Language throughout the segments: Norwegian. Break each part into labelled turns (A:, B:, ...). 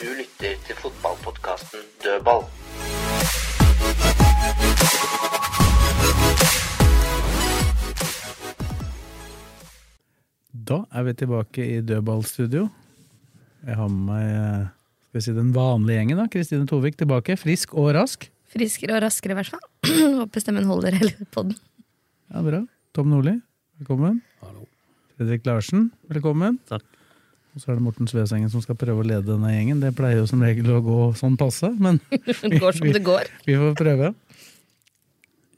A: Du lytter til fotballpodkasten Dødball.
B: Da er vi tilbake i dødballstudio. Jeg har med meg eh, skal vi si, den vanlige gjengen. da, Kristine Tovik tilbake, frisk og rask.
C: Friskere og raskere, i hvert fall. Håper stemmen holder hele podden.
B: Ja, bra. Tom Nordli, velkommen. Fredrik Larsen, velkommen.
D: Takk.
B: Og så er det Morten Svesengen som skal prøve å lede denne gjengen. Det pleier jo som regel å gå sånn passe, men
C: Det går som det går.
B: vi får prøve.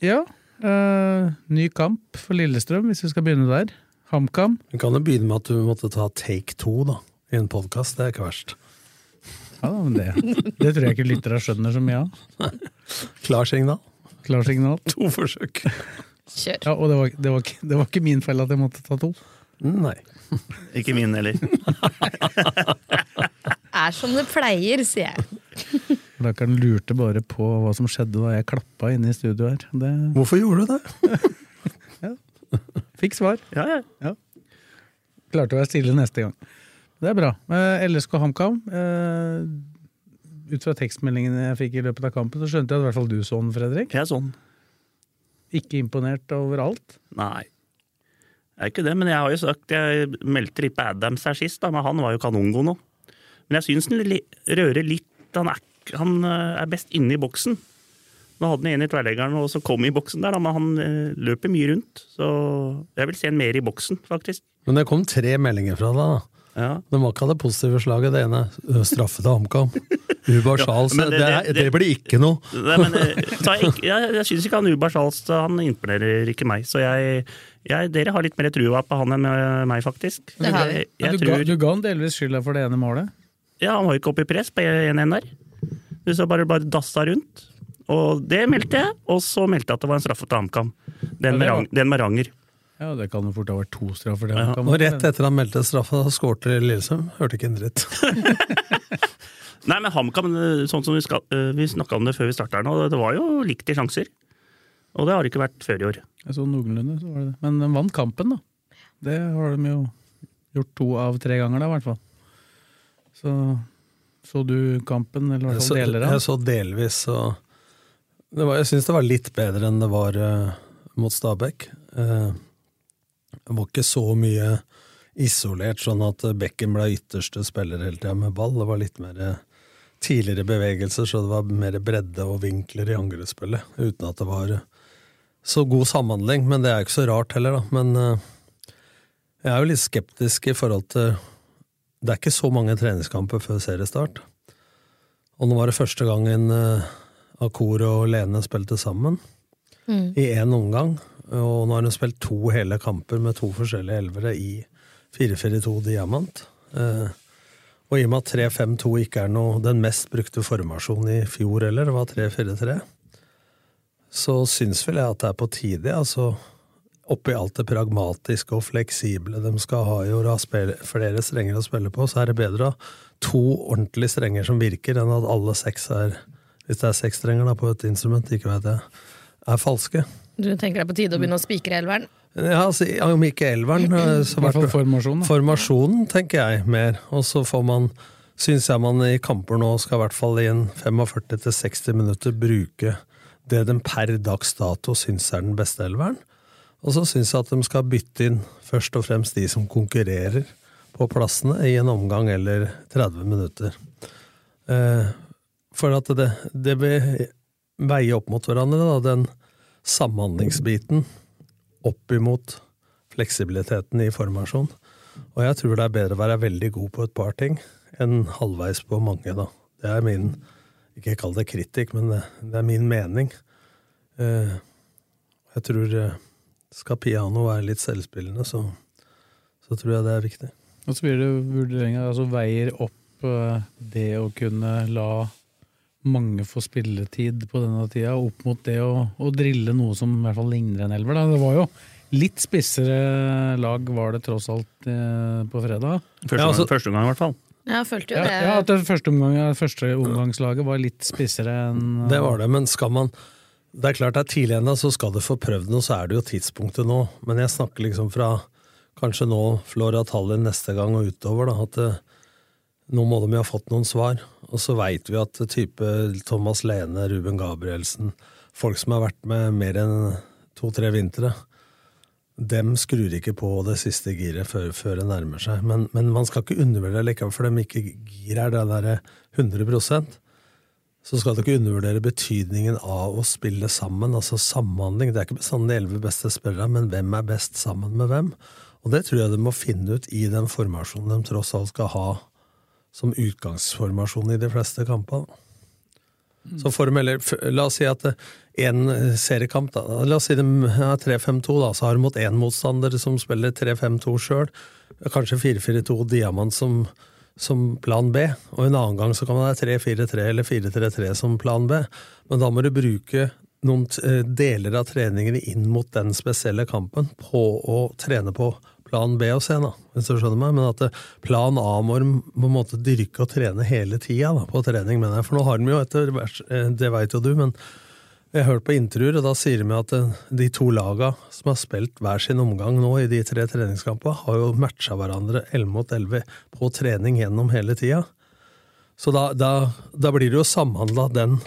B: Ja, eh, ny kamp for Lillestrøm, hvis vi skal begynne der. HamKam.
D: Du kan jo begynne med at du måtte ta take two da, i en podkast. Det er ikke verst.
B: Ja, da, men det, det tror jeg ikke lyttere skjønner så mye av.
D: Klarsignal.
B: Klarsignal.
D: To forsøk.
C: Kjør.
B: Ja, og det var, det, var ikke, det var ikke min feil at jeg måtte ta to.
D: Nei.
E: Ikke min heller.
C: Er som det pleier, sier jeg.
B: Blakkeren lurte bare på hva som skjedde da jeg klappa inne i studio her. Det
D: Hvorfor gjorde du det?
B: fikk svar.
E: Ja, ja.
B: Klarte å være stille neste gang. Det er bra. Eh, LSK HamKam. Eh, ut fra tekstmeldingene jeg fikk i løpet av kampen, så skjønte jeg at i hvert fall du så den, Fredrik.
E: Jeg er sånn.
B: Ikke imponert over alt.
E: Nei. Jeg er ikke det, men jeg har jo sagt Jeg meldte litt på Adams her sist, da, men han var jo kanongod nå. Men jeg syns han li- rører litt han er, ikke- han eh, er best inne i boksen. Nå hadde han en i tverrleggeren og så kom i boksen der, da, men han eh, løper mye rundt. Så jeg vil se han mer i boksen, faktisk.
D: Men det kom tre meldinger fra deg. da.
E: Ja.
D: Det var ikke av det positive slaget. Det ene ø, straffe til HamKam. Ubar Charles.
E: men
D: det,
E: det-
D: er-
E: det-
D: det blir ikke noe.
E: Nei, men, eh, så jeg ikke- jeg, jeg syns ikke han Ubar Charles han imponerer ikke meg. Så jeg, jeg, dere har litt mer trua på han enn eh, meg, faktisk.
C: Det har vi.
E: Jeg,
B: Men
E: jeg
B: du, ga,
E: tror,
B: du ga han delvis skylda for det ene målet.
E: Ja, han var jo ikke oppe i press på 1-1 der. Du så bare, bare dassa rundt. Og det meldte jeg, og så meldte jeg at det var en straffe til HamKam. Den, med
B: var-
E: rang- den med Ranger.
B: Ja, Det kan jo fort ha vært to straffer. til
E: Ja,
B: HamKam.
D: Og rett etter han meldte straffa, skårte Lillesund. Hørte ikke en dritt.
E: Nei, men HamKam, eh, sånn som vi, skal- eh, vi snakka om det før vi starta her nå, det var jo likt i sjanser. Og det har det ikke vært før i år.
B: Jeg så noenlunde, så var det det. Men de vant kampen, da. Det har de jo gjort to av tre ganger, da, i hvert fall. Så så du kampen, eller i
D: Jeg
B: hvert
D: så,
B: fall deler av
D: jeg
B: den?
D: så delvis, og det var, jeg syns det var litt bedre enn det var eh, mot Stabæk. Eh, det var ikke så mye isolert, sånn at eh, Bekken ble ytterste spiller hele tida med ball. Det var litt mer eh, tidligere bevegelser, så det var mer bredde og vinkler i angrepsspillet. Uten at det var eh, så god samhandling, men det er jo ikke så rart heller, da. Men eh, jeg er jo litt skeptisk i forhold til Det er ikke så mange treningskamper før seriestart. Og nå var det første gangen uh, Akor og Lene spilte sammen. I én omgang. Og nå har hun spilt to hele kamper med to forskjellige elvere i 4-4-2 Diamant. Eh, og i og med at 3-5-2 ikke er noe, den mest brukte formasjonen i fjor heller, det var 3-4-3, så syns vel jeg at det er på tide. altså Oppi alt det pragmatiske og fleksible de skal ha i år, ha spil- flere strenger å spille på, så er det bedre å ha to ordentlige strenger som virker, enn at alle seks er Hvis det er seks strenger da, på et instrument, ikke vet jeg, er falske.
C: Du tenker det er på tide å begynne å spikre elveren?
D: Ja, altså, Om ikke elveren, eh, så
B: I hvert fall formasjonen. da.
D: Formasjonen, tenker jeg, mer. Og så får man, syns jeg man i kamper nå skal i hvert fall i en 45-60 minutter bruke det den per dags dato syns er den beste elveren. Og så syns jeg at de skal bytte inn først og fremst de som konkurrerer på plassene i en omgang eller 30 minutter. Eh, for at det, det vil veie opp mot hverandre, da, den samhandlingsbiten opp imot fleksibiliteten i formasjon. Og jeg tror det er bedre å være veldig god på et par ting enn halvveis på mange, da. Det er min Ikke kall det kritikk, men det, det er min mening. Eh, jeg tror eh, skal piano være litt selvspillende, så, så tror jeg det er viktig.
B: Og så blir det vurderinger, altså veier opp eh, det å kunne la mange få spilletid på denne tida, opp mot det å, å drille noe som i hvert fall ligner en elver. Da. Det var jo litt spissere lag var det tross alt eh, på fredag.
E: Første,
D: Ja, altså-
E: omgang, første omgang, i hvert fall.
C: Ja, jeg følte jo
B: Ja,
C: det.
B: ja at det første, omgang, første omgangslaget var litt spissere enn
D: Det var det, men skal man Det er klart det er tidlig ennå, så skal du få prøvd noe, så er det jo tidspunktet nå. Men jeg snakker liksom fra kanskje nå, Flora Tallinn neste gang og utover, da, at eh, nå må de jo ha fått noen svar. Og så veit vi at type Thomas Lene, Ruben Gabrielsen, folk som har vært med mer enn to-tre vintre, dem skrur ikke på det siste giret før, før det nærmer seg. Men, men man skal ikke undervurdere det likevel, for dem ikke gir er det derre 100 så skal du ikke undervurdere betydningen av å spille sammen, altså samhandling. Det er ikke bestandig de elleve beste spillerne, men hvem er best sammen med hvem? Og det tror jeg de må finne ut i den formasjonen de tross alt skal ha som utgangsformasjon i de fleste kampene. Mm. Så formelle, f- La oss si at én seriekamp da, La oss si de er 3-5-2, da, så har de mot én motstander som spiller 3-5-2 sjøl. Kanskje 4-4-2 Diamant som, som plan B. Og en annen gang så kan man ha 3-4-3 eller 4-3-3 som plan B. Men da må du bruke noen eh, deler av treningene inn mot den spesielle kampen på å trene på plan B og C, da, hvis du skjønner meg. Men at eh, plan A må de på en måte dyrke og trene hele tida da, på trening, mener jeg. For nå har de jo etter hvert, eh, det veit jo du, men jeg har hørt på intervjuer, og da sier de at eh, de to laga som har spilt hver sin omgang nå i de tre treningskampene, har jo matcha hverandre 11 mot 11 på trening gjennom hele tida. Så da, da, da blir det jo samhandla den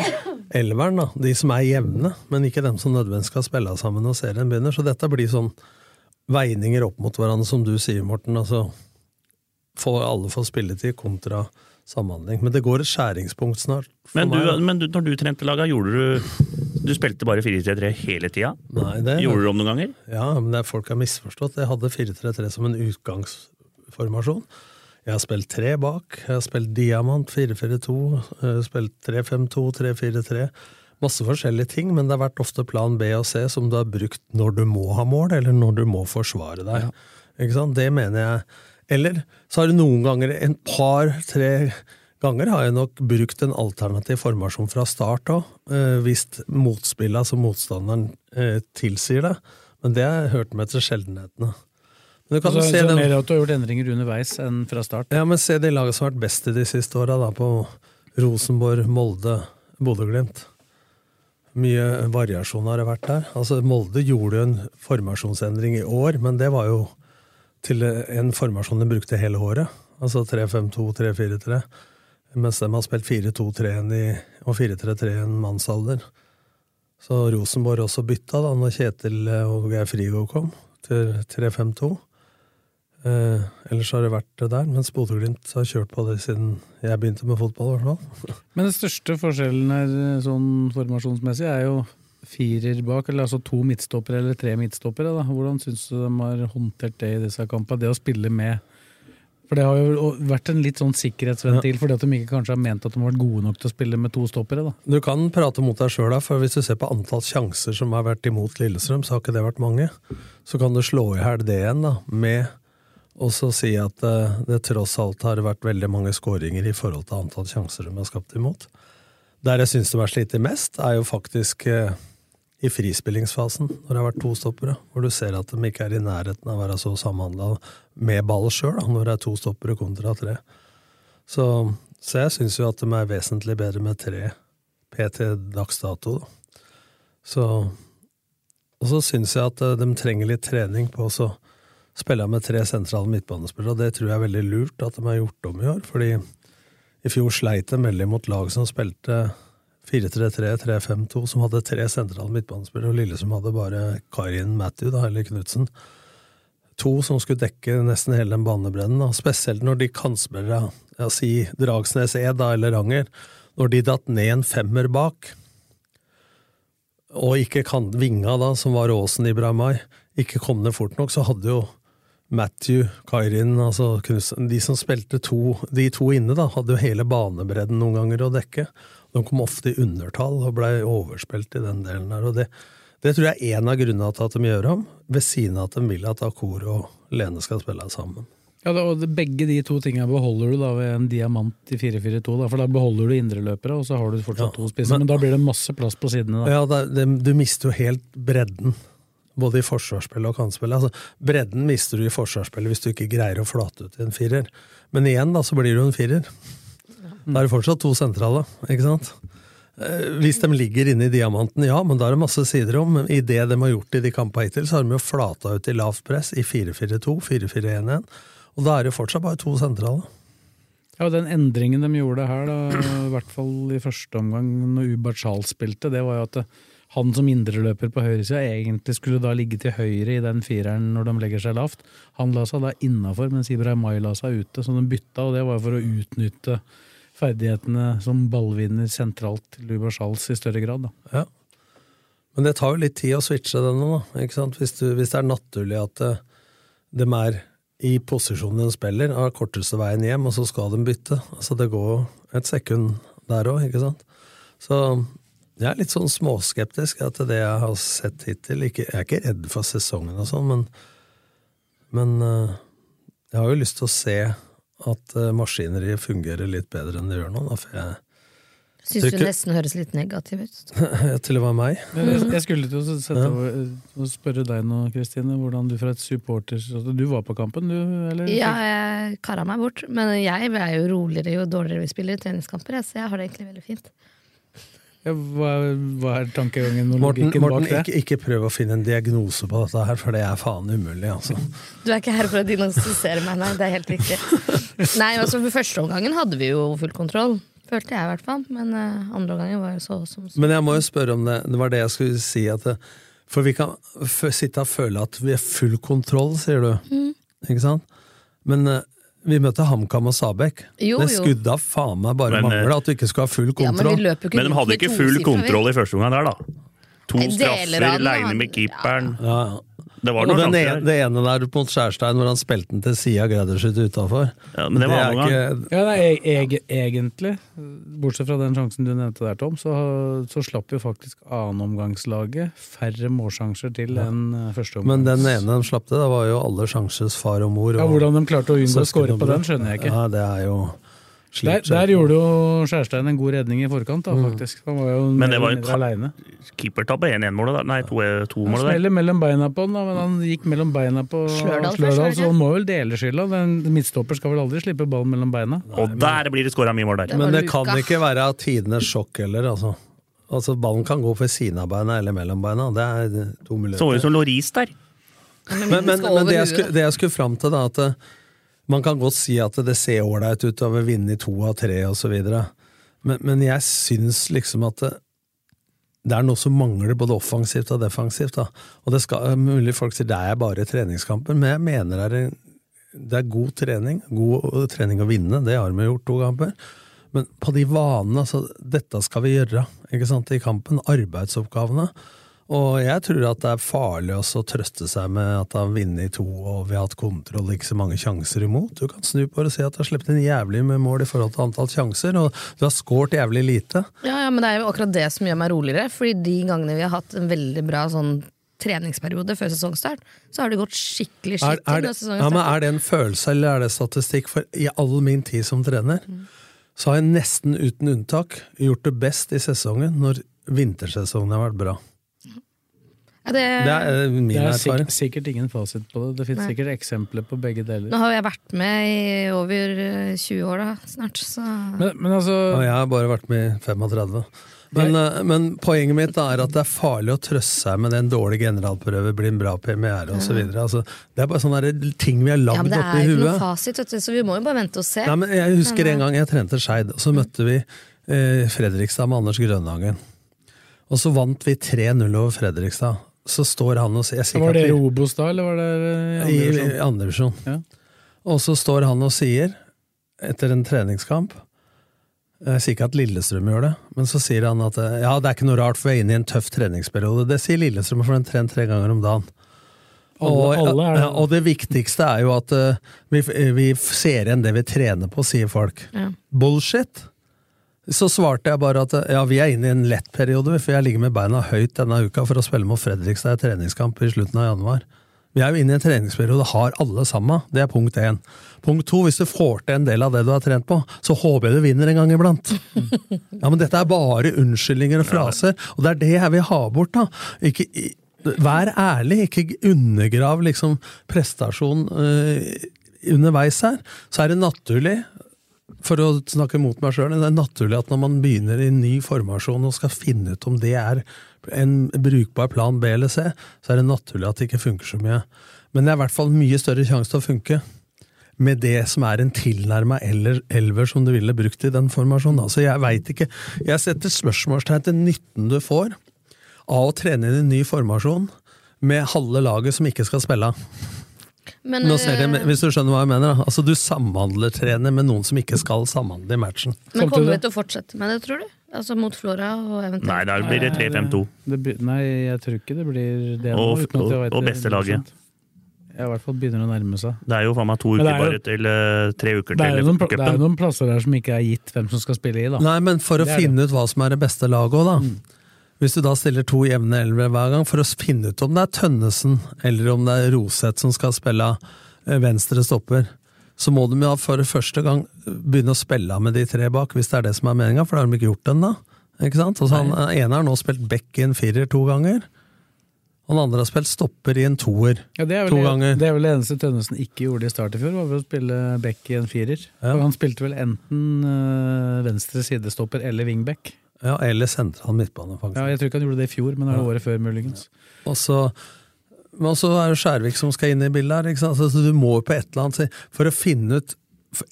D: elveren, da. De som er jevne, men ikke dem som nødvendigvis skal spille sammen når serien begynner. Så dette blir sånn veininger opp mot hverandre, som du sier, Morten. altså får alle få spilletid kontra samhandling. Men det går et skjæringspunkt snart. for
E: Men,
D: meg, da.
E: du, eh, men du, når du trente laga, gjorde du Du spilte bare 4-3-3 hele tida?
D: Nei, det,
E: Gjorde du om noen ganger?
D: Ja, men det er folk har misforstått. Jeg hadde 4-3-3 som en utgangsformasjon. Jeg har spilt tre bak. Jeg har spilt diamant 4-4-2. eh, Spilt 3-5-2, 3-4-3. Masse forskjellige ting, men det har vært ofte plan B og C som du har brukt når du må ha mål, eller når du må forsvare deg. Ikke sant? Det mener jeg. Eller så har du noen ganger, en par-tre ganger, har jeg nok brukt en alternativ formasjon fra start òg, hvis motspillet, altså motstanderen, eh, tilsier det. Men det har jeg hørt med til sjeldenhetene. Men du kan
B: Altså,
D: jo se
B: så
D: den
B: mer at du har gjort endringer underveis enn fra start.
D: ja, men se de lagene som har vært best i de siste åra, da. På Rosenborg, Molde, Bodø-Glimt. Mye variasjon har det vært der. Altså, Molde gjorde jo en formasjonsendring i år, men det var jo til en formasjon de brukte hele året. Altså 3-5-2, 3-4-3. Mens de har spilt 4-2-3-1 i- og 4-3-3-1 mannsalder. Så Rosenborg også bytta da når Kjetil og Geir Frigo kom, til 3-5-2. Eh, ellers har det vært det der, mens Bodø-Glimt har kjørt på det siden jeg begynte med fotball. I hvert fall.
B: Men den største forskjellen her sånn formasjonsmessig er jo firer bak, eller altså to midtstoppere eller tre midtstoppere. Da. Hvordan syns du de har håndtert det i disse kampene, det å spille med? For det har jo vært en litt sånn sikkerhetsventil, fordi at de ikke kanskje har ment at de har vært gode nok til å spille med to stoppere. da.
D: Du kan prate mot deg sjøl, for hvis du ser på antall sjanser som har vært imot Lillestrøm, så har ikke det vært mange. Så kan du slå i hæl det igjen, da, med å så si at eh, det tross alt har vært veldig mange skåringer i forhold til antall sjanser de har skapt imot. Der jeg syns de har slitt mest, er jo faktisk eh, i frispillingsfasen, når det har vært to stoppere, hvor du ser at de ikke er i nærheten av å være så samhandla med ball sjøl, når det er to stoppere kontra tre. Så, så jeg syns jo at de er vesentlig bedre med tre PT dags dato, da. Så Og så syns jeg at eh, de trenger litt trening på å så spille med tre sentrale midtbanespillere, og det tror jeg er veldig lurt at de har gjort om i år, fordi i fjor sleit de veldig mot lag som spilte 4-3-3, 3-5-2, som hadde tre sentrale midtbanespillere, og Lillesund hadde bare Karin Matthew, da, eller Knutsen. To som skulle dekke nesten hele den banebrennen, da. spesielt når de kantspillere, ja, si Dragsnes Ed da, eller Ranger, når de datt ned en femmer bak, og ikke kan, vinga da, som var Åsen i Bramai, ikke kom ned fort nok, så hadde jo Matthew, Kairin, altså Knudsen, de som spilte to, de to inne, da, hadde jo hele banebredden noen ganger å dekke. De kom ofte i undertall og blei overspilt i den delen der. og Det, det tror jeg er en av grunnene til at de gjør om, ved siden av at de vil at Akor og Lene skal spille sammen.
B: Ja, Ja, da, og det, Begge de to tingene beholder du da ved en diamant i 4-4-2. da, For da beholder du indreløpere, og så har du fortsatt
D: Ja,
B: to spisser. Men,
D: men-
B: da blir det masse plass på sidene. da.
D: Ja, det, er- det, du mister jo helt bredden. Både i forsvarsspillet og kantspillet. Altså, bredden mister du i forsvarsspillet hvis du ikke greier å flate ut i en firer. Men igjen, da, så blir du en firer. Da er det fortsatt to sentrale, ikke sant? Eh, Hvis de ligger inne i diamanten, ja, men da er det masse sider om. Men i det de har gjort i de kampene hittil, så har de jo flata ut i lavt press i 4-4-2, 4-4-1-1. Og da er det jo fortsatt bare to sentrale.
B: Ja, og Den endringen de gjorde her, da, i hvert fall i første omgang når Ubert Charles spilte, det var jo at det- han som indreløper på høyresida egentlig skulle da ligge til høyre i den fireren når de legger seg lavt. Han la seg da innafor, mens Ibrahimay la seg ute, så de bytta, og det var jo for å utnytte ferdighetene som ballvinner sentralt til Ubert Charles i større grad. da.
D: Ja. Men det tar jo litt tid å switche denne, da. Ikke sant? Hvis, du, hvis det er naturlig at eh, de er i posisjonen de spiller, har korteste veien hjem, og så skal de bytte. Altså det går jo et sekund der òg, ikke sant. Så jeg er litt sånn småskeptisk at det jeg har sett hittil ikke, Jeg er ikke redd for sesongen og sånn, men, men eh, jeg har jo lyst til å se at eh, maskineriet fungerer litt bedre enn det gjør nå, da, for jeg
C: Syns du
D: Tykker-
C: nesten høres litt negativ ut?
D: Til og med meg.
B: Men Jeg jeg skulle til å sette
D: Ja.
B: over, å spørre deg nå, Kristine, hvordan du fra et supporter Du var på kampen, du? eller?
C: Ja, jeg kara meg bort. Men jeg er jo roligere jo dårligere vi spiller i treningskamper, jeg, så jeg har det egentlig veldig fint.
B: Ja, hva, er- hva er tankegangen og
D: Morten,
B: logikken
D: Morten
B: bak det?
D: ikke, ikke prøv å finne en diagnose på dette her, for det er faen umulig, altså.
C: Du er ikke her for å diagnostisere meg, nei. Det er helt riktig. Nei, altså for Første omgangen hadde vi jo full kontroll, følte jeg i hvert fall. Men eh, andre omgangen var jo så som så.
D: Men jeg må jo spørre om det. Det var det jeg skulle si. At det, for vi kan f sitte og føle at vi har full kontroll, sier du.
C: Mm.
D: Ikke sant? Men eh, vi møtte HamKam og Sabek.
C: Jo,
D: det
C: jo.
D: skudda faen meg bare
E: Men, eh,
D: mangla at du ikke skulle ha full
C: Ja, men vi
D: kontroll.
C: løper jo ikke
E: Men de
C: rundt
E: hadde
C: med
E: ikke
C: to
E: full
C: sifre, vi.
E: kontroll i første omgang der, da. To
C: Deler
E: straffer,
C: av den, da.
E: leine med keeperen.
D: ja, ja.
E: Det
D: Og
E: var noen
D: den ene,
E: sjanser der.
D: det ene der mot Skjærstein, hvor han spilte den til sida Grederskytte utafor.
E: Ja, men det var
D: er
E: andre gang.
D: ikke
B: Ja, nei, e- eg, egentlig, bortsett fra den sjansen du nevnte der, Tom, så, så slapp jo faktisk annenomgangslaget færre målsjanser til enn eh, første omgang.
D: Men den ene de slapp til, det var jo alle sjansers far og mor. Og
B: ja, hvordan de klarte å unngå å
D: søsken
B: skåre
D: og
B: på
D: bror.
B: den, skjønner jeg ikke.
D: Ja, det er jo
B: Der, der gjorde jo Skjærstein en god redning i forkant, da,
D: Mm.
B: faktisk. Han var jo
E: Men
B: mer
E: det var
B: eller
E: jo
B: mindre aleine.
E: Keepertabbe 1-1-målet der. Nei,
B: Han
E: 2-1-målet der.
B: smeller mellom beina på han, da, men han gikk mellom beina på
C: Slørdal først, var det
B: så
C: ikke?
B: han må vel dele skylda. Den midtstopper skal vel aldri slippe ballen mellom beina.
E: Og der blir det skåra mye mål der.
C: var
D: Men det
C: luka.
D: kan ikke være av tidenes sjokk heller, altså. Altså, Ballen kan gå ved siden av beina eller mellom beina. Det er to
E: Så var det
D: muligheter.
E: som Loris der.
D: Men, men,
C: skal
D: men
C: over
D: det, jeg
C: huet,
D: skulle, det jeg skulle fram til, da, at eh, man kan godt si at det ser ålreit ut over å vinne i to av tre osv., men, men jeg syns liksom at det, det er noe som mangler både offensivt og defensivt. Da. Og det skal, eh, mulig folk sier det er bare treningskamper, men jeg mener det er, en- det er god trening. God eh, trening å vinne, det har vi gjort to kamper. Men på de vanene, altså dette skal vi gjøre ikke sant, i kampen. Arbeidsoppgavene. Og jeg tror at det er farlig også å trøste seg med at han vinner i to og vi har hatt kontroll ikke så mange sjanser imot. Du kan snu på det og si at du har sluppet inn jævlig med mål i forhold til antall sjanser, og du har skåret jævlig lite.
C: Ja, ja, men det er jo akkurat det som gjør meg roligere. Fordi de gangene vi har hatt en veldig bra sånn treningsperiode før sesongstart, så har det gått
D: Er,
C: skikkelig
D: er,
C: skitt til
D: det,
C: når
D: ja,
C: sesongen
D: men
C: starter.
D: er det en følelse, eller er det statistikk? For i all min tid som trener,
C: Mm.
D: så har jeg nesten uten unntak gjort det best i sesongen når vintersesongen har vært bra.
C: Ja, det,
D: Det er eh, min
B: Det er
D: erfaring.
B: sikkert, sikkert ingen fasit på det. Det finnes
C: Nei.
B: sikkert eksempler på begge deler.
C: Nå har jo jeg vært med i over eh, 20 år da, snart, så
B: Men, men altså,
D: Og jeg har bare vært med i 35. Men, eh, men poenget mitt da er at det er farlig å trøste seg med den dårlige generalprøve, blir en bra premiere osv. Altså, det er bare sånne der ting vi har
C: ja,
D: lagd
C: men det
D: oppi
C: er ikke noen
D: huet.
C: fasit, vet du, så vi må jo bare vente og se.
D: Nei, men jeg husker en gang jeg trente Skeid, og så møtte vi eh, Fredrikstad med Anders Grønhagen. Og så vant vi 3-0 over Fredrikstad. Så står han og sier jeg er sikker
B: var det
D: at vi-
B: Robos da, eller var det eh,
D: i
B: andre
D: i
B: versjon?
D: andre divisjon.
B: Ja.
D: Og så står han og sier, etter en treningskamp Jeg sier ikke at Lillestrøm gjør det, men så sier han at eh, ja, det er ikke noe rart, for vi er inne i en tøff treningsperiode. Det sier Lillestrøm, for den trener tre ganger om dagen. Og,
B: Alle- alle er-
D: ja, og det viktigste er jo at eh, vi, vi ser igjen det vi trener på, sier folk.
C: Ja.
D: Bullshit! Så svarte jeg bare at ja, vi er inne i en lett periode, for jeg ligger med beina høyt denne uka for å spille mot Fredrikstad i treningskamp i slutten av januar. Vi er jo inne i en treningsperiode, har alle sammen. Det er punkt én. Punkt to, hvis du får til en del av det du har trent på, så håper jeg du vinner en gang iblant. Ja, men dette er bare unnskyldninger og fraser, og det er det jeg vil ha bort, da. Ikke, i- vær ærlig, ikke undergrav liksom prestasjon eh, underveis her. Så er det naturlig, for å snakke mot meg sjøl, det er naturlig at når man begynner i en ny formasjon og skal finne ut om det er en brukbar plan B eller C, så er det naturlig at det ikke funker så mye. Men det er i hvert fall mye større sjanse til å funke med det som er en tilnærma elver som du ville brukt i den formasjonen. Altså, jeg veit ikke. Jeg setter spørsmålstegn til nytten du får av å trene inn en ny formasjon med halve laget som ikke skal spille.
C: Men,
D: Nå ser jeg,
C: eh,
D: hvis du skjønner hva jeg mener. Da. Altså, du samhandlertrener med noen som ikke skal samhandle i matchen.
C: men kommer vi til å fortsette med det, tror du? Altså Mot Flora og eventuelt
E: Nei, da blir det 3-5-2.
B: Det be- Nei, jeg tror ikke det blir det nå.
E: Og,
B: uten at jeg
E: og,
B: vet
E: og
B: det
E: beste laget.
B: 100%. Ja, i hvert fall begynner å nærme seg.
E: Det er jo faen meg to
B: Men
E: uker
B: det er jo-
E: bare til eh, tre uker
B: Det er
E: til
B: jo noen, pla- det er jo
E: cupen.
B: noen plasser her som ikke er gitt hvem som skal spille i, da.
D: Nei, men for å
B: Det Mm. er det.
D: finne ut hva som er det beste laget òg, da. Hvis du da stiller to jevne elvere hver gang, for å finne ut om det er Tønnesen eller om det er Roseth som skal spille eh, venstre stopper, så må de jo for første gang begynne å spille med de tre bak, hvis det er det som er meninga, for det har de ikke gjort ennå. Ikke sant? Og så han eh, ene har nå spilt back i en firer to ganger, og den andre har spilt stopper i en toer.
B: Ja, det, er
D: To
B: vel,
D: ganger.
B: det er vel det eneste Tønnesen ikke gjorde i start i fjor, var vel å spille back i en firer.
D: Ja.
B: Og han spilte vel enten eh, venstre sidestopper eller wingback.
D: Ja, eller sentral midtbane, faktisk.
B: Ja, jeg tror ikke han gjorde det i fjor, men det var året før, muligens.
D: Og så, men så er det Skjærvik som skal inn i bildet her. Ikke sant? Så du må jo på et eller annet si- For å finne ut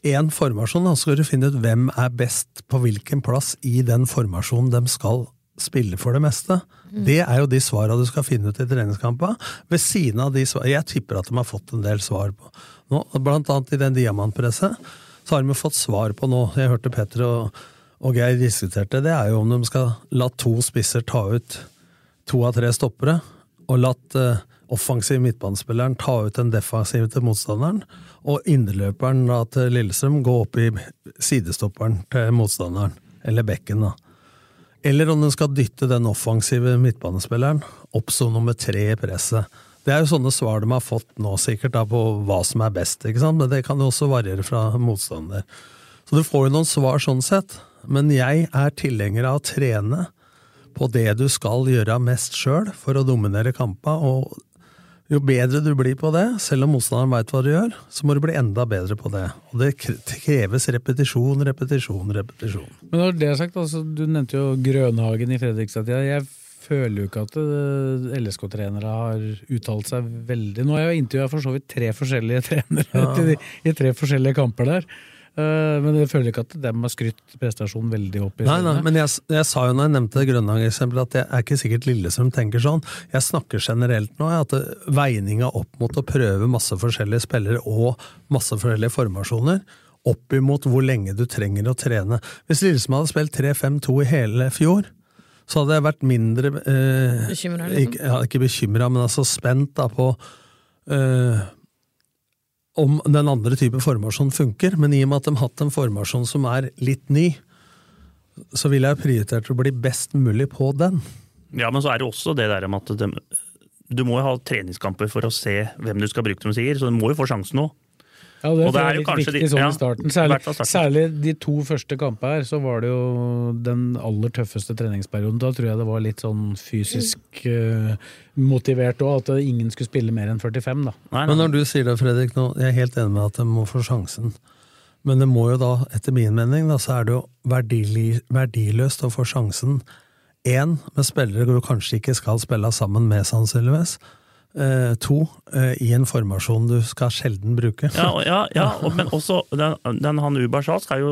D: én formasjon, da, så skal du finne ut hvem er best på hvilken plass i den formasjonen de skal spille for det meste. Det er jo de svara du skal finne ut i treningskampa. Ved siden av de svara Jeg tipper at de har fått en del svar på nå. Blant annet i den diamantpresset så har de jo fått svar på nå. Jeg hørte Petter og, og Geir diskuterte. Det er jo om de skal la to spisser ta ut to av tre stoppere og latt eh, offensiv midtbanespilleren ta ut den defensive til motstanderen, og innerløperen da, til Lillestrøm gå opp i sidestopperen til motstanderen, eller bekken, da. Eller om den skal dytte den offensive midtbanespilleren opp som nummer tre i presset. Det er jo sånne svar de har fått nå, sikkert, da, på hva som er best, ikke sant? men det kan jo også variere fra motstander. Så du får jo noen svar sånn sett, men jeg er tilhenger av å trene på det du skal gjøre mest sjøl for å dominere kampa. Og jo bedre du blir på det, selv om motstanderen veit hva du gjør, så må du bli enda bedre på det. Og det kre- kreves repetisjon, repetisjon, repetisjon.
B: Men når det er sagt, altså, du nevnte jo Grønhagen i Fredrikstad. Jeg, jeg føler jo ikke at eh, LSK-trenere har uttalt seg veldig. Nå har jeg intervjua for så vidt tre forskjellige trenere til de, i tre forskjellige kamper der. Eh, men jeg føler ikke at dem har skrytt prestasjonen veldig opp. i
D: Nei, nei,
B: sine.
D: men jeg, s- jeg sa jo når jeg nevnte Grønland-eksempelet, at det er ikke sikkert Lillestrøm tenker sånn. Jeg snakker generelt nå, jeg, at det- veininga opp mot å prøve masse forskjellige spillere og masse forskjellige formasjoner, opp imot hvor lenge du trenger å trene. Hvis Lillestrøm hadde spilt 3-5-2 i hele fjor, så hadde jeg vært mindre eh,
C: Bekymret, liksom.
D: Ikke, ja, ikke bekymra, men altså spent da på eh, om den andre type formasjon funker, men i og med at de har hatt en formasjon som er litt ny, så ville jeg prioritert å bli best mulig på den.
E: Ja, men så er det også det der med at de, du må jo ha treningskamper for å se hvem du skal bruke dem sier, så du må jo få sjansen nå.
B: Ja, det,
E: Og
B: tror
E: det
B: jeg
E: er
B: er
E: jo
B: litt
E: kanskje
B: viktig
E: de-
B: sånn
E: ja,
B: i starten. Særlig,
E: i hvert fall starten.
B: særlig de to første kampene her, så var det jo den aller tøffeste treningsperioden. Da tror jeg det var litt sånn fysisk eh, motivert òg, at ingen skulle spille mer enn 45, da.
E: Nei,
D: Men
E: nei.
D: når du sier det, Fredrik, nå, jeg er helt enig med at de må få sjansen. Men det må jo da, etter min mening, da, så er det jo verdili, verdiløst å få sjansen. Én, med spillere du kanskje ikke skal spille sammen med, sannsynligvis. Eh, to, eh, i en formasjon du skal sjelden bruke.
E: Ja, og- ja, ja og, men også den, den han Ubar sa, skal jo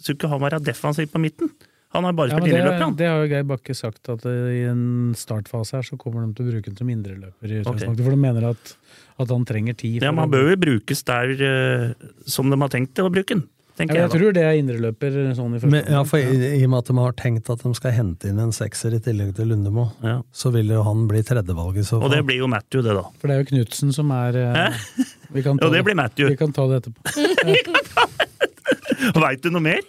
E: skulle ikke han være defensiv på midten. Han har bare
B: Ja, men
E: spilt
B: det,
E: innerløper, han.
B: det har jo Geir Bakke sagt, at eh, i en startfase her så kommer de til å bruke ham som indreløper. i utgangspunktet, For de mener at, at han trenger tid.
E: Ja,
B: for
E: men
B: å-
E: han bør jo brukes der eh, som de har tenkt å bruke den,
B: ja,
E: tenker
B: men jeg
E: jeg. da.
B: tror det er indreløper sånn i første
D: Men, ja,
B: omgang.
D: for i, I og med at de har tenkt at de skal hente inn en sekser i tillegg til Lundemo,
E: Ja.
D: så vil jo han bli tredjevalget.
E: Og det blir jo Matthew, det, da.
B: For det er jo Knutsen som er eh, vi kan ta
E: Ja, det blir Matthew.
B: Vi kan ta det etterpå.
E: Veit du noe mer?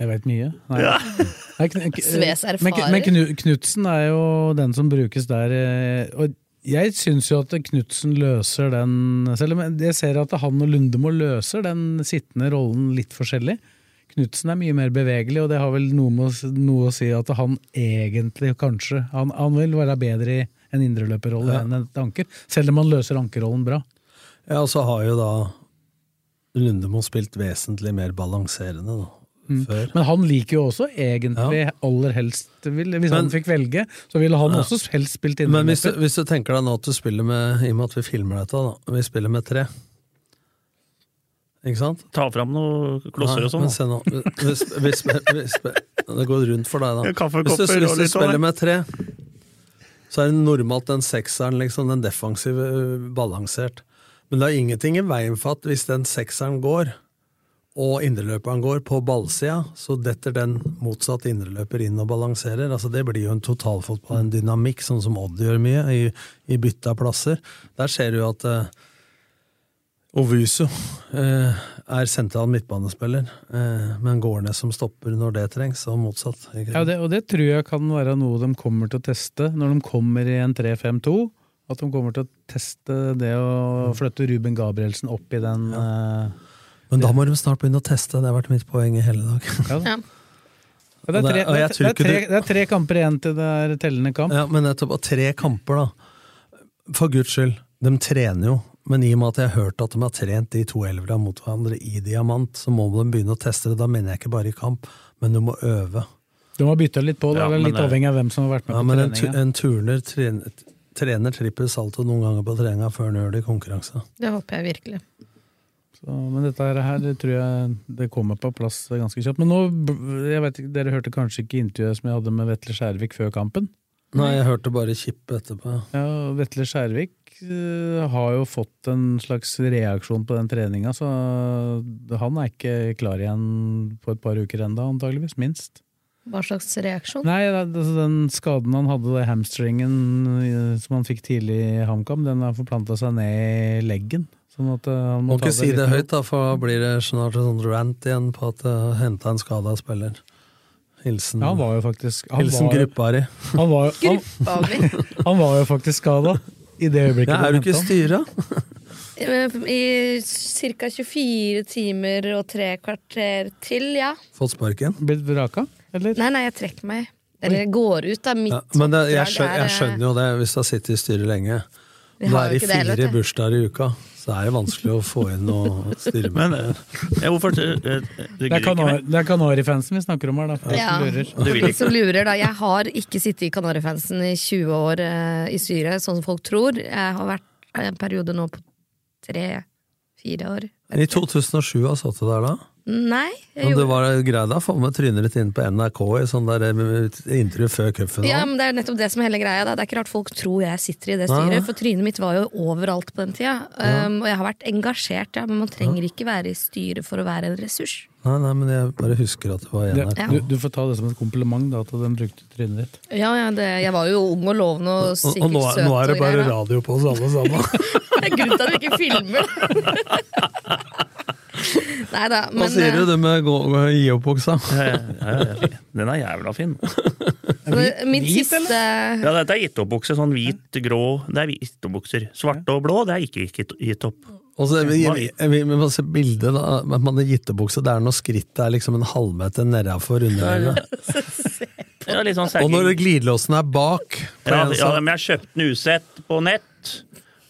B: Jeg veit mye. Nei.
E: Ja.
B: Nei, kn- k-
C: Sves erfarer.
B: Men, Kn- men Knutsen er jo den som brukes der. eh, Og Jeg syns jo at Knutsen løser den Selv om jeg ser at han og Lundemo løser den sittende rollen litt forskjellig. Knutsen er mye mer bevegelig, og det har vel noe, med, å s- noe å si at han egentlig kanskje Han, han vil være bedre i en indreløperrolle enn et anker, selv om han løser ankerrollen bra.
D: Ja, og så har jo da Lundemo spilt vesentlig mer balanserende da,
E: Mm.
D: før.
B: Men han liker jo også egentlig aller helst vil, Hvis han
D: Men-
B: fikk velge, så ville han
D: Ja.
B: også helst spilt
D: Men hvis du,
B: indreløper.
D: hvis du tenker deg nå at du spiller med, i og med at vi filmer dette, da, vi spiller med tre. Ikke sant?
E: Ta fram noen klosser
D: Nei,
E: og sånn.
D: Men se nå. Hvis, hvis, hvis, det går rundt for deg,
E: Ja,
D: da.
E: kaffekopper
D: Hvis du, hvis
E: og
D: du
E: litt av det.
D: spiller med tre, så er det normalt den sekseren, liksom, den defensive, øh, balansert. Men det er ingenting i veien for at hvis den sekseren går, og indreløperen går på ballsida, så detter den motsatt indreløper inn og balanserer. Altså Det blir jo en totalfotball, en dynamikk, sånn som Odd gjør mye, i, i bytte av plasser. Der ser du jo at eh, Ovuso eh, er sentral midtbanespiller, eh, men går ned som stopper når det trengs, og motsatt. Ikke?
B: Ja, det, og det tror jeg kan være noe de kommer til å teste når de kommer i en 3-5-2. At de kommer til å teste det å flytte Ruben Gabrielsen opp i den eh,
D: men da må de snart begynne å teste, det har vært mitt poeng i hele dag.
B: ja.
C: Ja.
B: Ja, det, er
D: Og
B: tre,
D: det- og
B: det,
D: jeg
B: er,
D: tror
B: det, er
D: ikke
B: tre,
D: du-
B: det er tre kamper igjen til det er tellende kamp.
D: Ja, men nettopp, og tre kamper, da. For guds skyld, de trener jo. Men i og med at jeg har hørt at de har trent de to elvera mot hverandre i diamant, så må de begynne å teste det. Da mener jeg ikke bare i kamp, men du må øve.
B: De har bytta litt på, det
E: Ja,
B: det er litt
E: men, eh,
B: avhengig av hvem som har vært med
D: Ja,
B: på
D: men en, tu-
B: treninga.
D: en turner trener, trener trippel salto noen ganger på treninga før han gjør det i konkurranse.
C: Det håper jeg virkelig.
B: Så, men dette her, her tror jeg det kommer på plass ganske kjapt. Men nå, b- jeg vet ikke, Dere hørte kanskje ikke intervjuet som jeg hadde med Vetle Skjærvik før kampen?
D: Nei, jeg hørte bare kipp etterpå.
B: Ja, og Vetle Skjærvik eh, har jo fått en slags reaksjon på den treninga, så eh, han er ikke klar igjen på et par uker enda, antageligvis, minst.
C: Hva slags reaksjon?
B: Nei, det- altså, den skaden han hadde, det hamstringen eh, som han fikk tidlig i HamKam, den har forplanta seg ned i leggen. Sånn at eh, han
D: Må
B: må, ta
D: ikke si
B: litt
D: det
B: med ro.
D: høyt, da, for da blir det snart en sånn rant igjen på at jeg henta en skada spiller. Hilsen,
B: Ja, han var jo faktisk Han
D: hilsen
B: var,
D: gruppa di.
B: han var, han,
C: Gruppa mi!
B: han var jo faktisk skada i det øyeblikket.
D: Ja,
B: de
D: er du ikke i
B: hentet han.
D: styret?
C: Eh, I ca. 24 timer og tre kvarter til, ja.
D: Fått sparken?
B: Blitt vraka, eller?
C: Nei, nei, jeg trekker meg. Eller jeg går ut, da. Mitt
D: Ja, men det, jeg,
C: oppdrag
D: skjønner,
C: er, eh,
D: jeg skjønner jo det, hvis du har sittet i styret lenge.
C: Vi
D: Nå er
C: har jo
D: det
C: ikke det heller,
D: fire
C: vet du.
D: bursdager i uka, så er det vanskelig å få inn noe styre
E: Men
D: med.
E: eh, ja, hvorfor eh, eh, du
B: Det er,
E: gidder ikke
B: Kanari-
E: mer?
B: det er Kanarifansen vi snakker om her, da. for de
C: eh, Ja.
B: som lurer.
E: Du vil
C: De
E: ikke.
C: som lurer, da. Jeg har ikke sittet i Kanarifansen i 20 år eh, i Syria, sånn som folk tror. Jeg har vært en periode nå på tre-fire år.
D: I 2007 har jeg satt det der da.
C: Nei, jeg
D: Men det
C: gjorde
D: var greid å få med trynet ditt inn på NRK i sånn der eh, intervju før
C: ja,
D: cupfinalen.
C: men Det er nettopp det som er hele greia. Da. Det er ikke rart folk tror jeg sitter i det
D: Nei, nei.
C: styret, for trynet mitt var jo overalt på den tida. Um, og jeg har vært engasjert, ja, men man trenger ikke være i styret for å være en ressurs.
D: Nei, nei, men jeg bare husker at det var i
B: Det,
D: NRK.
B: du, du får ta det som et kompliment, da, at den brukte trynet ditt.
C: Ja, ja, det, Jeg var jo ung og lovende
D: Og,
C: og
D: og
C: sikkert
D: nå, er-
C: søt.
D: nå er det
C: og
D: bare
C: greier, da.
D: radio på oss alle sammen.
C: Det er grunnen til at vi ikke filmer det. Nei da,
D: Hva
C: men eh,
D: sier du, det med gå, gå, gi opp-buksa?
E: Ja, ja, ja, ja. Den er jævla fin.
C: eh, min siste
E: Ja, dette er gitteoppbukse. Sånn hvit, grå Det er gitteoppbukser. Svarte og blå, det er ikke gitt- gittopp.
D: Og så vi, vi, eh, vi, vi må se bildet da, at man har gittebukse, det er når skrittet er liksom en halvmeter nedafor underøyet.
E: Ja, litt sånn
D: Og når
E: særing.
D: glidelåsen er bak på
E: Ja,
D: en
E: ja,
D: sånn-
E: men jeg kjøpte den usett på nett,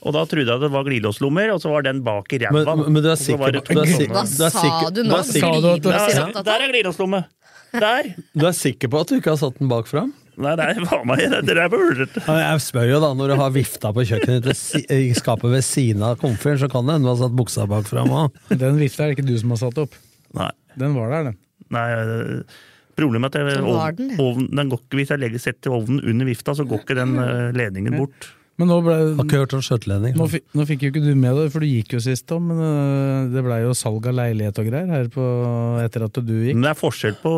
E: og da trodde jeg det var glidelåslommer, og så var den bak i ræva.
D: men, men du er
E: Og så var
D: sikker
E: det
D: på
E: to
D: du er,
E: sånne.
D: sikker-
C: Hva
D: du er
C: sa
D: sikker-
C: du
D: du
C: nå?
D: er sikker-
B: Sa du at-
C: Glidelås i
E: Ja,
C: opptatt av?
E: der er glidelåslomme! Der!
D: Du er sikker på at du ikke har satt den bak fram?
E: Nei, det er faen meg det der er bulrete.
D: Ja, Jeg spør jo da, når du har vifta på kjøkkenet ditt si- i skapet ved siden av komfyren, så kan det hende du har satt buksa bak fram òg.
B: Den vifta er det ikke du som har satt opp.
E: Nei,
B: Den var der, den.
E: nei øh, Problemet er at jeg,
C: Så var den,
E: ovnen,
C: ja.
E: den går ikke, hvis jeg legger setter ovnen under vifta, så går ikke den øh, ledningen bort.
B: Men nå, ble,
D: Har ikke hørt om skjøtelending.
B: nå, fi- nå fikk jo ikke du med det, for du gikk jo sist òg, men øh, det blei jo salg av leilighet og greier her på, etter at du gikk.
E: Men det er forskjell på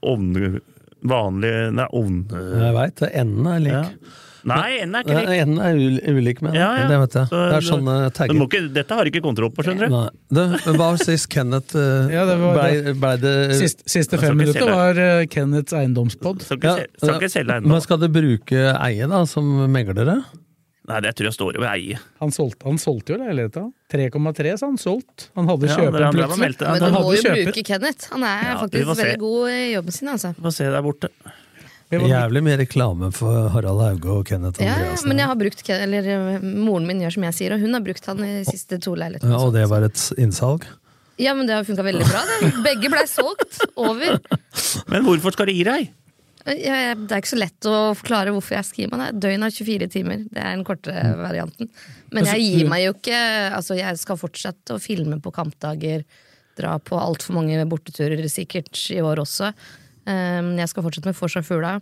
E: ovn, vanlig Nei, ovn... øh,
D: Jeg veit, enden er
E: ja.
D: lik.
E: Nei, enden er ikke lik.
D: Enden er ul- ulik med den.
E: Ja, ja.
D: Det vet jeg.
E: Så-
D: Det er sånne
E: Du må
D: tagger.
E: ikke, dette har du ikke kontroll på, skjønner du.
D: Nei. Du, men hva var sist Kenneth eh,
B: Ja, det var-
D: blei ble det
B: Siste, siste
E: Jeg skal
B: fem
E: ikke se
B: minutter
E: det.
B: var øh, Kenneths eiendomspod.
E: Skal ikke,
D: Ja,
E: sel- skal ikke selge eiendom.
D: Men skal du bruke eie da, som meglere?
E: Nei, det tror jeg står over eie.
B: Han solgte, han solgte jo leiligheta. 3,3 sa han solgt. Han hadde
E: Ja,
B: kjøper
E: det er bra man
B: plutselig.
E: meldte.
C: Men
B: han
C: du
B: hadde
C: må jo
B: kjøper.
C: bruke Kenneth. Han er
E: Ja, vi får
C: faktisk
E: se.
C: veldig god i jobben sin, altså.
E: Få se der borte.
B: Vi var-
D: Jævlig mye reklame for Harald Hauge og Kenneth
C: Ja, ja,
D: Andreassen.
C: men jeg har brukt Ken- eller eh, moren min gjør som jeg sier, og hun har brukt han i de siste to leilighetene.
D: Ja, og det var et innsalg?
C: Ja, men det har funka veldig bra. Det. Begge blei solgt. Over.
E: Men hvorfor skal du gi deg?
C: Jeg- jeg- Det er ikke så lett å forklare hvorfor jeg skriver meg. Det er Døgn av 24 timer. Det er den korte varianten. Men jeg gir meg jo ikke. Altså, jeg skal fortsette å filme på kampdager. Dra på altfor mange borteturer sikkert i år også. Um, Jeg skal fortsette med Fors og Fugla.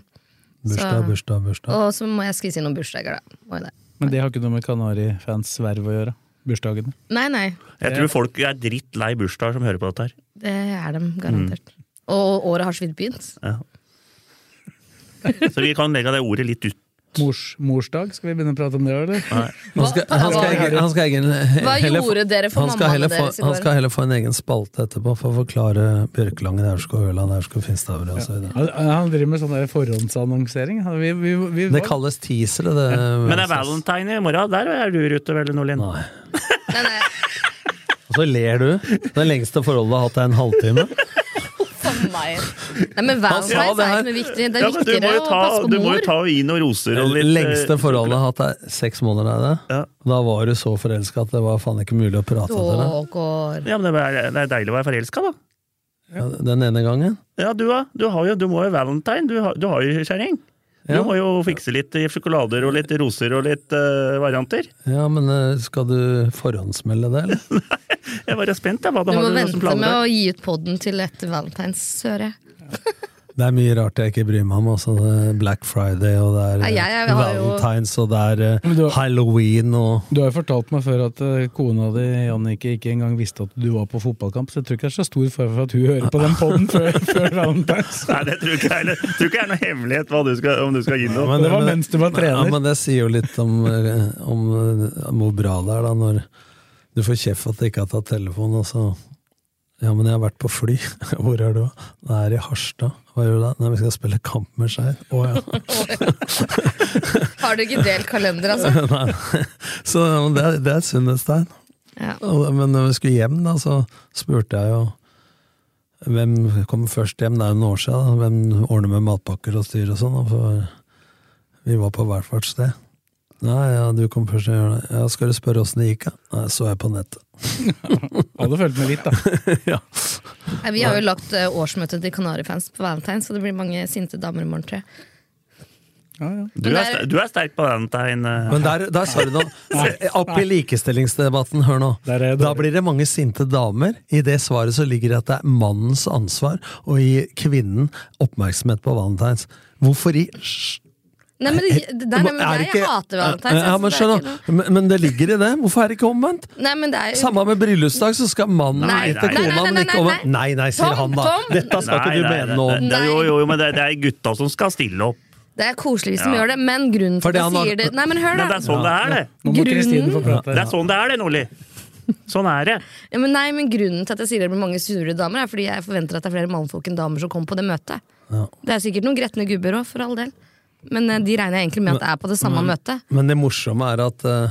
D: Bursdag,
C: Så-
D: bursdag, bursdag.
C: Og så må jeg skvise inn noen bursdager, da. Må jo det.
B: Men det har ikke noe med Kanari-fans verv å gjøre. Bursdagene.
C: Nei, nei.
E: Jeg tror folk er drittlei bursdager som hører på dette her.
C: Det er dem, garantert. Og året har så vidt begynt.
E: Ja. Så vi kan legge det ordet litt ut.
B: Mors, morsdag, skal vi begynne å prate om det, eller?
E: Nei.
D: Han skal, han skal,
C: Hva-
D: egen- han skal egen,
C: Hva
D: heller få-
C: gjorde dere for
D: han skal
C: mammaene
D: heller få-
C: deres i
D: Han
C: går?
D: skal heller få en egen spalte etterpå for å forklare Bjørkelangen, Aurskog, Ørland, Aurskog, Finstadøra osv.
B: Han, han driver med sånn der forhåndsannonsering. Han- Vi, vi, vi,
D: Det kalles teasere, det.
E: Men det er valentine i morgen. Der er du ute, vel, Norlin?
D: Nei.
C: Nei, nei,
D: Og så ler du. Det lengste forholdet du har hatt, er en halvtime.
C: for meg. Nei, men
D: Han sa
C: Valentine's
D: det
C: er
D: her.
C: ikke noe viktig. Det er
E: Ja, men du
C: viktigere
E: må jo
C: å
E: ta,
C: passe på
E: du må jo
C: mor.
E: ta og gi noen roser og
D: Det
E: litt eh,
D: lengste forholdet jeg har hatt, er seks måneder. Er det.
E: Ja.
D: Da var du så forelska at det var faen ikke mulig å prate til deg.
C: Å, går.
E: Ja, men det er, det er deilig å være forelska, da.
D: Ja, Den ene gangen.
E: Ja, du, da. du, har jo, du må jo valentine. Du har, du har jo kjerring. Du
D: Ja.
E: må jo fikse litt eh, sjokolader og litt roser og litt eh, varianter.
D: Ja, men eh, skal du forhåndsmelde det, eller?
E: Jeg var spent, jeg. Hva
C: Du
E: da
C: må
E: har du som
C: vente med
E: planer?
C: å gi ut podden til etter Valentine's, hører jeg.
D: Det er mye rart jeg ikke bryr meg om. Altså, det er Black Friday, og det er
C: Nei,
D: eh,
C: jeg- jeg har jo-
D: Valentines, og det er eh,
B: Men du-
D: Halloween og
B: Du har jo fortalt meg før at eh, kona di Jannicke ikke engang visste at du var på fotballkamp, så jeg tror ikke det er så stor fare for at hun hører på den poden før, før Valentine's.
E: Nei, det tror ikke jeg heller. Tror ikke det er noe hemmelighet hva du skal, om du skal gi noe.
D: Men
B: Det var
D: men-
B: mens du var
D: Ja,
B: trener.
D: men det sier jo litt om, eh, om, eh, om hvor bra det er, da, når du får kjeft for at du ikke har tatt telefonen, og så Ja, men jeg har vært på fly. Hvor er du? Jeg er i Harstad. Hva gjør du da? Nei, vi skal spille kamp med Skeid. Å ja.
C: Har du ikke delt kalender, altså?
D: Nei. Så ja, men det er, det er et sunnhetstegn.
C: Ja.
D: Og- Men når vi skulle hjem, da, så spurte jeg jo hvem kom først hjem. Det er jo noen år siden. Da. Hvem ordner med matpakker og styr og sånn. da, For vi var på hvert vårt sted. Nei, ja, du kom først. Jeg gjør det. Ja, skal du spørre åssen det gikk? da? Nei, så jeg på nettet.
B: Hadde fulgt med litt, da.
D: ja.
C: Nei, Vi har jo lagt eh, årsmøtet til Kanarifans på Valentine's, så det blir mange sinte damer i morgen, tror jeg.
B: Ja, ja.
E: Du er, ster- du er sterk på valentine. eh.
D: Men der, der sa du noe. Opp i likestillingsdebatten, hør nå.
B: Der er jeg
D: Da
B: dårlig.
D: blir det mange sinte damer. I det svaret så ligger det at det er mannens ansvar å gi kvinnen oppmerksomhet på valentines. Hvorfor i
C: Nei, men det, det der, nei, men
D: Er
C: det
D: det
C: er,
D: ikke-
C: jeg hater Valentine's.
D: Ja, men
C: altså, det er ikke
D: skjønner, men, men det ligger i det. Hvorfor er det ikke omvendt?
C: noe- Nei, men det er jo
D: Samme med bryllupsdag, så skal mannen
C: Nei,
D: etter
E: nei,
D: kona.
E: nei,
C: nei,
D: men
C: nei,
D: ikke over-
C: nei.
D: Nei, nei, sier
C: Tom,
D: han da.
C: Tom.
D: Dette skal ikke du
E: Nei, nei,
D: mene
E: det-
D: noe om.
E: det-
C: Nei.
E: Jo, jo, men det, det er gutta som skal stille opp.
C: Det er koselig hvis de gjør det, men grunnen til
D: Fordi
C: at
D: han
C: de
D: har-
C: sier det Nei, men hør,
E: Men det
C: da!
E: er sånn det er, det.
B: Nå må Kristine få prate.
E: Det er sånn det er, det, Nordli. Sånn er det.
C: Ja, men nei, men grunnen til at jeg sier det blir mange sure damer, er fordi jeg forventer at det er flere mannfolk enn damer som kommer på det møtet. Det er sikkert noen gretne gubber òg, for all del. Men eh, de regner jeg egentlig med at det er på det
D: Mm.
C: samme møtet.
D: Men det morsomme er at eh,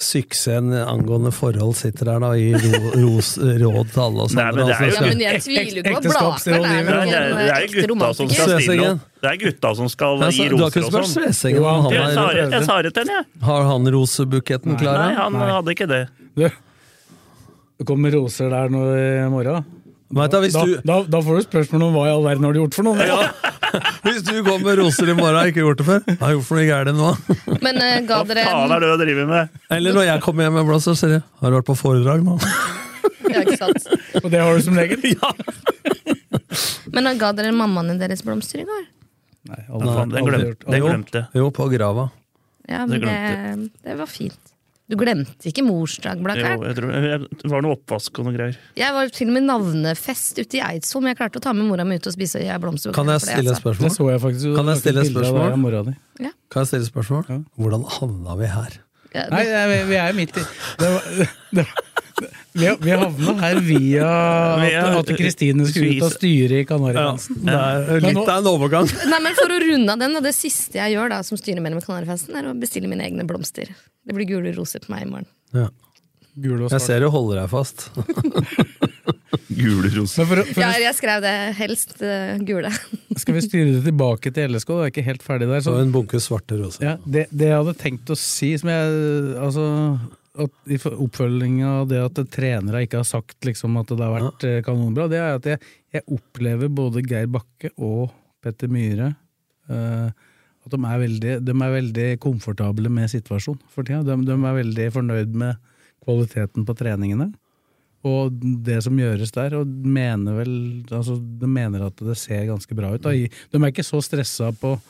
D: suksessen angående forhold sitter der da, i ro, ros, råd til alle oss
E: Nei, men
D: andre.
E: det er
D: altså,
E: jo-
C: Ja,
D: skal-
C: men jeg tviler jo ikke på at Blakeren er
E: Det er,
C: noen eh,
E: det er, det er
C: ekte
E: jo gutta som
C: romantiker.
E: skal stille
D: Svesingen.
E: opp. Det er gutta som skal
D: Nei,
E: gi
D: så- du har
E: roser
D: ikke
E: og
D: spurt
E: sånn.
D: Svesingen om han
E: Jeg
D: er-
E: sa det- jeg sa det til han, jeg.
D: Har han rosebuketten klar?
E: Nei,
D: ja?
E: han hadde ikke det.
B: Du, det kommer roser der nå i morgen.
D: Vet du, hvis,
B: Da,
D: du,
B: da, da får du spørsmål om hva i all verden har du gjort for noen.
D: hvis du går med roser i morgen, har jeg ikke gjort det før. Jeg har gjort for noe gærent nå.
C: Men eh, ga
E: Hva
C: dere
E: faen er det du driver med?
D: Eller når jeg kommer hjem med blåser, sier jeg har du vært på foredrag nå?
C: ja, ikke sant.
B: Og det har du som regel.
C: Men eh, ga dere mammaene deres blomster i går?
B: Nei,
E: Nei,
B: aldri,
E: den
B: aldri
E: glemte-
B: gjort.
E: den
B: Aldri.
E: glemte. jeg.
D: Jo, på grava.
C: Ja,
E: Det
C: men det, det var fint. Du glemte ikke morsdag,
E: Jo,
C: Blakeren.
E: jeg tror, jeg, det var noe oppvask og noe greier.
C: Jeg var til og med navnefest ute i Eidsvoll, men jeg klarte å ta med mora mi ut og spise blomster.
D: Kan jeg stille
C: altså.
D: et
B: Det
D: spørsmål?
B: så jeg faktisk.
D: Kan jeg stille et
B: Bilder av
D: spørsmål?
B: deg og mora di.
D: Kan jeg stille et spørsmål? Hvordan havna vi her?
C: Ja,
B: Nei, nei, vi- vi er midt i det var, det, var- Vi, har- vi havna her via at- at Kristine skulle ut av styret i Kanarifansen.
E: Eh,
D: Det er litt av en overgang.
C: Nei, men For å runde av den, da, det siste jeg gjør da som styremedlem i Kanarifesten, er å bestille mine egne blomster. Det blir gule roser på meg i morgen.
D: Ja.
B: Gul og
D: Jeg
B: svart.
D: ser du holder deg fast.
E: Gule roser.
B: Men for, å- for,
C: Ja,
B: å-
C: jeg skrev det helst eh, gule.
B: skal vi styre det tilbake til LSK? Det er ikke helt ferdig der. Så,
D: Og en bunke svarte roser.
B: ja, det, det jeg hadde tenkt å si, som jeg Altså at I oppfølging av det at trenere ikke har sagt liksom, at det har vært eh, kanonbra, det er at jeg, jeg opplever både Geir Bakke og Petter Myhre eh, at de er, veldig, de er veldig komfortable med situasjonen for tida. De, de er veldig fornøyd med kvaliteten på treningene. og det som gjøres der, og mener vel altså, De mener at det ser ganske bra ut. Da. I- De er ikke så stressa på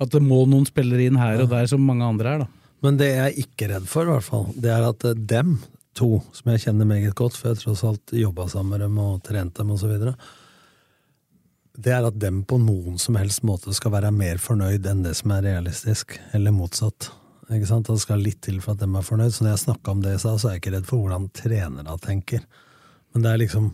B: at det må noen spillere inn her og der som mange andre er. Da.
D: Men det jeg er ikke redd for, i hvert fall, det er at eh, dem to, som jeg kjenner meget godt, for jeg tross alt jobba sammen med dem og trent dem osv., det er at dem på noen som helst måte skal være mer fornøyd enn det som er realistisk, eller motsatt. Ikke sant? Det skal litt til for at dem er fornøyd. Så når jeg snakka om det i stad, så er jeg ikke redd for hvordan trenere tenker. Men det er liksom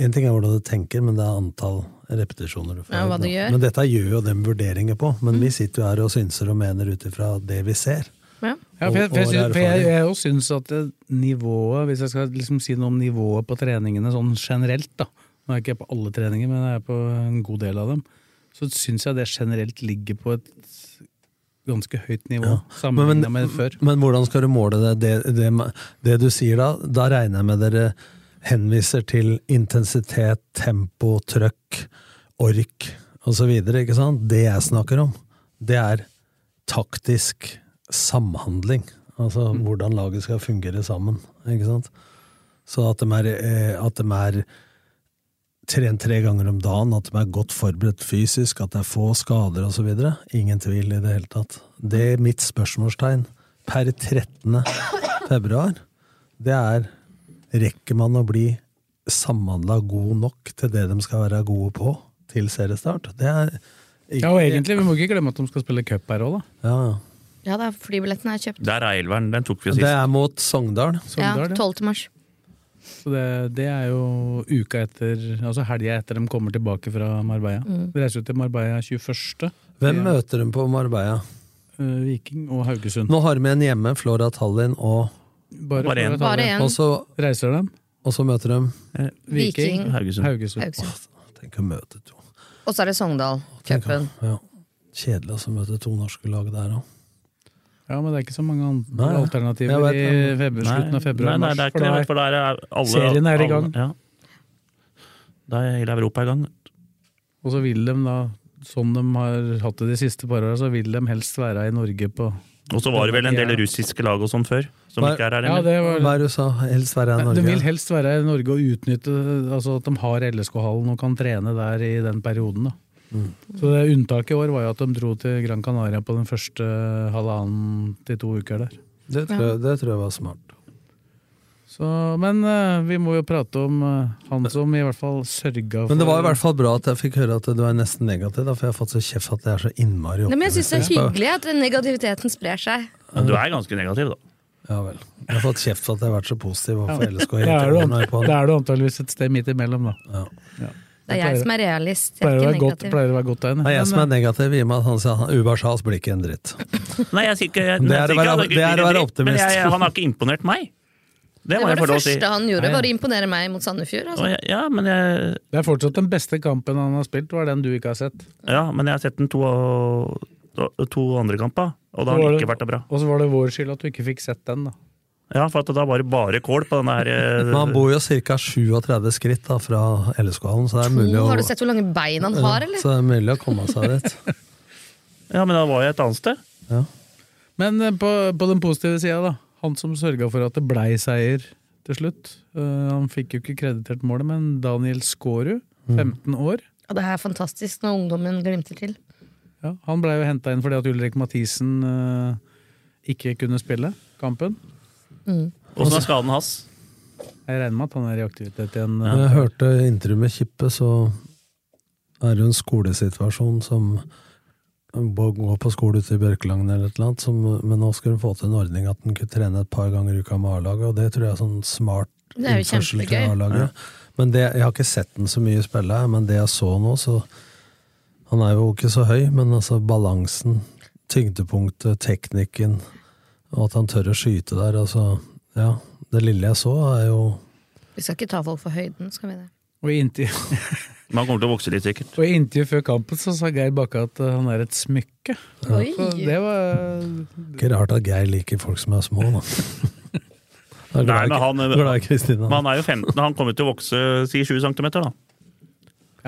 D: En ting er hvordan du tenker, men det er antall repetisjoner du får.
C: Ja, hva du gjør. Mm.
D: Men dette gjør jo dem vurderinger på. Men vi sitter jo her og synser og mener ut ifra det vi ser.
C: Ja.
B: Ja, for jeg, for
D: Og-
B: jeg,
D: og
B: syns- for jeg,
D: erfaring.
B: jeg også syns at det nivået, hvis jeg skal liksom si noe om nivået på treningene sånn generelt da, Nå er jeg ikke på alle treninger, men jeg er på en god del av dem. Så syns jeg det generelt ligger på et ganske høyt nivå
D: Men,
B: sammenligna med før.
D: men, men hvordan skal du måle det? Det, det? det du sier da, da regner jeg med dere henviser til intensitet, tempo, trøkk, ork osv. Ikke sant? Det jeg snakker om, det er taktisk samhandling. Altså
B: Mm.
D: hvordan laget skal fungere sammen. Ikke sant? Så at de er, eh, at de er trent tre ganger om dagen, at de er godt forberedt fysisk, at det er få skader osv. Ingen tvil i det hele tatt. Det er mitt spørsmålstegn per 13. februar, det er rekker man å bli samhandla god nok til det de skal være gode på til seriestart? Det er ikke-
B: Ja, og egentlig, Vi må ikke glemme at de skal spille cup her òg, da.
D: Ja, ja.
C: Ja, da, flybilletten er kjøpt.
E: Der er elveren. Den tok vi
D: Det
E: sist.
D: er mot Sogndal.
C: Ja,
B: Sogndal, ja.
C: 12. mars.
B: Så det, det er jo uka etter, altså helga etter de kommer tilbake fra Marbella.
C: Mm.
B: De reiser jo til Marbella 21.
D: Hvem
B: Ja.
D: møter de på Marbella?
B: eh, Viking og Haugesund.
D: Nå har de en hjemme, Flora Tallinn, og,
E: Bare
B: for
E: en.
B: å ta
C: Bare
B: det.
C: én.
D: og, så,
B: Reiser de.
D: og så møter de
C: Viking.
E: Haugesund.
B: Haugesund.
C: Haugesund.
D: Tenk å møte to.
C: Og så er det Sogndal-cupen.
D: Ja. Kjedelig altså, å møte to norske lag der òg.
B: Ja, men det er ikke så mange andre
D: Nei, jeg
B: alternativer
D: vet
B: i
D: det.
B: februar, slutten av februar.
E: nei, nei, det er
B: mars,
E: ikke det.
B: for
E: vet du, For der er alle,
B: serien er i
E: alle-
B: gang.
E: Ja. Da er hele Europa i gang.
B: da- Og så vil de da, sånn de har hatt det de siste par åra, så vil de helst være i Norge på
E: Og så var det vel en del
B: Ja.
E: russiske lag og sånn før, som
D: Nei.
E: ikke er her
B: Ja,
E: lenger.
B: det var
D: Hva er det du sa? Helst være i
B: Nei,
D: Norge?
B: De vil helst være i Norge og utnytte altså at de har LSK-hallen og kan trene der i den perioden. Da.
D: Mm.
B: Så det Unntaket i år var jo at de dro til Gran Canaria på den første eh, halvannen til to uker der.
D: det, tror, jeg- det tror jeg var smart.
B: Så, men eh, vi må jo prate om eh, han som i hvert fall sørga for
D: Men det var i hvert fall bra at jeg fikk høre at du er nesten negativ, da, for jeg har fått så kjeft at jeg er så innmari
C: Nei, men jeg syns det er
D: optimistisk.
C: hyggelig at den negativiteten sprer seg.
E: Men du er ganske negativ, da.
D: Ja vel. Jeg har fått kjeft for at jeg har vært så positiv
B: Ja.
D: overfor LSK.
B: Det er,
D: hele
B: du,
D: tiden når jeg er på
B: det
D: den.
B: er du antageligvis et sted midt imellom, da.
C: Det er
B: pleier-
C: jeg som er realist. Jeg
B: Pleier å
C: er
B: være
C: ikke
B: godt,
C: negativ.
B: pleier å være godt der inne.
D: Det er jeg som er
B: Men,
D: negativ, i og med at han sa han- Ubar Sahls blir ikke en dritt.
E: Nei, jeg sier ikke jeg
D: Det er å være-
E: sier ikke at
D: det er å være
E: dritt, Men jeg,
D: optimist.
E: han har ikke imponert meg. Det
C: Det
E: må
C: var
E: jeg få
C: det
E: lov å si.
C: første han gjorde,
E: Ja, ja.
C: var å imponere meg mot Sandefjord.
E: Og
C: Altså.
E: jeg, ja, men jeg,
B: eh, det er fortsatt den beste kampen han har spilt, var den du ikke har sett.
E: ja, men jeg har sett den to, to andre kamper,
B: Så
E: og da har
B: var
E: den
B: det-
E: ikke vært det bra.
B: Og så var det vår skyld at du ikke fikk sett den, da.
E: Ja, for at da var det bare kål på denne her
D: Men han
E: eh,
D: bor jo ca. 37 skritt da, fra LSK-hallen, så det er mulig
C: Oh,
D: å
C: har du sett hvor lange bein han har,
D: Ja,
C: eller?
D: så det er mulig å komme seg dit.
E: Ja, men da var jeg et annet sted.
D: Ja.
B: Men eh, på, på den positive sida, da. Han som sørga for at det blei seier til slutt. Eh, han fikk jo ikke kreditert målet, men Daniel Skårud,
D: Mm.
B: 15 år.
C: Og det er fantastisk når ungdommen glimter til.
B: Ja, han blei jo henta inn fordi at Ulrik Mathisen eh, ikke kunne spille kampen.
E: Åssen
D: Altså-
E: er skaden hans?
B: Jeg regner med at han er i aktivitet igjen. eh.
D: Når jeg hørte intervjuet med Kippe, så er det jo en skolesituasjon som Gå på skole ute i Bjørkelangen eller et eller annet, som, men nå skulle hun få til en ordning at hun kunne trene et par ganger i uka med A-laget, og det tror jeg er sånn smart
C: Det er jo
D: innførsel til
C: kjempegøy.
D: A-laget. Men det, jeg har ikke sett den så mye spille, men det jeg så nå, så Han er jo ikke så høy, men altså balansen, tyngdepunktet, teknikken, og at han tør å skyte der, altså Ja. Det lille jeg så, er jo
C: Vi skal ikke ta folk for høyden, skal vi det?
B: Og i inntil...
E: Man kommer til å vokse litt, sikkert.
B: Og i intervju før kampen så sa Geir Bakke at eh, han er et smykke.
C: Oi.
B: Så det var
D: ikke rart at Geir liker folk som er små, da. Jeg er glad,
E: Nei, men
D: i-
E: han,
D: glad i Kristina.
E: men han er jo 15, han kommer til å vokse si 20 cm, da.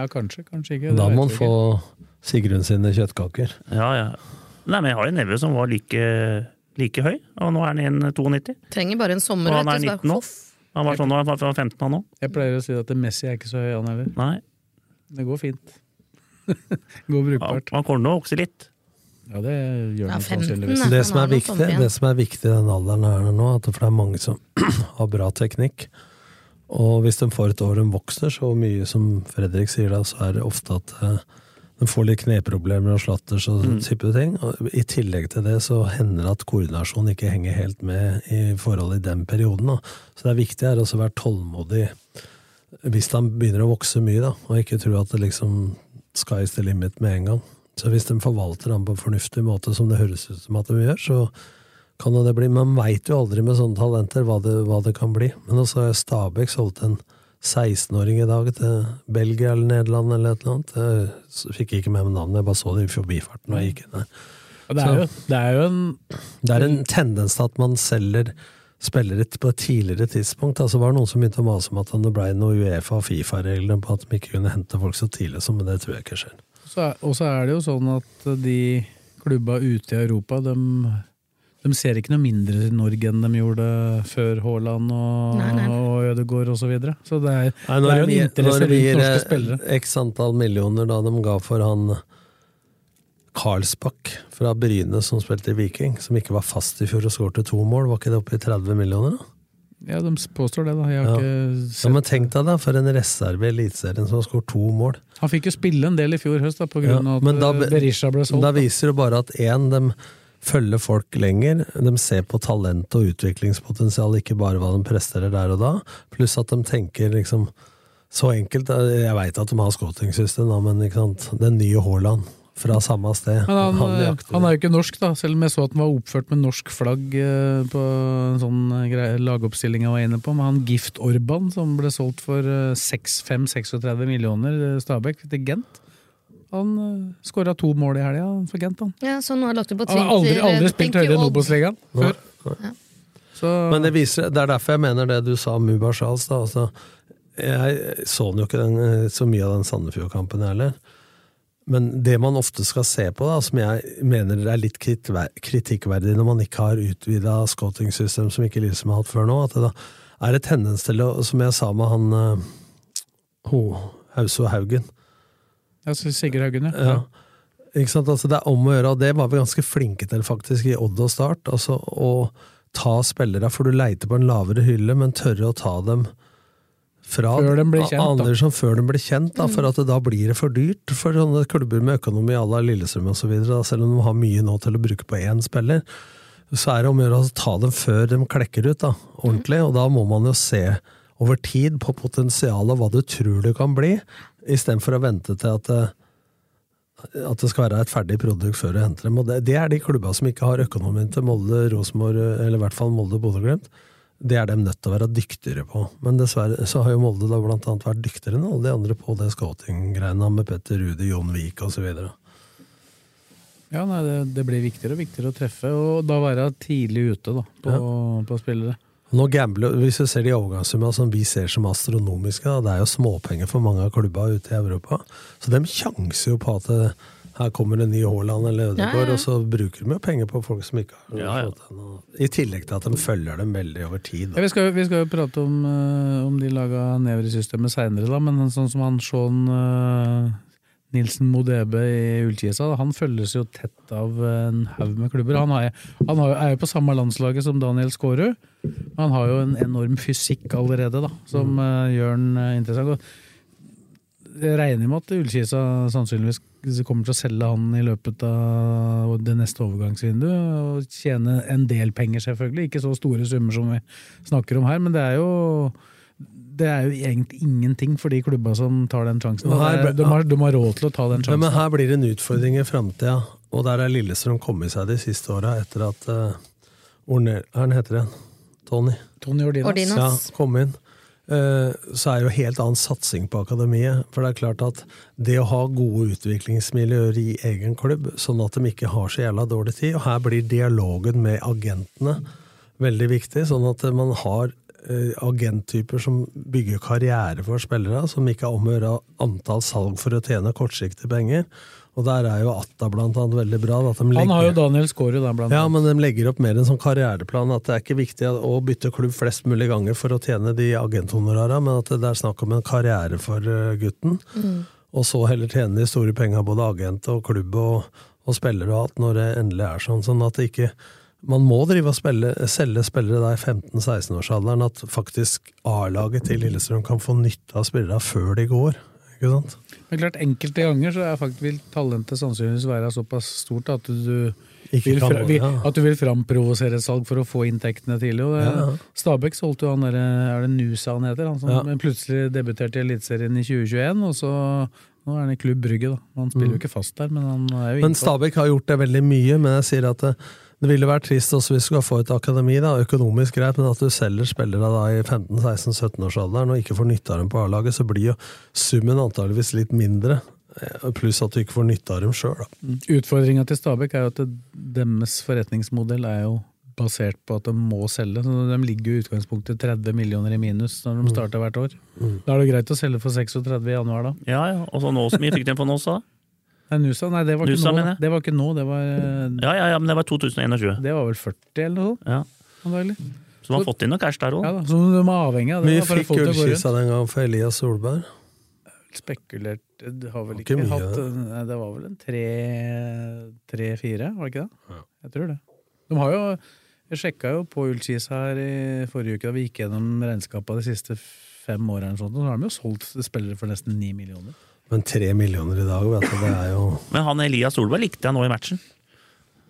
B: Ja, kanskje, kanskje ikke. det
D: Da
B: vet
D: må han
B: vi
D: få
B: ikke.
D: Sigrun sine kjøttkaker.
E: Ja, ja. Nei, men jeg har en neve som var like, like høy, og nå er han 1,92.
C: Trenger bare en sommer.
E: Og
C: vet
E: han er
C: du, så bare
E: 19 nå.
C: hoff.
E: Han var sånn da han var- var 15 han òg.
B: Jeg pleier å si at Messi er ikke så høy, han heller.
E: Nei,
B: Det går fint. går
E: han,
B: brukbart.
E: han kommer til å vokse litt.
B: Ja, det gjør
C: Ja,
B: han
C: 15
B: sannsynligvis.
C: Nei,
D: det,
C: han
D: som
C: har
D: er
C: noe
D: viktig,
C: sånt igjen.
D: det som er viktig i den alderen her nå, at for det er mange som har bra teknikk. Og hvis de får et år de vokser så mye som Fredrik sier da, så er det ofte at eh, de får litt kneproblemer og slatters og
E: Mm.
D: sånne type ting. Og I tillegg til det så hender det at koordinasjonen ikke henger helt med i forholdet i den perioden. Da. Så det er viktig er også å være tålmodig hvis de begynner å vokse mye, da, og ikke tro at det liksom sky's the limit med en gang. Så hvis de forvalter den på en fornuftig måte, som det høres ut som at de gjør, så kan jo det bli. Man veit jo aldri med sånne talenter hva det, hva det kan bli. Men også har Stabæk solgt en 16-åring i dag til Belgia eller Nederland eller et eller annet. Jeg s- fikk ikke med meg navnet, jeg bare så det i forbifarten når jeg gikk inn der.
B: Og Det er, jo, det er jo en
D: Det er en tendens til at man selger spillere på et tidligere tidspunkt. Altså var det noen som begynte å mase om at det ble noe Uefa- og Fifa-regler på at de ikke kunne hente folk så tidlig som men det tror jeg ikke skjer.
B: så er- Og så er det jo sånn at de klubba ute i Europa, de, de ser ikke noe mindre til Norge enn de gjorde før Haaland og,
C: Nei, nei.
B: og Ødegaard og så videre. Så det er,
D: Nei,
B: det
D: når
B: er jo
D: vi-
B: en interesse
D: når vi
B: rundt norske
D: gir,
B: spillere.
D: eh, X antall millioner da de ga for han Karlsbakk fra Bryne som spilte i Viking, som ikke var fast i fjor og skårte to mål, var ikke det oppe i 30 millioner da?
B: Ja, de påstår det, da. Jeg
D: Ja.
B: har ikke
D: Ja,
B: sett
D: men tenk deg da, for en reserve i Eliteserien som har skåret to mål.
B: Han fikk jo spille en del i fjor høst, da, på grunn
D: Ja,
B: av
D: men
B: at
D: da-
B: eh, Berisha ble solgt.
D: Da viser det bare at én, de følger folk lenger, de ser på talent og utviklingspotensial, ikke bare hva de presterer der og da, pluss at de tenker liksom så enkelt, jeg veit at de har scouting-system, da, men ikke sant? den nye Haaland fra samme sted
B: men han, eh,
D: jakter.
B: han er jo ikke norsk, da, selv om jeg så at han var oppført med norsk flagg eh, på en sånn eh, greie, lagoppstilling jeg var inne på, med han Gift Orban som ble solgt for eh, 5-36 millioner eh, Stabæk til Gent. Han uh, skåra to mål i helga for Gent, han.
C: Ja, så nå har Lotte på
B: Han har aldri,
C: Twitter, eh,
B: aldri spilt
C: thank you
B: høyere enn
C: all.
B: Obos-ligaen før. Så,
D: Men det, viser, det er derfor jeg mener det du sa om Mubar Charles. Da. Altså, jeg så den jo ikke den, eh, så mye av den Sandefjord-kampen jeg heller. Men det man ofte skal se på, da, som jeg mener er litt kritver- kritikkverdig når man ikke har utvida scouting-system som ikke Lillestrøm har hatt før nå, at det da er det tendens til å, som jeg sa med han eh, ho, Hauso Haugen
B: ja, så Sigurd Haugen, ja.
D: ja. Ikke sant? Altså, det er om å gjøre, og det var vi ganske flinke til faktisk i Odd og Start. Altså, å ta spillere, for du leiter på en lavere hylle, men tørre å ta dem fra
B: Før de blir kjent, da.
D: andre som før de blir kjent, da, for at det, da blir det for dyrt for sånne klubber med økonomi à la Lillestrøm osv., selv om de har mye nå til å bruke på én spiller. Så er det om å gjøre å ta dem før de klekker ut, da, ordentlig. Og da må man jo se over tid på potensialet, hva du tror det kan bli, istedenfor å vente til at eh, at det skal være et ferdig produkt før du henter dem. Og det, det er de klubba som ikke har økonomien til Molde, Rosenborg, eller i hvert fall Molde, Bodø, Glimt. Det er de nødt til å være dyktigere på. Men dessverre så har jo Molde da blant annet vært dyktigere enn alle de andre på det scouting-greiene med Petter Rude, Jon Vik osv.
B: Ja, nei, det, det blir viktigere og viktigere å treffe, og da være tidlig ute da, på, på spillere.
D: Nå gambler, Hvis du ser de overgangssummene som vi ser som astronomiske, da, det er jo småpenger for mange av klubba ute i Europa. Så de sjanser jo på at det, her kommer en ny Haaland eller Ødegaard,
C: Ja, ja.
D: og så bruker de jo penger på folk som ikke har
E: Ja, ja.
D: fått det nå. I tillegg til at de følger dem veldig over tid.
B: Ja, vi, skal, jo- vi skal jo prate om, eh, om de laga never i systemet seinere, da, men sånn som han Sean eh, Nilsen Modebe i Ullkisa, da, han følges jo tett av en haug med klubber. Han, er, han har, jo- er jo på samme landslaget som Daniel Skårud, men han har jo en enorm fysikk allerede da, som eh, gjør han eh, interessant. Og jeg regner med at Ullkisa sannsynligvis kommer til å selge han i løpet av det neste overgangsvinduet, og tjene en del penger selvfølgelig, ikke så store summer som vi snakker om her, men det er jo det er jo egentlig ingenting for de klubba som tar den sjansen.
D: Og her
B: Det er-
D: ble-
B: De har, de har råd til å ta den
D: Ja,
B: sjansen.
D: men her blir det en utfordring i framtida, og der er Lillestrøm kommet seg de siste åra etter at uh, Ornel, han heter igjen, Tony,
B: Tony Ordinas.
C: Ordinas.
D: ja, kom inn. Eh, så er jo helt annen satsing på akademiet. For det er klart at det å ha gode utviklingsmiljøer i egen klubb, sånn at de ikke har så jævla dårlig tid, og her blir dialogen med agentene veldig viktig, sånn at man har eh, agenttyper som bygger karriere for spillere, som ikke har om å gjøre antall salg for å tjene kortsiktige penger. Og der er jo Atta blant annet veldig bra. da, At de
B: Han har jo
D: legger,
B: Daniel Skårud der, blant
D: ja,
B: annet.
D: men de legger opp mer en sånn karriereplan, at det er ikke viktig å bytte klubb flest mulig ganger for å tjene de agenthonorara, men at det er snakk om en karriere for eh, gutten. Og så heller tjene de store penga både agent og klubb og, og spillere og alt, når det endelig er sånn. Sånn at det ikke Man må drive og spille, selge spillere da i 15-16-årsalderen, at faktisk A-laget til Lillestrøm kan få nytte av spillere før de går. Ikke sant?
B: Men klart, enkelte ganger så er faktisk vil talentet sannsynligvis være såpass stort at du
D: Ikke
B: vil,
D: kan
B: fra,
D: gå,
B: vil,
D: ja.
B: at du vil framprovosere et salg for å få inntektene tidlig. Og det,
D: Ja, ja.
B: Stabæk solgte jo han derre Er det Nusa han heter? Han som
D: Ja.
B: plutselig debuterte i Eliteserien i 2021, og så nå er han i Klubb Brygge, da. Han spiller jo ikke fast der, men han er
D: Mm.
B: jo
D: Men
B: innpå.
D: Stabæk har gjort det veldig mye, men jeg sier at det, det ville vært trist også hvis du skal få et akademi, da, økonomisk greit, men at du selger spillere da i 15-16-17-årsalderen og ikke får nytte av dem på A-laget, så blir jo summen antageligvis litt mindre. Eh, Pluss at du ikke får nytte av dem sjøl, da.
B: Utfordringa til Stabæk er jo at det, deres forretningsmodell er jo basert på at de må selge. Så de ligger jo i utgangspunktet 30 millioner i minus
D: Mm.
B: når de starter hvert år. Da er det greit å selge for 36 i januar, da.
E: Ja, ja. Og så nå som jeg fikk den for nå, så.
B: Nei, Nusa, nei, det var ikke
E: Nusa,
B: nå.
E: mener jeg.
B: Det var ikke nå, det var,
E: Ja, ja, ja, men det var 2021.
B: det var vel 40 eller noe sånt,
E: Ja.
B: antagelig.
E: Så man har fått inn noe cash der òg.
B: Ja da, så de er avhengig av det.
D: Mye
B: da, for å
D: fikk
B: få det til å gå rundt.
D: ullkissa den gangen for Elias Solberg.
B: Spekulert, det har vel
D: Ikke
B: ikke,
D: mye,
B: hatt,
D: det.
B: nei, det var vel en tre- tre-fire, var det ikke det? Jeg tror det. De har jo, jeg sjekka jo på Ullskis her i forrige uke da vi gikk gjennom regnskapet de siste fem årene, og sånt, og så har de jo solgt spillere for nesten ni millioner.
D: Men tre millioner i dag, vet du, det er jo
E: Men han Elias Solberg likte jeg nå i matchen.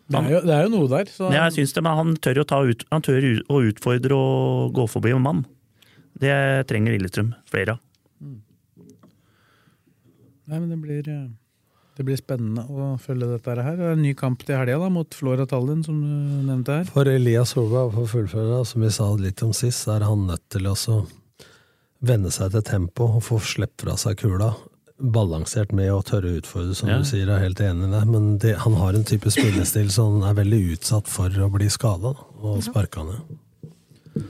B: Det er jo, det er jo noe der. Så,
E: Ja, jeg synes det, men han tør, å ta ut, han tør ut- å utfordre og gå forbi en mann. Det trenger Lillestrøm flere av.
B: Nei, men det blir, eh, det blir spennende å følge dette her. Det er en ny kamp til helga da, mot Flora Tallinn, som du nevnte her.
D: For Elias Solberg, for å fullføre, da, som vi sa litt om sist, så er han nødt til å så venne seg til tempo og få slippe fra seg kula. Balansert med å tørre å utfordre, som
E: Ja.
D: du sier. Jeg er helt enig i det. Men det, han har en type spillestil som han er veldig utsatt for å bli skada og sparka ned.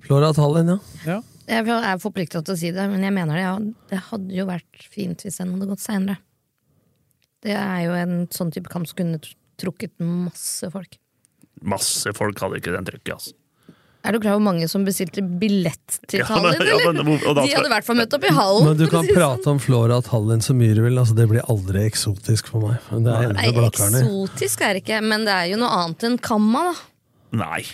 D: Flora Tallinn, ja.
B: Ja.
C: Jeg er forplikta til å si det, men jeg mener det. Ja. Det hadde jo vært fint hvis den hadde gått seinere. Det er jo en sånn type kamp som kunne tr- trukket masse folk.
E: Masse folk hadde ikke den trykket, altså.
C: Er du klar over hvor mange som bestilte billett til
E: Ja, men-
C: Tallinn?
E: ja, men
C: eller?
E: hvor- og da
C: De
E: skal-
C: hadde i hvert fall møtt opp i hallen.
D: Men du
C: for å
D: kan
C: si det sånn.
D: prate om Flora Tallinn så mye du vil. Altså, det blir aldri eksotisk for meg. Men Det er
C: Nei,
D: enda blakkerne.
C: eksotisk er det ikke, men det er jo noe annet enn Kamma, da.
E: Nei.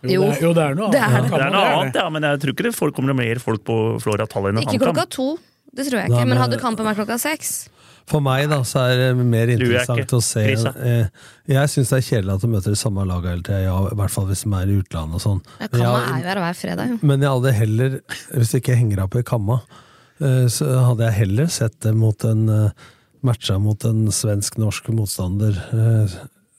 B: Jo, det er, jo, det er noe
C: Det er det.
B: annet.
E: Det er
B: Det
E: noe
B: er
E: annet, ja, men jeg tror ikke det folk kommer mer folk på Flora Tallinn enn
C: Ikke
E: han kan.
C: klokka to, det tror jeg
D: Nei,
C: ikke. Men
D: men-
C: hadde kampen vært klokka seks?
D: For meg da, så er det mer
E: jeg
D: interessant
E: ikke.
D: å se
E: Krisa.
D: eh, Jeg syns det er kjedelig at du møter de samme laga hele tida, ja, i hvert fall hvis de er i utlandet og sånn.
C: Ja,
D: Men
C: Kamma er
D: jeg-
C: jo her hver fredag, jo.
D: Men jeg hadde heller, hvis jeg ikke henger opp i kamma, eh, så hadde jeg heller sett det mot en eh, matcha mot en svensk-norsk motstander eh,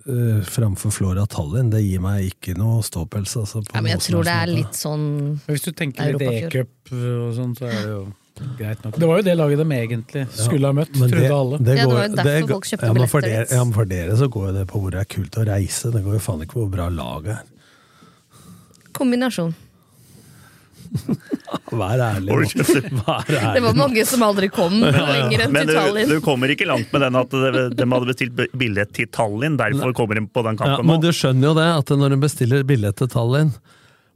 D: eh, framfor Flora Tallinn. Det gir meg ikke noe ståpels. Altså, på
C: Ja, men jeg
D: noe som
C: tror det
D: helst
C: er
D: måte.
C: litt sånn
B: Men Hvis du tenker litt
C: Europafjord.
B: E-cup og sånn, så er det jo greit nok. Det var jo det laget de egentlig skulle ha møtt,
D: Men
B: trodde alle.
C: Ja, det
D: går-
C: var jo derfor
D: går-
C: folk kjøpte
D: ja, men for
C: billetter
D: dere-
C: dit.
D: Ja, men for dere så går jo det på hvor det er kult å reise. Det går jo faen ikke på hvor bra laget er.
C: kombinasjon.
D: Vær ærlig.
E: Oi,
D: nå. Vær
C: Det var
D: ærlig.
C: mange som aldri kom lenger enn
E: Men
C: til
E: du,
C: Tallinn.
E: du kommer ikke langt med den at de, de hadde bestilt b- billett til Tallinn, derfor kommer de på den
D: Ja,
E: kampen
D: men du
E: nå.
D: skjønner jo det, at når en bestiller billett til Tallinn,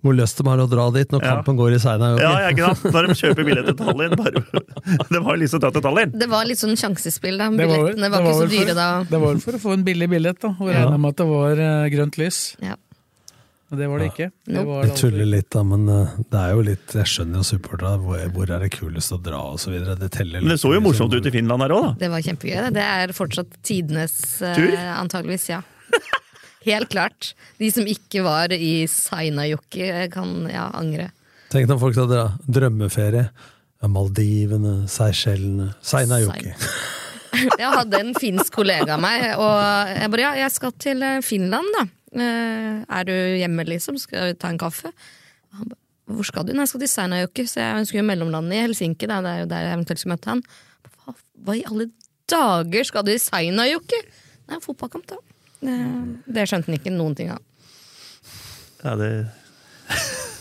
D: hvor lyst de har å dra dit når
E: Ja.
D: kampen går i Seina.
E: Ja, ja, ikke sant? Når de kjøper billett til Tallinn, bare De har jo lyst til å dra til Tallinn!
C: Det var litt sånn sjansespill, da.
B: Det var vel-
C: Billettene
B: det
C: var, ikke så
B: vel for-
C: dyre da.
B: Det var vel for å få en billig billett, da, og regna med at det var eh, grønt lys.
C: Ja.
B: Men det var det ikke. Det var
D: Jeg
B: det
D: tuller
B: altså-
D: litt, da, men eh, det er jo litt Jeg skjønner jo supporterne. Hvor, hvor er det kulest å dra, og så videre. Det teller litt.
F: Men det så jo morsomt ut i Finland her òg, da.
C: Det var kjempegøy. det. Det er fortsatt tidenes eh,
F: Tur?
C: Antageligvis, ja. Helt klart. De som ikke var i Sainajoki, kan ja, angre.
D: Tenk når folk skal dra. Drømmeferie. Ja, Maldivene, Seychellene Seinajoki.
C: Jeg hadde en finsk kollega av meg, og jeg bare ja, jeg skal til eh, Finland, da. Eh, Er du hjemme, liksom? Skal vi ta en kaffe? Og Han ba, Hvor skal du? Nei, jeg skal til Seinajoki, så jeg ønsker jo mellomlandet i Helsinki. Da. Det er jo der jeg eventuelt skal møte han. Hva, hva i alle dager skal du i Seinajoki? Nei, fotballkamp, da. Det- Det skjønte han ikke noen ting av.
E: Ja, det...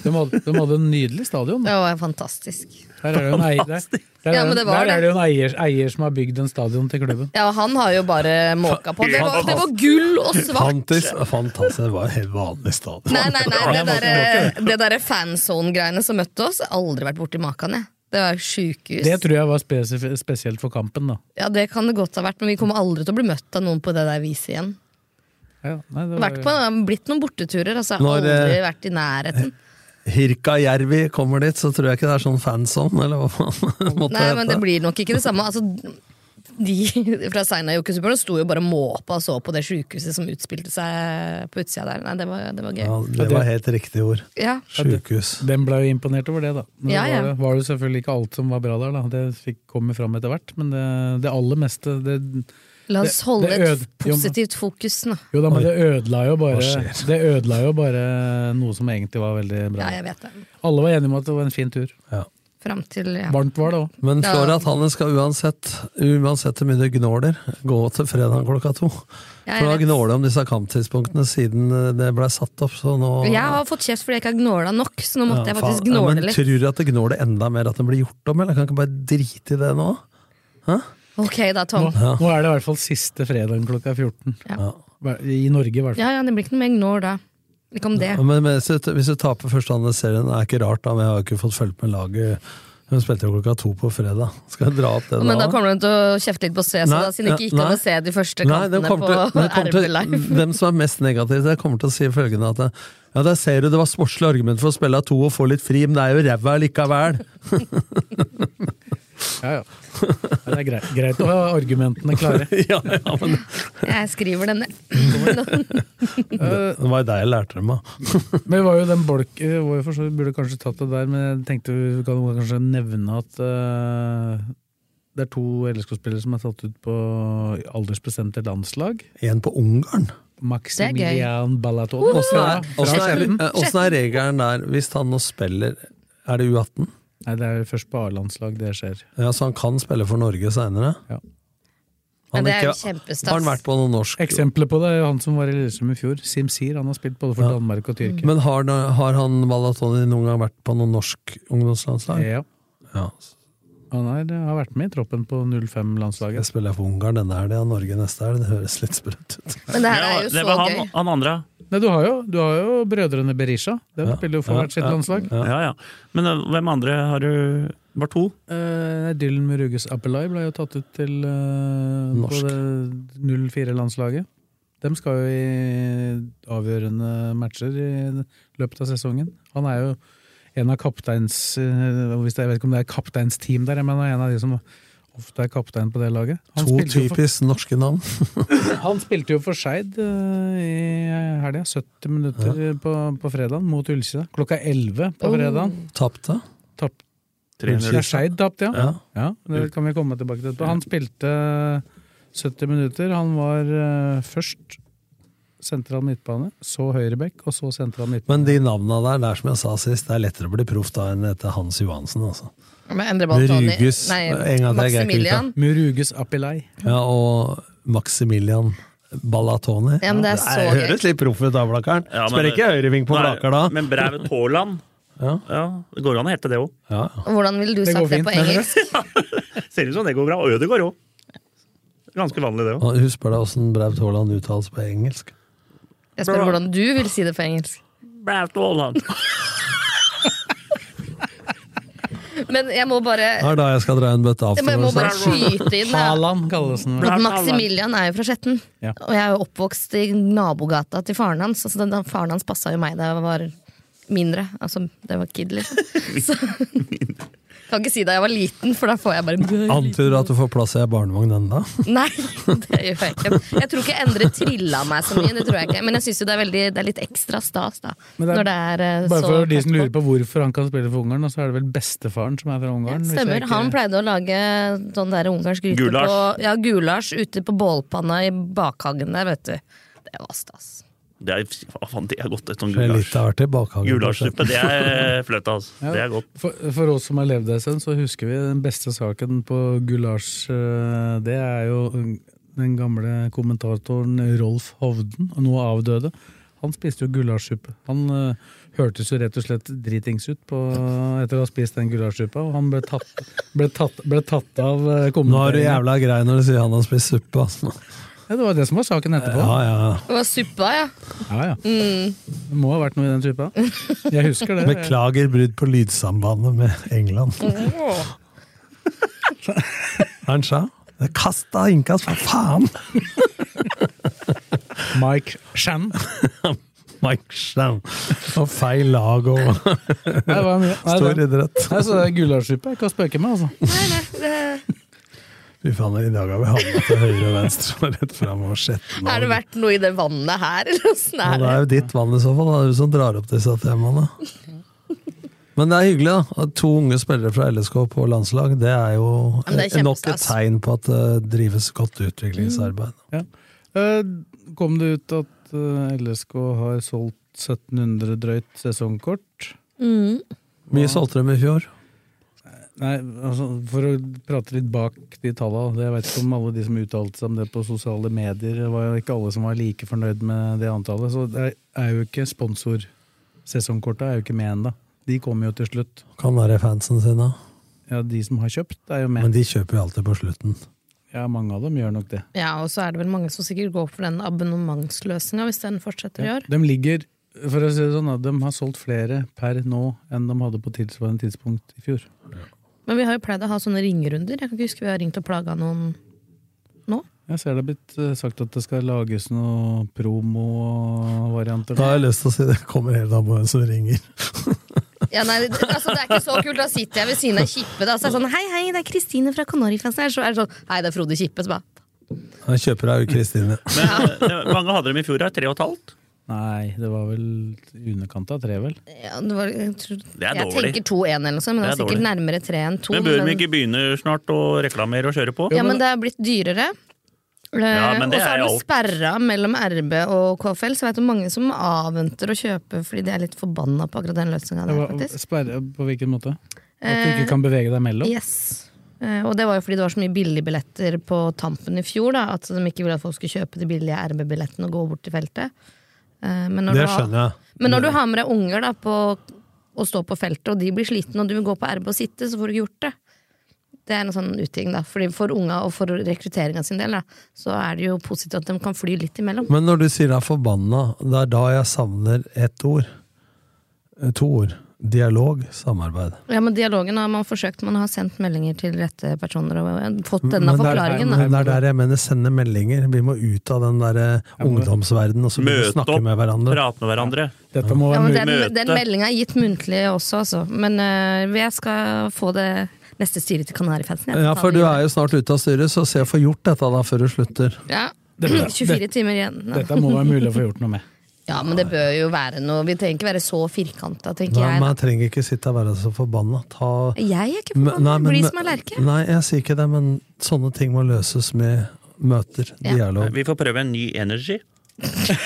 B: De hadde, de hadde en nydelig stadion.
C: Det var fantastisk.
B: Der er det jo en eier, der, der,
C: Ja,
B: er,
C: men
B: det
C: det var
B: der er
C: det.
B: det jo en eier, eier som har bygd en stadion til klubben.
C: Ja, han har jo bare måka på. Det var, det var gull og svart.
D: Fantis, fantastisk. Det var en helt vanlig stadion.
C: Nei, nei, nei, det derre det derre fanzone-greiene som møtte oss, aldri vært borti maken, jeg. Det var sjukehus.
B: Det tror jeg var spesif- spesielt for kampen, da.
C: Ja, det kan det godt ha vært, men vi kommer aldri til å bli møtt av noen på det der viset igjen.
B: Ja, nei, det var-
C: Vært på, blitt noen borteturer, altså.
D: Når,
C: Aldri
D: eh,
C: vært i nærheten.
D: Hirkajärvi kommer dit, så tror jeg ikke det er sånn fansom, eller hva faen måtte
C: Nei, men det
D: hete.
C: blir nok ikke det samme. Altså, de fra Seinajoki-supporterne sto jo bare og måpa og så på det sjukehuset som utspilte seg på utsida der. Nei, det var, det var gøy.
D: Ja, det var helt riktig ord.
C: Ja.
D: Sjukehus.
B: Den ble jo imponert over det, da. Men
C: Ja,
B: det
C: ja.
B: Var, det var jo selvfølgelig ikke alt som var bra der, da. Det fikk, kom jo fram etter hvert. Men det, det aller meste det,
C: La oss
B: det-
C: holde
B: det
C: et
B: øde- jo, men-
C: positivt fokus nå.
B: Jo da, men det ødela jo bare
D: skjer?
B: Det ødela jo bare noe som egentlig var veldig bra.
C: Ja, jeg vet det.
B: Alle var enige om at det var en fin tur.
D: Ja.
C: Fram til ja.
B: Varmt var det òg.
D: Men
C: Ja.
D: Flora Tanne skal uansett, uansett hvor mye det gnåler, gå til fredag klokka to.
C: Ja,
D: For da
C: jeg, vet.
D: gnåler det om disse kamptidspunktene siden eh, det ble satt opp, så nå
C: jeg har fått kjeft fordi jeg ikke har gnåla nok, så nå måtte jeg
D: Ja,
C: faktisk
D: faen. Ja,
C: gnåle
D: men
C: litt.
D: Tror du at det gnåler enda mer at det blir gjort om, eller kan ikke bare drite i det nå?
C: Ok da, Tom.
D: Ja.
B: Nå er det i hvert fall siste fredag klokka 14.
C: Ja.
B: I Norge, i hvert fall.
C: Ja, ja, det blir ikke noe mer gnål da. Ikke om det.
D: Ja, Men, men hvis, du, hvis du taper første andre serien, det er ikke rart, da, men jeg har jo ikke fått fulgt med laget. Hun spilte jo klokka to på fredag. Skal jeg dra opp det
C: Men
D: da?
C: da kommer du til å kjefte litt på Svesa,
D: Nei,
C: da, siden det ikke gikk
D: ja,
C: an
D: nei.
C: å se de første
D: Nei, de kommer
C: kampene
D: til,
C: på
D: de kommer
C: RB
D: til,
C: Live.
D: dem som er mest negative, de kommer til å si følgende at ja, der ser du det var sportslig argument for å spille av to og få litt fri, men det er jo ræva likevel.
B: Ja, ja. Ja, det er greit, greit å ha argumentene klare.
D: ja, ja, men
C: Jeg skriver denne.
D: det var jo deg jeg lærte dem av.
B: Men det var jo den bolk, eh, var jo for så vidt- burde kanskje tatt det der, men jeg tenkte vi kan kanskje nevne at eh, det er to LSK-spillere som er tatt ut på aldersbestemte landslag.
D: En på Ungarn.
B: Maximilian Balatone.
D: Åssen er,
B: Fra-
D: åssen
B: fra
D: er, eh,
B: Skjetten.
D: åssen er regelen der, hvis han nå spiller Er det U18?
B: Nei, det er først på A-landslag det skjer.
D: Ja, Så han kan spille for Norge seinere?
B: Ja.
C: Ja,
D: Han
C: det er jo
D: ikke- Har han vært
C: kjempestas.
D: på noe norsk?
B: Eksempelet på det er jo han som var i Lillestrøm i fjor. Simsir. Han har spilt både for
D: Ja.
B: Danmark og Tyrkia.
D: Men har, har han Balatoni noen gang vært på noe norsk ungdomslandslag?
B: Ja,
D: Ja.
B: han er, har vært med i troppen på 05-landslaget.
D: Jeg spiller for Ungarn denne helga, Norge neste helg. Det høres litt sprøtt ut.
C: Men det her er
E: Ja,
C: jo
E: det var
C: så
E: han,
C: gøy.
E: han andre.
B: Nei, du har jo, du har jo brødrene Berisha. De
D: Ja,
B: spiller jo for
D: ja,
B: hvert sitt
D: ja,
B: landslag.
D: Ja.
E: Ja, ja. Men eh, hvem andre har du Var to?
B: Eh, Dylan Muruges Appelai ble jo tatt ut til eh, på
D: Norsk.
B: det 04-landslaget. De skal jo i avgjørende matcher i løpet av sesongen. Han er jo en av kapteins... eh, hvis det- Jeg vet ikke om det er kapteinsteam der, men han er en av de som ofte er kaptein på det laget. Han
D: To
B: spilte jo for-
D: typisk norske navn.
B: Han spilte jo for Skeid eh, i helga. 70 minutter eh, på, på fredag mot Ullkisa. Klokka 11 på
C: Oh.
B: fredag.
D: Tapte.
B: Tapt.
E: Tre
B: Ja, Skeid tapte, ja.
D: Ja.
B: ja. Det kan vi komme tilbake til etterpå. Han spilte 70 minutter. Han var eh, først sentral midtbane, så høyrebekk, og så sentral midtbane.
D: Men de navna der, det er som jeg sa sist, det er lettere å bli proff da enn etter Hans Johansen, altså.
C: Men Endre Baltoni
D: Ruges-
C: Nei,
D: en gang til, jeg greier ikke
C: Maximilian.
B: Muruges Apilei.
D: Ja, og Maximilian Balatoni.
C: Ja, men det er så gøy.
D: høres litt proff ut da, Blakkaren.
E: Ja, men-
D: Spiller ikke høyreving på
E: Nei,
D: Blakker da.
E: Men Braut Haaland.
D: Ja.
E: Ja, det går an å hete det òg.
D: Ja.
C: Hvordan ville du
B: Det
C: sagt
B: går
C: det
B: fint,
C: på
B: mener
C: engelsk?
E: Ser ut som det går bra. Og Ødegaard òg. Ganske vanlig, det òg.
D: Og Husk bare åssen Braut Haaland uttales på engelsk.
C: Jeg spør hvordan du vil si det på engelsk.
E: Braut Haaland.
C: Men jeg må bare
D: Det er da jeg skal dra en bøtte
C: Jeg må- jeg må bare
D: avførelse.
C: skyte inn da,
B: Haaland kalles den.
C: at Maximilian er jo fra Skjetten.
B: Ja.
C: Og jeg er jo oppvokst i nabogata til faren hans. Altså, den, den faren hans passa jo meg da jeg var mindre. Altså, det var kid, liksom. Så, kan ikke si da jeg var liten, for da får jeg bare
D: Antyder du at du får plass i ei barnevogn ennå?
C: Nei, det gjør jeg ikke. Jeg tror ikke Endre trilla meg så mye, det tror jeg ikke. Men jeg syns jo det er, veldig, det er litt ekstra stas, da.
B: Men det er-
C: når det er eh,
B: Bare
C: så
B: for de som lurer på hvorfor han kan spille for Ungarn, så er det vel bestefaren som er fra Ungarn. hvis jeg
C: Stemmer.
B: ikke-
C: Han pleide å lage sånn der ungarsk gryte
E: Gulasj.
C: på Ja, gulasj ute på bålpanna i bakhagen der, vet du. Det var stas.
E: Det er, hva faen, det er godt, et sånt
D: Litt
E: gulasj.
D: av hvert i bakhagen.
E: Gulasjsuppe, det er fløte, altså.
B: Ja.
E: Det er godt.
B: For, for oss som har levd en stund, så husker vi den beste saken på gulasj. eh, Det er jo den gamle kommentatoren Rolf Hovden, nå avdøde. Han spiste jo gulasjsuppe. Han eh, hørtes jo rett og slett dritings ut på, etter å ha spist den gulasjsuppa, og han ble tatt, ble tatt, ble tatt av eh,
D: Nå er du
B: kommentatoren.
D: jævla grei når du sier han har spist suppe. Altså.
B: Ja, det var det som var saken etterpå.
D: Ja, ja.
C: Det var suppa, ja.
B: Ja, ja. Det må ha vært noe i den suppa. Jeg husker det.
D: Beklager brudd på lydsambandet med England.
C: Mm.
D: Han sa Kast av innkast, for faen!
B: Mike Shan.
D: Mike Schnaum. Og feil lag og
B: Det var mye. Nei,
D: stor
B: det-
D: idrett.
B: Nei, så det er gulasjsuppe jeg kan spøke med, altså.
C: Nei, nei, det,
D: Fy faen, i dag har vi havnet til høyre og venstre og rett fram og sjetten.
C: har det
D: Og
C: vært noe i det vannet her, eller åssen
D: Ja,
C: er
D: det
C: det?
D: er jo ditt vann i så fall. Det er du som drar opp disse temaene. Men det er hyggelig, da. At to unge spillere fra LSK på landslag, det er jo
C: men det er
D: nok et
C: kjempestas. Mm.
D: tegn på at det drives godt utviklingsarbeid.
B: Eh, Kom det ut at eh, LSK har solgt 1700 drøyt sesongkort?
D: Mye solgte de i fjor.
B: Nei, altså, for å prate litt bak de tallene. det- Jeg vet ikke om alle de som uttalte seg om det på sosiale medier, det var jo ikke alle som var like fornøyd med det antallet. Så det er jo ikke sponsorsesongkorta er jo ikke med ennå. De kommer jo til slutt.
D: Kan være fansen sine.
B: Ja, de som har kjøpt, er jo
D: Men
B: med.
D: de kjøper jo alltid på slutten.
B: Ja, mange av dem gjør nok det.
C: Ja, og så er det vel mange som sikkert går for den abonnementsløsninga, hvis den fortsetter i år.
B: De ligger, for å si det sånn, at de har solgt flere per nå enn de hadde på tilsvarende tidspunkt i fjor.
C: Men vi har jo pleid å ha sånne ringerunder. Jeg kan ikke huske vi har ringt og plaga noen nå.
B: Jeg ser det er blitt eh, sagt at det skal lages noen promovarianter.
D: Da har jeg lyst til å si det kommer helt an på hvem som ringer.
C: Ja, nei, det- altså, det er ikke så kult. Da sitter jeg ved siden av Kippe. Da, så er det sånn, hei, hei, det er Kristine fra Kanarifansen her. Så er det sånn, hei, det er Frode Kippe. Så bare,
D: Jeg kjøper deg jo Kristine.
E: Men eh, mange hadde dem i fjor, her, tre og et halvt.
B: Nei, det var vel i underkant av tre, vel?
C: ja, det var, jeg, tror,
E: Det er
C: jeg
E: dårlig.
C: tenker 2-1 eller noe sånt, men det
E: Det
C: er,
E: er
C: sikkert nærmere 3 enn 2.
E: Men bør vi ikke begynne snart å reklamere og kjøre på?
C: Ja, men det er blitt dyrere. Eh,
E: men
C: og
E: det
C: så
E: er
C: er det
E: jo alt.
C: sperra mellom RB og KFL, så jeg vet om mange som avventer å kjøpe fordi de er litt forbanna på akkurat den løsninga der,
B: Hva-
C: faktisk. Eh,
B: Sperre på hvilken måte? At du ikke kan bevege deg mellom?
C: Yes. Eh, Og det var jo fordi det var så mye billige billetter på tampen i fjor, da, at de ikke ville at folk skulle kjøpe de billige RB-billettene og gå bort til feltet. Eh, Men når,
D: Det
C: du har,
D: skjønner jeg.
C: men når du har med deg unger da, på å stå på feltet, og de blir slitne, og du vil gå på RB og sitte, så får du ikke gjort det. Det er en sånn utting, da. Fordi for unga og for rekrutteringa sin del, da, så er det jo positivt at de kan fly litt imellom.
D: Men når du sier deg forbanna, det er da jeg savner ett ord. Eh, To ord. Dialog, samarbeid.
C: Ja, men dialogen har man forsøkt, man har sendt meldinger til rette personer og eh, fått denne
D: Men det er-
C: forklaringen.
D: men
C: Da.
D: Det er der jeg mener sende meldinger. Vi må ut av den derre ungdomsverdenen og så begynne å
E: Møte
D: snakke
E: opp,
D: med hverandre.
E: prate med hverandre.
B: Dette må
C: Ja,
B: være
C: men
B: mulig.
C: den,
E: møte.
C: den meldinga er gitt muntlig også, altså. Men øh, jeg skal få det neste styret til Kanarifansen. jeg.
D: Ja, for du er jo snart ute av styret, så se å få gjort dette da før du slutter.
C: ja.
B: Dette-
C: 24 timer igjen.
B: Dette må være mulig å få gjort noe med.
C: Ja, men det bør jo være noe Vi trenger ikke være så firkanta, tenker
D: Nei,
C: jeg.
D: men jeg trenger ikke sitte og være så forbanna. Ta
C: da. Jeg er ikke
D: Men- nei,
C: forbanna.
D: men-
C: Bli som ei lerke.
D: Nei, jeg sier ikke det, men sånne ting må løses med møter,
C: Ja.
D: dialog.
E: Vi får prøve en ny energy.
D: Er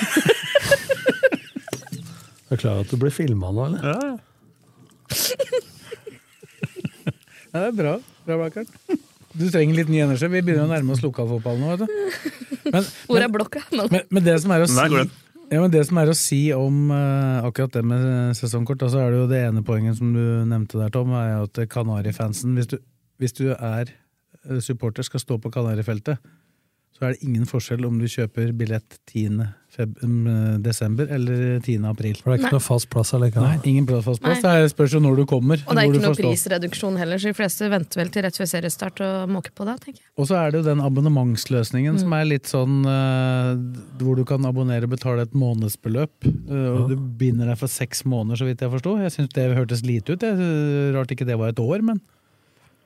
D: du klar over at du blir filma nå, eller?
B: Ja, det er bra. bra Blakkaren. Du trenger litt ny energi. Vi begynner å nærme oss lokalfotball nå. vet du. Men,
C: Hvor er blokka? Men,
B: men, men det som er å
E: Der går
B: si
E: den.
B: Ja, men Det som er å si om eh, akkurat det med sesongkort, da, så er det jo det ene poenget som du nevnte der, Tom, er jo at Kanarifansen Hvis du, hvis du er eh, supporter, skal stå på Kanarifeltet, så er det ingen forskjell om du kjøper billett 10. Feb mm, desember eller 10. april.
D: For det er ikke Nei. noe fast plass allikevel.
B: Nei, ingen plass, fast plass.
C: Nei.
B: Det er- spørs jo når du kommer.
C: Og det er
B: hvor
C: ikke
B: du
C: noe
B: får stå.
C: prisreduksjon heller, så de fleste venter vel til rett før seriestart og måker på det. tenker jeg.
B: Og så er det jo den abonnementsløsningen som
C: Mm.
B: er litt sånn eh, hvor du kan abonnere og betale et månedsbeløp. eh, og du binder deg for seks måneder, så vidt jeg forsto. Jeg syns det hørtes lite ut. Jeg, eh, rart ikke det var et år, men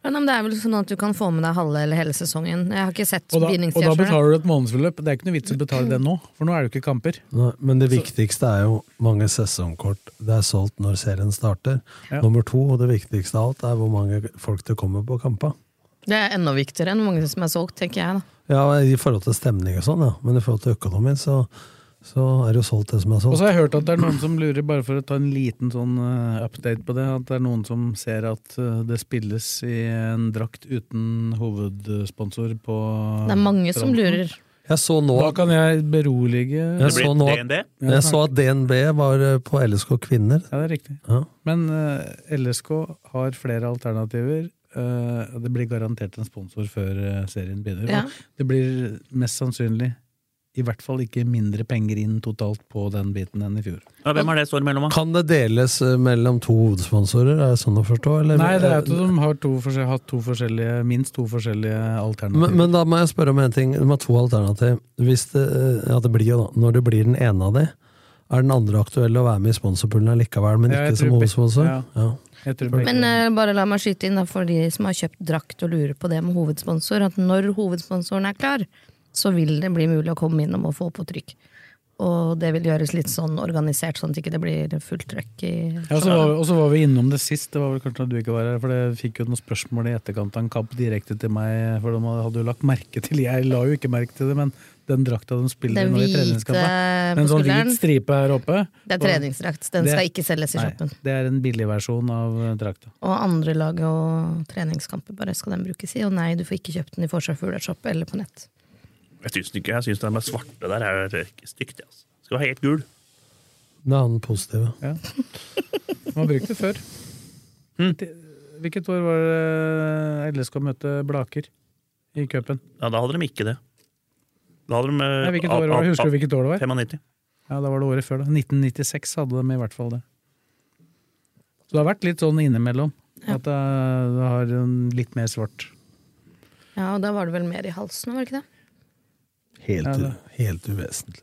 C: Ja, nei, men det er vel sånn at du kan få med deg halve eller hele sesongen. Jeg har ikke
B: Og da,
C: sett
B: og da
C: bindingstida sjøl.
B: betaler du et månedsbeløp. Det er ikke noe vits å betale det nå, for nå er det jo ikke kamper.
D: Nei, men det viktigste er jo mange sesongkort det er solgt når serien starter.
B: Ja.
D: Nummer to, og det viktigste av alt, er hvor mange folk det kommer på kampa.
C: Det er enda viktigere enn hvor mange som er solgt, tenker jeg. da.
D: Ja, I forhold til stemning og sånn, ja. Men i forhold til økonomi, så, så er det jo solgt det som er
B: Og
D: solgt.
B: så har jeg hørt at det er noen som lurer, bare for å ta en liten sånn eh, update på det, at det er noen som ser at eh, det spilles i en drakt uten hovedsponsor på
C: Det er mange som lurer.
D: Jeg så nå,
B: Da kan jeg berolige
D: jeg så nå
E: DNB?
D: jeg så at DNB var eh, på LSK Kvinner.
B: Ja, det er riktig.
D: Ja.
B: Men eh, LSK har flere alternativer. eh, og det blir garantert en sponsor før eh, serien begynner.
C: Ja.
B: Og Det blir mest sannsynlig i hvert fall ikke mindre penger inn totalt på den biten enn i fjor.
E: Ja, hvem er det står imellom? da?
D: Kan det deles eh, mellom to hovedsponsorer, er det sånn å forstå? Eller?
B: Nei, det er at de har to forskjell- hatt to forskjellige, minst to forskjellige alternativer.
D: Men, men da må jeg spørre om en ting. De har to alternativ. Hvis det, ja, det blir jo da, når det blir den ene av de, er den andre aktuell å være med i sponsorpoolen likevel, men
B: Ja, jeg
D: ikke som
B: tror be-
D: hovedsponsor?
B: ja.
D: Ja.
B: Jeg tror begge-
C: Men eh, bare la meg skyte inn da, for de som har kjøpt drakt og lurer på det med hovedsponsor, at når hovedsponsoren er klar, så vil det bli mulig å komme innom og få på trykk. Og det vil gjøres litt sånn organisert, sånn at ikke det ikke blir fullt trøkk i
B: ja, så var, vi- og så var vi innom det sist, det var vel kanskje at du ikke var her, for jeg fikk jo noen spørsmål i etterkant av en kamp direkte til meg, for de hadde jo lagt merke til Jeg la jo ikke merke til det, men den drakta de spiller i
C: Den
B: nå i
C: hvite
B: treningskampen
C: på
B: En sånn hvit
C: skulderen.
B: stripe her oppe.
C: Det er treningsdrakt. Den
B: Det-
C: skal ikke selges i
B: Nei,
C: shoppen.
B: det er en billig versjon av eh, drakta.
C: Og andre lag og treningskamper bare skal den brukes i. Og nei, du får ikke kjøpt den i Forsvar Fuglashop eller på nett.
E: Jeg syns ikke jeg synes den med svarte der er ikke stygt. jeg, Altså. Skal være helt gul.
D: Det er den positive.
B: Man har brukt det før. Til- Hvilket år var det LSK møtte Blaker i cupen?
E: Ja, da hadde de ikke det. Da hadde de eh,
B: Nei, hvilket år var det? Husker du hvilket år det var?
E: 95.
B: Ja, da var det året før, da. 1996 hadde de i hvert fall det. Så det har vært litt sånn innimellom.
C: Ja.
B: At det er- det har en litt mer svart.
C: Ja, og da var det vel mer i halsen, var det ikke det?
D: Helt,
B: Ja, det-
D: u- helt uvesentlig.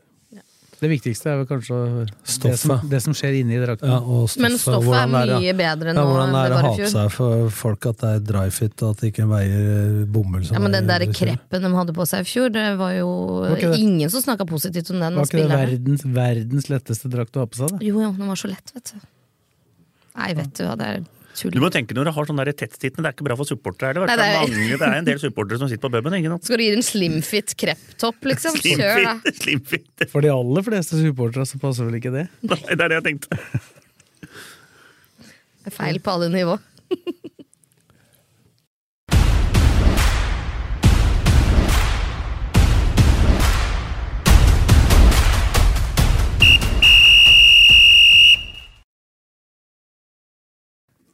B: Det viktigste er vel kanskje det
D: Stoffet.
B: som, det som skjer inni drakten.
D: Ja, og stoffet,
C: Men stoffet er
D: hvordan det
C: mye
D: ja.
C: bedre
D: ja,
C: nå
D: hvordan
C: enn
D: det
C: det
D: er å
C: var
D: ha
C: i
D: på
C: fjor.
D: seg for folk at det er dry fit, og at det ikke veier eh, bomull som
C: Ja, men Den
D: veier
C: der
D: kilo.
C: kreppen de hadde på seg i fjor, det var jo
B: Var ikke det-
C: ingen som snakka positivt om den.
B: Var
C: og
B: ikke det
C: spillerne.
B: verdens, verdens letteste drakt å ha på seg? Da?
C: Jo, jo, den var så lett, vet du. Nei, vet du hva, det er tull.
E: Du må tenke når du har sånn der tettsittende, det er ikke bra for supportere heller.
C: Nei,
E: Det, er
C: det er-
E: mange- det er en del supportere som sitter på puben. ikke sant?
C: Skal du gi den slimfit krepptopp, liksom? Kjør, da.
E: Slimfint, slimfint.
B: For de aller fleste supportere så passer vel ikke det?
E: Nei, det er det jeg tenkte.
C: Det er Feil på alle nivå.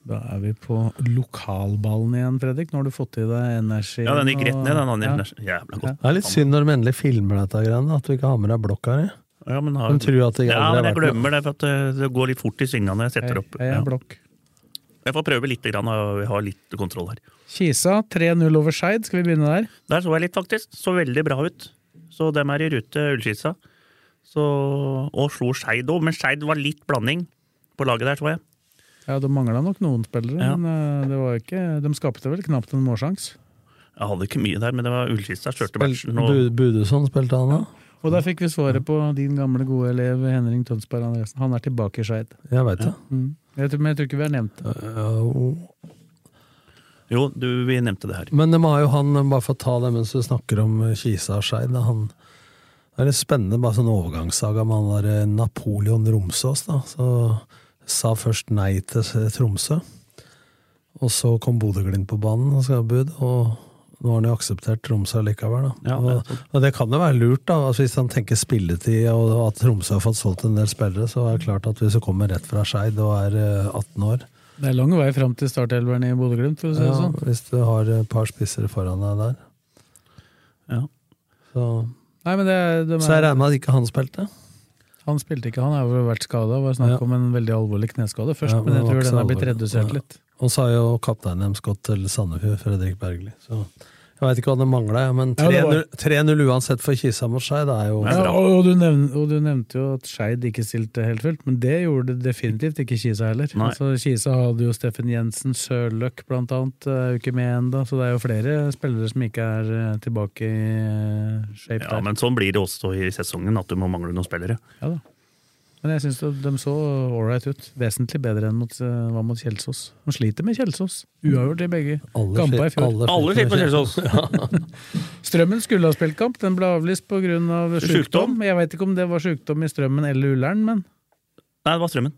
B: Da er vi på lokalballen igjen, Fredrik. Nå har du fått i deg energi.
E: Ja, den gikk rett ned, den
B: Ja.
E: andre. Jævla godt.
D: Det er litt synd når de endelig filmer dette, greiene, at du ikke har med deg blokka di.
E: Ja, men, har,
D: De tror at det
E: ja,
D: aldri
E: men jeg
D: har vært noe.
E: glemmer det, for at eh, det går litt fort i svingene når jeg setter opp.
B: Jeg, jeg
E: Ja.
B: er blokk.
E: Jeg får prøve litt, grann, og vi har litt kontroll her.
B: Kisa 3-0 over Skeid. Skal vi begynne der?
E: Der så jeg litt, faktisk. Så veldig bra ut. Så dem er i rute, Ullskissa. Så, og slo Skeid òg, men Skeid var litt blanding på laget der, så jeg.
B: Ja, Det mangla nok noen spillere,
E: Ja.
B: men eh, det var ikke, de skapte vel knapt en målsjanse.
E: Jeg hadde ikke mye der, men det var Ullskissa kjørte matchen. Og,
D: Bu- Budusson spilte han da?
B: Og der fikk vi svaret på din gamle, gode elev Henring Tønsberg Andresen. Han er tilbake i Skeid.
D: Jeg veit det.
B: Jeg tror, men jeg tror ikke vi har nevnt det.
D: Ja,
E: jo, du, vi nevnte det her.
D: Men de har jo han, eh, bare for å ta det mens du snakker om eh, Kisa og Skeid da, han- Det er litt spennende, bare sånn overgangssaga med han der eh, Napoleon Romsås, da. Så sa først nei til s- eh, Tromsø. Og så kom Bodø-Glimt på banen og skal ha bud, og nå har han jo akseptert Tromsø likevel, da.
E: Ja, det er
D: og, og det kan jo være lurt, da. Altså, hvis han tenker spilletid og at Tromsø har fått solgt en del spillere, så er det klart at hvis du kommer rett fra Skeid og er eh, 18 år,
B: Det er lang vei fram til startelveren i sånn. Bodø-Glimt, for å si det
D: ja,
B: sånn.
D: hvis du har et par spissere foran deg der
E: Ja.
D: Så,
B: Nei, men det, de
D: så jeg regner med at ikke han spilte.
B: Han spilte ikke, han har jo vært skada. Var snakk om en veldig alvorlig kneskade først,
D: Ja,
B: men jeg
D: det var
B: tror
D: ikke
B: den
D: så
B: er blitt
D: alvorlig.
B: redusert
D: Ja.
B: litt.
D: Og så har jo kapteinen deres gått til Sandefjord, Fredrik Bergli. Så jeg veit ikke hva det mangla, men
B: Ja, det var-
D: 3-0 3-0 uansett for Kisa mot Skei, det er jo
B: Ja, og, og, du nevnte, og du nevnte jo at Skeid ikke stilte helt fullt, men det gjorde definitivt ikke Kisa heller.
E: Nei.
B: Altså, Kisa hadde jo Steffen Jensen, Sørløk blant annet, er jo ikke med ennå, så det er jo flere spillere som ikke er eh, tilbake i eh, shape
E: Ja,
B: der.
E: men sånn blir det også i sesongen, at du må mangle noen spillere.
B: Ja, da. Men jeg syns de så ålreit ut. Vesentlig bedre enn mot, eh, hva mot Kjelsås. De sliter med Kjelsås. Uavgjort i begge.
D: Alle
B: Kampa i
D: sliter-
B: fjor.
E: Alle sliter på Kjelsås!
B: Strømmen skulle ha spilt kamp, den ble avlyst pga. Av
E: Sjukdom.
B: sjukdom. Jeg vet ikke om det var sjukdom i Strømmen eller Ullern, men
E: Nei, det var strømmen.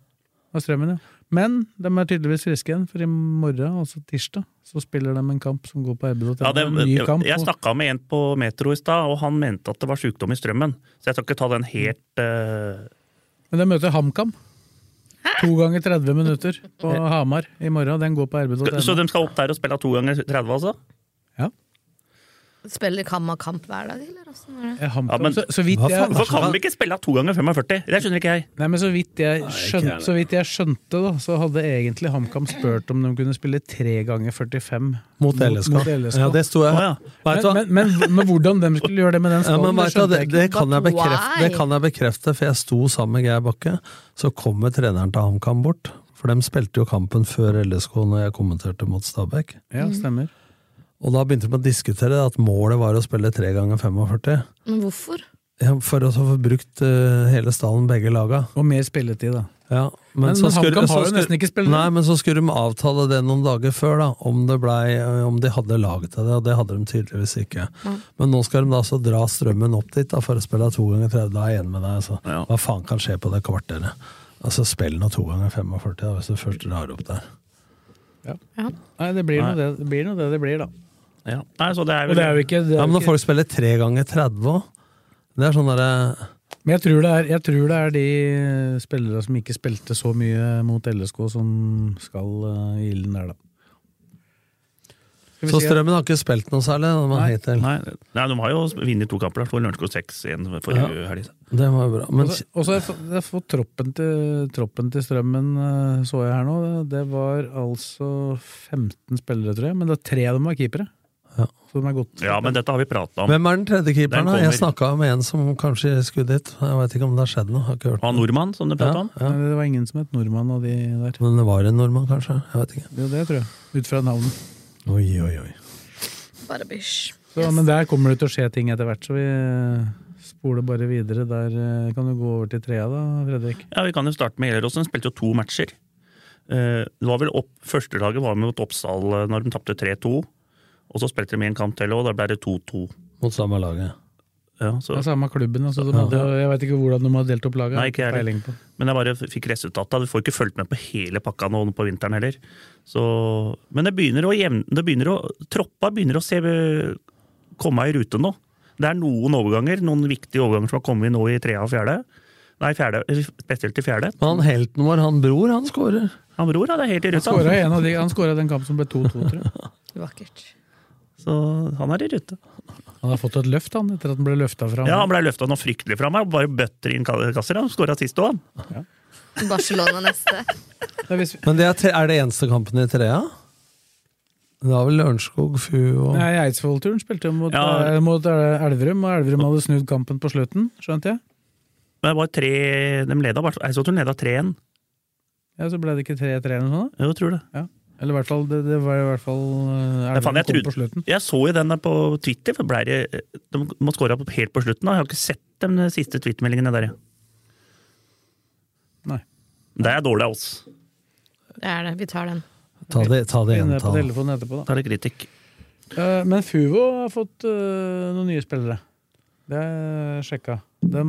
B: av strømmen, ja. Men de er tydeligvis friske igjen, for i morgen, altså tirsdag, så spiller de en kamp som går på RB.
E: Ja, det,
B: en ny kamp.
E: jeg
B: og-
E: snakka med en på Metro i stad, og han mente at det var sykdom i strømmen. Så jeg skal ikke ta den helt eh,
B: Men de møter HamKam. To ganger 30 minutter på Hamar i morgen. Den går på
E: Så
B: rb.no.
E: de skal opp der og spille to ganger 30, altså?
C: Spiller Kamma kamp hver dag, eller åssen er det?
B: Ja, HamKam.
E: Ja, men-
B: så, så, vidt
D: Hva faen?
B: jeg,
E: Hvorfor kan vi ikke spille to ganger 45? Det skjønner ikke jeg.
B: nei, men så vidt jeg
D: ikke
B: skjønte,
D: jeg.
B: så vidt jeg skjønte da, så hadde egentlig HamKam spurt om de kunne spille tre ganger 45
D: Mot LSK.
B: Mot LSK.
D: Ja, det sto jeg.
E: Å, ja.
D: Vet du hva?
B: Men, men, men, men hvordan de skulle gjøre det med den
D: Ja,
B: stallen,
D: men vet
B: det
D: du, hva,
B: skjønte
D: det,
B: jeg ikke.
D: det, kan jeg
C: But
D: bekrefte,
C: why?
D: det kan jeg bekrefte, for jeg sto sammen med Geir Bakke. Så kommer treneren til HamKam bort, for de spilte jo kampen før LSK når jeg kommenterte mot Stabæk.
B: Ja, stemmer.
D: Og da begynte de å diskutere at målet var å spille 3 ganger 45.
C: Men hvorfor?
D: Ja, for å få brukt eh, hele stallen, begge laga.
B: Og mer spilletid, da.
D: Ja, men,
B: Men
D: så skulle,
B: HamKam har
D: så
B: jo
D: skulle-
B: nesten ikke spillere.
D: Nei, men så skulle de avtale det noen dager før, da, om, det blei, om de hadde lag til det, og det hadde de tydeligvis ikke. Men nå skal de da altså dra strømmen opp dit da, for å spille to ganger 30. Da er jeg enig med deg. Altså.
E: Ja.
D: Hva faen kan skje på det kvarteret? Altså, Spill nå to ganger 45, da, hvis du først drar opp der.
B: Nei, det blir, Noe det, det blir noe det det blir, da.
E: Ja. Nei, så det er
B: Og
E: vel
B: det er jo ikke, det
D: Ja, Men
B: er jo
D: når
B: ikke
D: folk spiller tre ganger 30 òg, det er sånn derre
B: Men jeg tror, det er, jeg tror det er de spillere som ikke spilte så mye mot LSK, som skal eh, i ilden der, da. Skal vi
D: Så
B: si-
D: strømmen har ikke spilt noe særlig de har
B: Nei,
D: hittil.
E: Nei, nei, de har jo vunnet to kamper. da. Slo Lørenskog 6-1 forrige helg.
D: Det var jo bra. Men
B: Og så- Og så har jeg fått- jeg har fått troppen til, troppen til strømmen, eh, så jeg her nå. Det var altså 15 spillere, tror jeg. Men det er tre av dem var keepere.
D: Ja.
B: Så de er godt.
E: Ja, men dette har vi prata om.
D: Hvem er den tredje
E: Den
D: keeperen? da?
E: kommer.
D: Jeg snakka med en som kanskje skulle dit. Jeg veit ikke om det har skjedd noe. Har ikke hørt
E: Han nordmann, som du prata om.
D: Ja, ja.
B: Det var ingen som het nordmann av de der.
D: Men det var en nordmann, kanskje? Jeg vet ikke.
B: Jo, det tror jeg. Ut fra navnet.
D: Oi, oi, oi.
C: Bare bysj.
B: Så, Men der kommer det til å skje ting etter hvert, så vi eh, spoler bare videre. Der eh, kan du gå over til trea, da, Fredrik.
E: Ja, Vi kan jo starte med Gjelleråsen. Spilte jo to matcher. Eh, Det var vel opp, Førstelaget var med mot Oppsal eh, når de tapte 3-2. Og så spilte de en kamp til, og da ble det 2-2.
D: Mot samme laget.
E: Ja,
B: Det
E: så-
B: er samme klubben. Altså, de hadde, jeg vet ikke hvordan de har delt opp laget.
E: Nei, ikke jeg heller.
B: Peiling på.
E: men jeg bare fikk resultatet. Du får ikke fulgt med på hele pakka nå på vinteren heller. Så, men det begynner å jevne det begynner å, Troppa begynner å se, komme i rute nå. Det er noen overganger, noen viktige overganger som har kommet nå i trea og fjerde. Nei, fjerde, spesielt i fjerde.
D: Men han helten vår, han bror, han skårer.
E: Han bror ja, det er helt i ruta.
B: Skåret en av de, han skåra den kampen som ble 2-2, tror jeg.
C: Vakkert.
E: Så han er i rute.
B: Han har fått et løft, han, etter at han ble løfta fra.
E: Ja, han ble løfta noe fryktelig fra meg. Bare bøtter inn kasser. Han skåra sist òg, han.
C: Barcelona neste.
B: Det er hvis vi-
D: Men det er, tre, er det eneste kampen i trea? Det var vel Lørenskog, Fu og
B: Nei, Eidsvoll-turen spilte jo mot,
E: Ja.
B: eh, mot eh, Elverum, og Elverum hadde snudd kampen på slutten, skjønte jeg.
E: Men det var tre, de leda, bare- Eidsvollturen leda 3-1.
B: Ja, Så ble det ikke 3-3 eller noe sånt?
E: Jo, Jeg tror det.
B: Eller i hvert fall, det, det var i hvert fall eh,
E: Jeg, faen,
B: Elverum
E: jeg,
B: kom på
E: trodde,
B: slutten.
E: jeg så jo den der på Twitter, for ble det, de må skåre opp helt på slutten. da. Jeg har ikke sett de siste Twitter-meldingene der. jeg.
B: Nei.
E: Det er dårlig av oss.
C: Det er det. Vi tar den.
D: Ta det, ta det
B: Inne
D: igjen,
B: på
D: ta det.
B: telefonen etterpå, da.
E: Det er litt kritikk.
B: Eh, Men Fuvo har fått eh, noen nye spillere. Det er sjekka. De,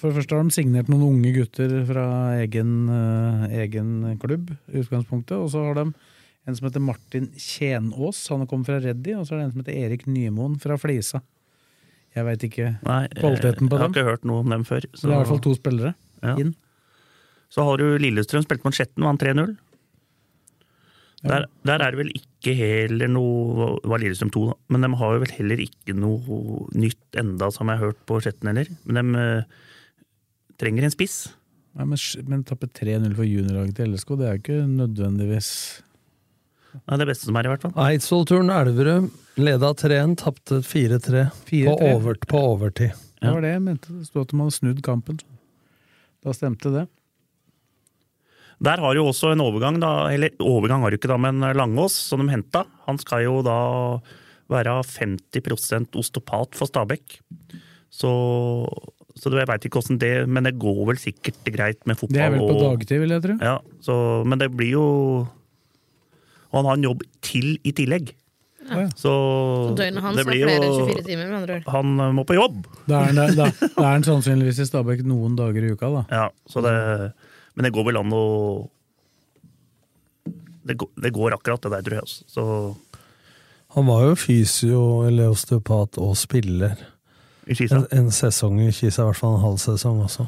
B: for det første har de signert noen unge gutter fra egen, eh, egen klubb, i utgangspunktet. Og så har de en som heter Martin Tjenås, han kommer fra Reddy. Og så er det en som heter Erik Nymoen fra Flisa. Jeg veit ikke.
E: Nei, eh,
B: Kvaliteten på
E: jeg har
B: dem?
E: ikke hørt noe om dem før.
B: Så det er i hvert fall to spillere
E: Ja.
B: inn.
E: Så har du Lillestrøm, spilte mot Skjetten, vant 3-0. Der, der er det vel ikke heller noe det var Lillestrøm 2, da. Men de har jo vel heller ikke noe nytt enda, som jeg har hørt på Skjetten heller. Men de eh, trenger en spiss.
B: Nei, men, men tappe 3-0 for juniorlaget til LSK, det er jo ikke nødvendigvis
E: Det er det beste som er, i hvert fall.
D: Eidsvollturen Elverum leda 3-1, tapte 4-3 på,
B: 4-3.
D: over, på overtid.
B: Det var det jeg mente. Det sto at de hadde snudd kampen. Da stemte det.
E: Der har jo også en overgang, da, eller overgang har du ikke da, men Langås, som de henta, han skal jo da være 50 osteopat for Stabæk. Så, så det- jeg veit ikke åssen det Men det går vel sikkert greit med fotball.
B: Det er vel på
E: og-
B: dagtid, vil jeg tro.
E: Ja, så, men det blir jo Og han har en jobb til i tillegg.
C: Ja.
E: Så,
C: Så døgnet hans
E: det
C: var
E: blir
C: flere enn
E: jo-
C: 24 timer, med andre ord.
E: Han må på jobb!
B: Da er han- da- da er han sannsynligvis i Stabæk noen dager i uka, da.
E: Ja, så det, men det går vel an å det går, det går akkurat det der, tror jeg. altså. Så,
D: Han var jo fysio, eller osteopat og spiller.
E: I Kisa.
D: En, en sesong i Kisa, i hvert fall en halv sesong også.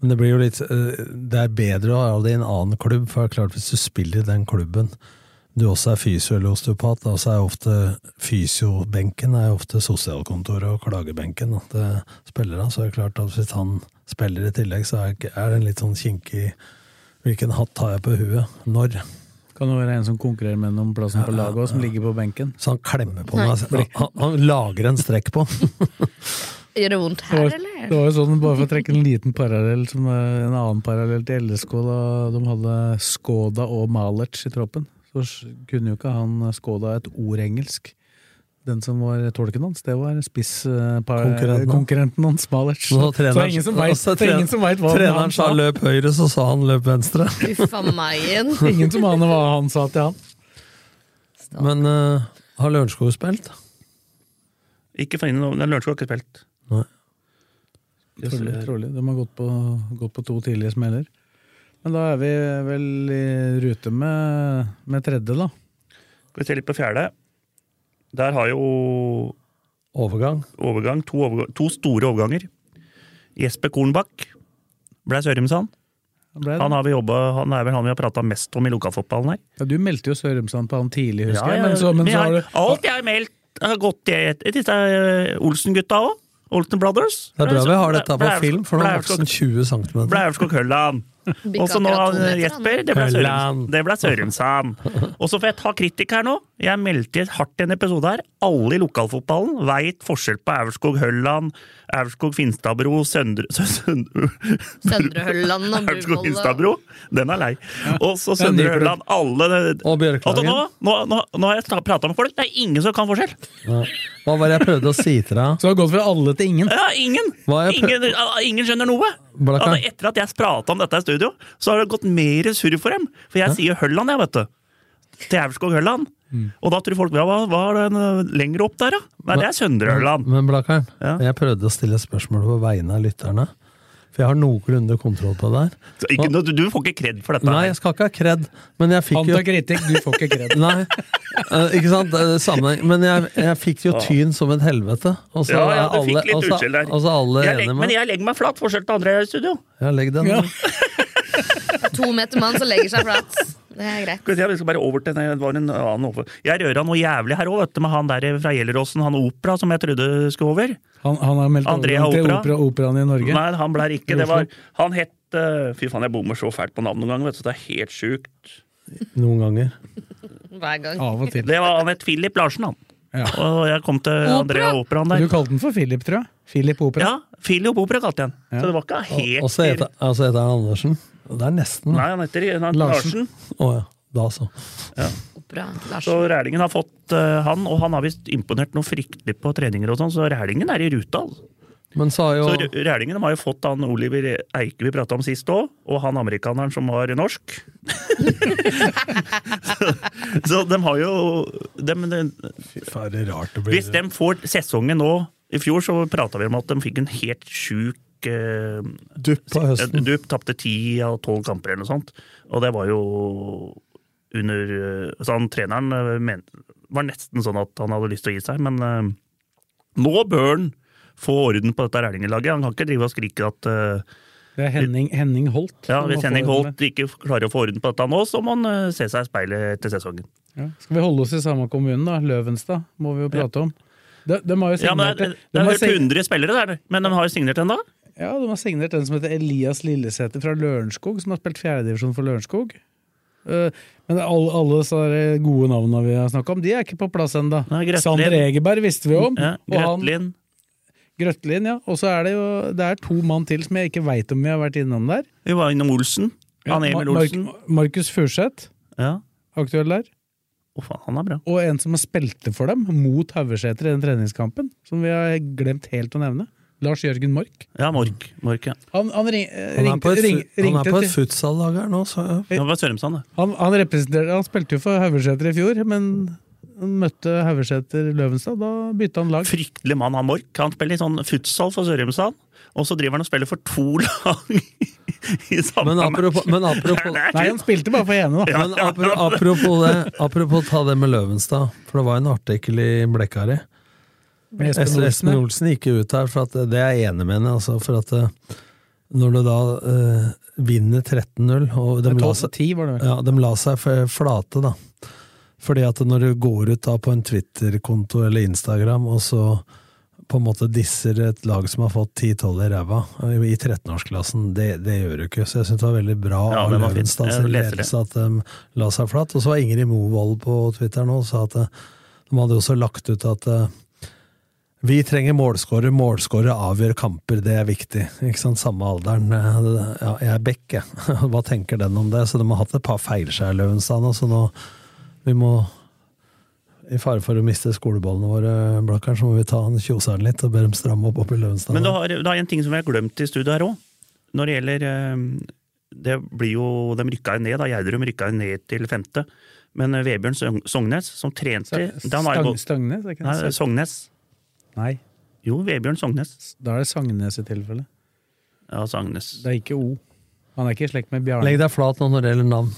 D: Men det blir jo litt eh, Det er bedre å ha det i en annen klubb, for det er klart hvis du spiller i den klubben du også er fysio eller osteopat, da, så er jo ofte fysiobenken er jo ofte sosialkontoret og klagebenken da, til spillerne. Så er det klart at hvis han spiller i tillegg, så er ikke- er det en litt sånn kinkig Hvilken hatt tar jeg på huet? Når?
B: Kan det være en som konkurrerer med noen om plassen på laget, og som ligger på benken?
D: Så han klemmer på meg. altså. Han, han lager en strekk på.
C: Gjør det vondt
B: Det
C: her,
B: var,
C: eller?
B: det var jo sånn, bare for å trekke en liten parallell som eh, en annen parallell til LSK, da de hadde Skoda og Malertz i troppen, så s- kunne jo ikke han eh, Skoda et ord engelsk. Den som var tolken hans, det var
D: Konkurrenten.
B: spisskonkurrenten konkurrenten hans, Malertz.
D: Så
B: Så det er ingen som vet-
D: altså,
B: det er ingen som vet hva han-
D: treneren
B: han
D: sa
B: sa.
D: løp høyre, så sa han løp venstre.
C: Uffa meg igjen.
B: Ingen som aner hva han sa til han.
D: Men eh, har Lørenskog spilt?
E: ikke for innom, den Lørenskog har ikke spilt.
D: Nei.
E: Yes,
B: Trolig,
E: eh,
B: trolig. De har gått på, gått på to tidlige smeller. Men da er vi vel i rute med, med tredje, da.
E: Skal vi se litt på fjerde. Der har jo
D: Overgang.
E: overgang, to, overga- to store overganger. Jesper Kornbakk ble Sørumsand.
B: Da ble det-
E: Han, har vi jobbet, han er vel han vi har prata mest om i lokalfotballen her.
B: Ja, du meldte jo Sørumsand på han tidlig, husker
E: Ja,
B: jeg.
E: ja,
B: Men så, men
E: vi
B: så
E: har-
B: har du
E: Alt jeg har meldt, har gått i et- disse eh, Olsen-gutta òg. Olsen Brothers.
D: Det er bra vi har sånn dette på
E: Ble- ble-
D: film, for nå er
E: ble-
D: voksen 20 cm.
E: ble Aurskog Hølland.
C: Bikka
E: Og så nå
C: akkurat to meter,
E: Jesper. Det ble, Sørum,
D: Hølland.
E: det ble Sørumsand. Og så får jeg ta kritikk her nå. Jeg meldte hardt i en episode her. Alle i lokalfotballen veit forskjell på Aurskog Hølland, Aurskog Finstadbro, Søndre Sø- Søndre-
C: Søndre Hølland og
E: Aurskog
C: Buvoll.
E: Finstadbro. Den er lei. Og så
D: Ja, ny
E: Søndre
D: klubb.
E: Hølland. Alle
D: Og
E: Altså, nå,
D: Bjørklagen.
E: nå, nå, nå har jeg prata med folk. Det er ingen som kan forskjell!
D: Ja. Hva var det jeg prøvde å si til deg?
B: Så har det gått fra alle til ingen.
E: Ja, ingen!
D: Hva er prø-
E: Ingen, ja, ingen skjønner noe!
D: Blakka.
E: Altså, etter at jeg prata om dette i studio, så har det gått mer surr for dem. For jeg sier Hølland, jeg, vet du. Til Aurskog Hølland.
D: Mm.
E: Og da tror folk ja, hva, hva er den eh, lenger opp der, da? Nei, det er Søndre Hølland.
D: Men Blakkaren,
E: Ja.
D: jeg prøvde å stille spørsmål på vegne av lytterne. For jeg har noenlunde kontroll på det her.
E: Så Ikke, noe- du får ikke kred for dette.
D: Nei, altså, jeg skal ikke ha kred, men jeg fikk
B: Han
D: jo
B: tar kritikk, du får ikke kred.
D: Nei, eh, ikke sant? Eh, Sammenheng. Men jeg, jeg fikk jo tyn som et helvete. Og så
E: ja, ja,
D: er
E: du
D: alle,
E: fikk litt
D: og så-
E: utskjell der.
D: Og så er alle
E: jeg
D: enige
E: legger,
D: med
E: men jeg legger meg flat forskjell til andre i studio.
D: Ja, legg den.
B: Ja.
C: To meter mann som legger seg flat. Det er greit.
E: Skal vi se, vi skal bare over til nei, det var en annen over. Jeg røra noe jævlig her òg, vet du, med han der fra Gjelleråsen, han opera som jeg trodde skulle over.
B: Han, han har meldt
E: Andrea
B: overgang til
E: Opera.
B: opera, operaen i Norge.
E: Nei, han ble ikke. Det
B: I
E: var,
B: Oslo.
E: han het eh, Fy faen, jeg bommer så fælt på navn noen ganger, vet du. Det er helt sjukt.
D: Noen ganger.
C: Hver gang.
B: Av og til.
E: Det var han het Philip Larsen, han.
B: Ja.
E: Og jeg kom til Andrea Operaen
B: Du
E: der.
B: kalte den for Philip, tror jeg. Philip Opera.
E: Ja, Philip Opera kalte jeg han. Så det var ikke helt
D: Og så heter altså heter han Andersen. Det er nesten.
E: Nei, han heter han heter
B: Larsen.
E: Larsen.
D: Å ja. Da så.
C: Opera. Lars.
E: Så Rælingen har fått eh, han, og han har visst imponert noe fryktelig på treninger og sånn, så Rælingen er i ruta. altså.
D: Men så har jo
E: Så R- Rælingen har jo fått han Oliver Eike vi prata om sist òg, og han amerikaneren som var norsk. så, så de har jo dem- de,
D: Fy faen, det er rart det blir
E: Hvis de får sesongen nå I fjor så prata vi om at de fikk en helt sjuk eh,
D: dupp på høsten.
E: Du tapte ti av tolv kamper eller noe sånt, og det var jo under eh, Så han treneren eh, men, var nesten sånn at han hadde lyst til å gi seg, men eh, nå bør han få orden på dette Rælingen-laget. Han kan ikke drive og skrike at eh,
B: Det er Henning, Henning Holt.
E: Ja,
B: som må
E: Hvis
B: få
E: Henning
B: orden med.
E: Holt ikke klarer å få orden på dette nå, så må han eh, se seg i speilet etter sesongen.
B: Ja. Skal vi holde oss i samme kommune, da? Løvenstad må vi jo prate om. De, de har jo
E: Ja, men
B: signert,
E: Det er,
B: de
E: det er
B: har
E: rundt
B: sig-
E: 100 spillere der, men de har jo signert en da.
B: ja, de har signert en som heter Elias Lillesæter fra Lørenskog, som har spilt fjerdedivisjon for Lørenskog. Eh, Men alle, alle så er det gode navnene vi har snakka om, de er ikke på plass ennå.
E: Nei, Grøtlin.
B: Sander Egeberg visste vi om.
E: Ja,
B: Mm. og han-
E: Grøtlin.
B: Grøtlin, ja. Og så er det jo det er to mann til som jeg ikke veit om vi har vært innom der.
E: Vi var innom Olsen. Han
B: Ja,
E: Emil
B: Mar- Mark-
E: Olsen.
B: Markus Furseth,
E: Ja.
B: aktuell der.
E: Å, faen, han er bra.
B: Og en som har spilte for dem, mot Haugeseter i den treningskampen, som vi har glemt helt å nevne. Lars Jørgen Mork.
E: Ja, Mork. Mork ja.
B: Han, han, ring, eh,
D: Han er på
B: ringte,
D: et,
B: ring,
D: fu- han er
B: ringte
D: på et
B: til
D: futsallag her nå, så
E: Det var Sørumsand, det.
B: han, han, representerte- han spilte jo for Haugeseter i fjor, men han møtte Haugeseter Løvenstad. Da bytta han lag.
E: Fryktelig mann, han Mork. Han spiller i sånn futsal for Sørumsand, og så driver han og spiller for to lag i samme
D: Men apropos, men apropos
E: Det er
B: Nei, han spilte bare for ene, da.
D: Men apro- apropos det, apropos ta det med Løvenstad, for det var en artikkel i Blekkari.
B: Med Espen
D: Espen,
B: Olsen,
D: Espen
B: ja.
D: Olsen gikk jo ut her, for at det er jeg enig med henne. Altså, for at eh, når du da eh, vinner 13-0, og de
B: Med
D: la,
B: 12
D: seg,
B: 10 var det vel.
D: ja, de la seg f- flate, da. Fordi at når du går ut da på en Twitter-konto eller Instagram, og så på en måte disser et lag som har fått 10-12 i ræva eh, i 13-årsklassen, det, det gjør du ikke. Så jeg syns det var veldig bra
E: Ja,
D: av
E: det var fint.
D: Løvenstad
E: Jeg
D: sin
E: leser det.
D: ledelse at de la seg flat. Og så var Ingrid Movold på Twitter nå og sa at eh, de hadde jo også lagt ut at eh, vi trenger målskårer, målskårer avgjør kamper, det er viktig. Ikke sant, Samme alderen. eh, Ja, jeg er back, jeg. Hva tenker den om det? Så de har hatt et par feilskjær, Løvenstad, nå, så altså nå vi må i fare for å miste skoleballene våre, Blakkaren, så må vi ta han kjoseren litt og be dem stramme opp oppi Løvenstad.
E: Men du har, det er en ting som vi har glemt i studio her òg. Når det gjelder eh, det blir jo, De rykka jo ned, da. Gjerdrum rykka jo ned til femte. Men eh, Vebjørn Søgn- Sognes, som trente da han var
B: Stang,
E: jo gått-
B: Stangnes? er ikke
E: Nei,
B: det?
E: Sognes.
B: Nei,
E: Jo, Vebjørn Sognes.
B: da er det Sagnes i tilfelle.
E: Ja, Sognes.
B: Det er ikke O. Han er ikke i slekt med Bjarne.
D: Legg deg flat nå når det gjelder navn,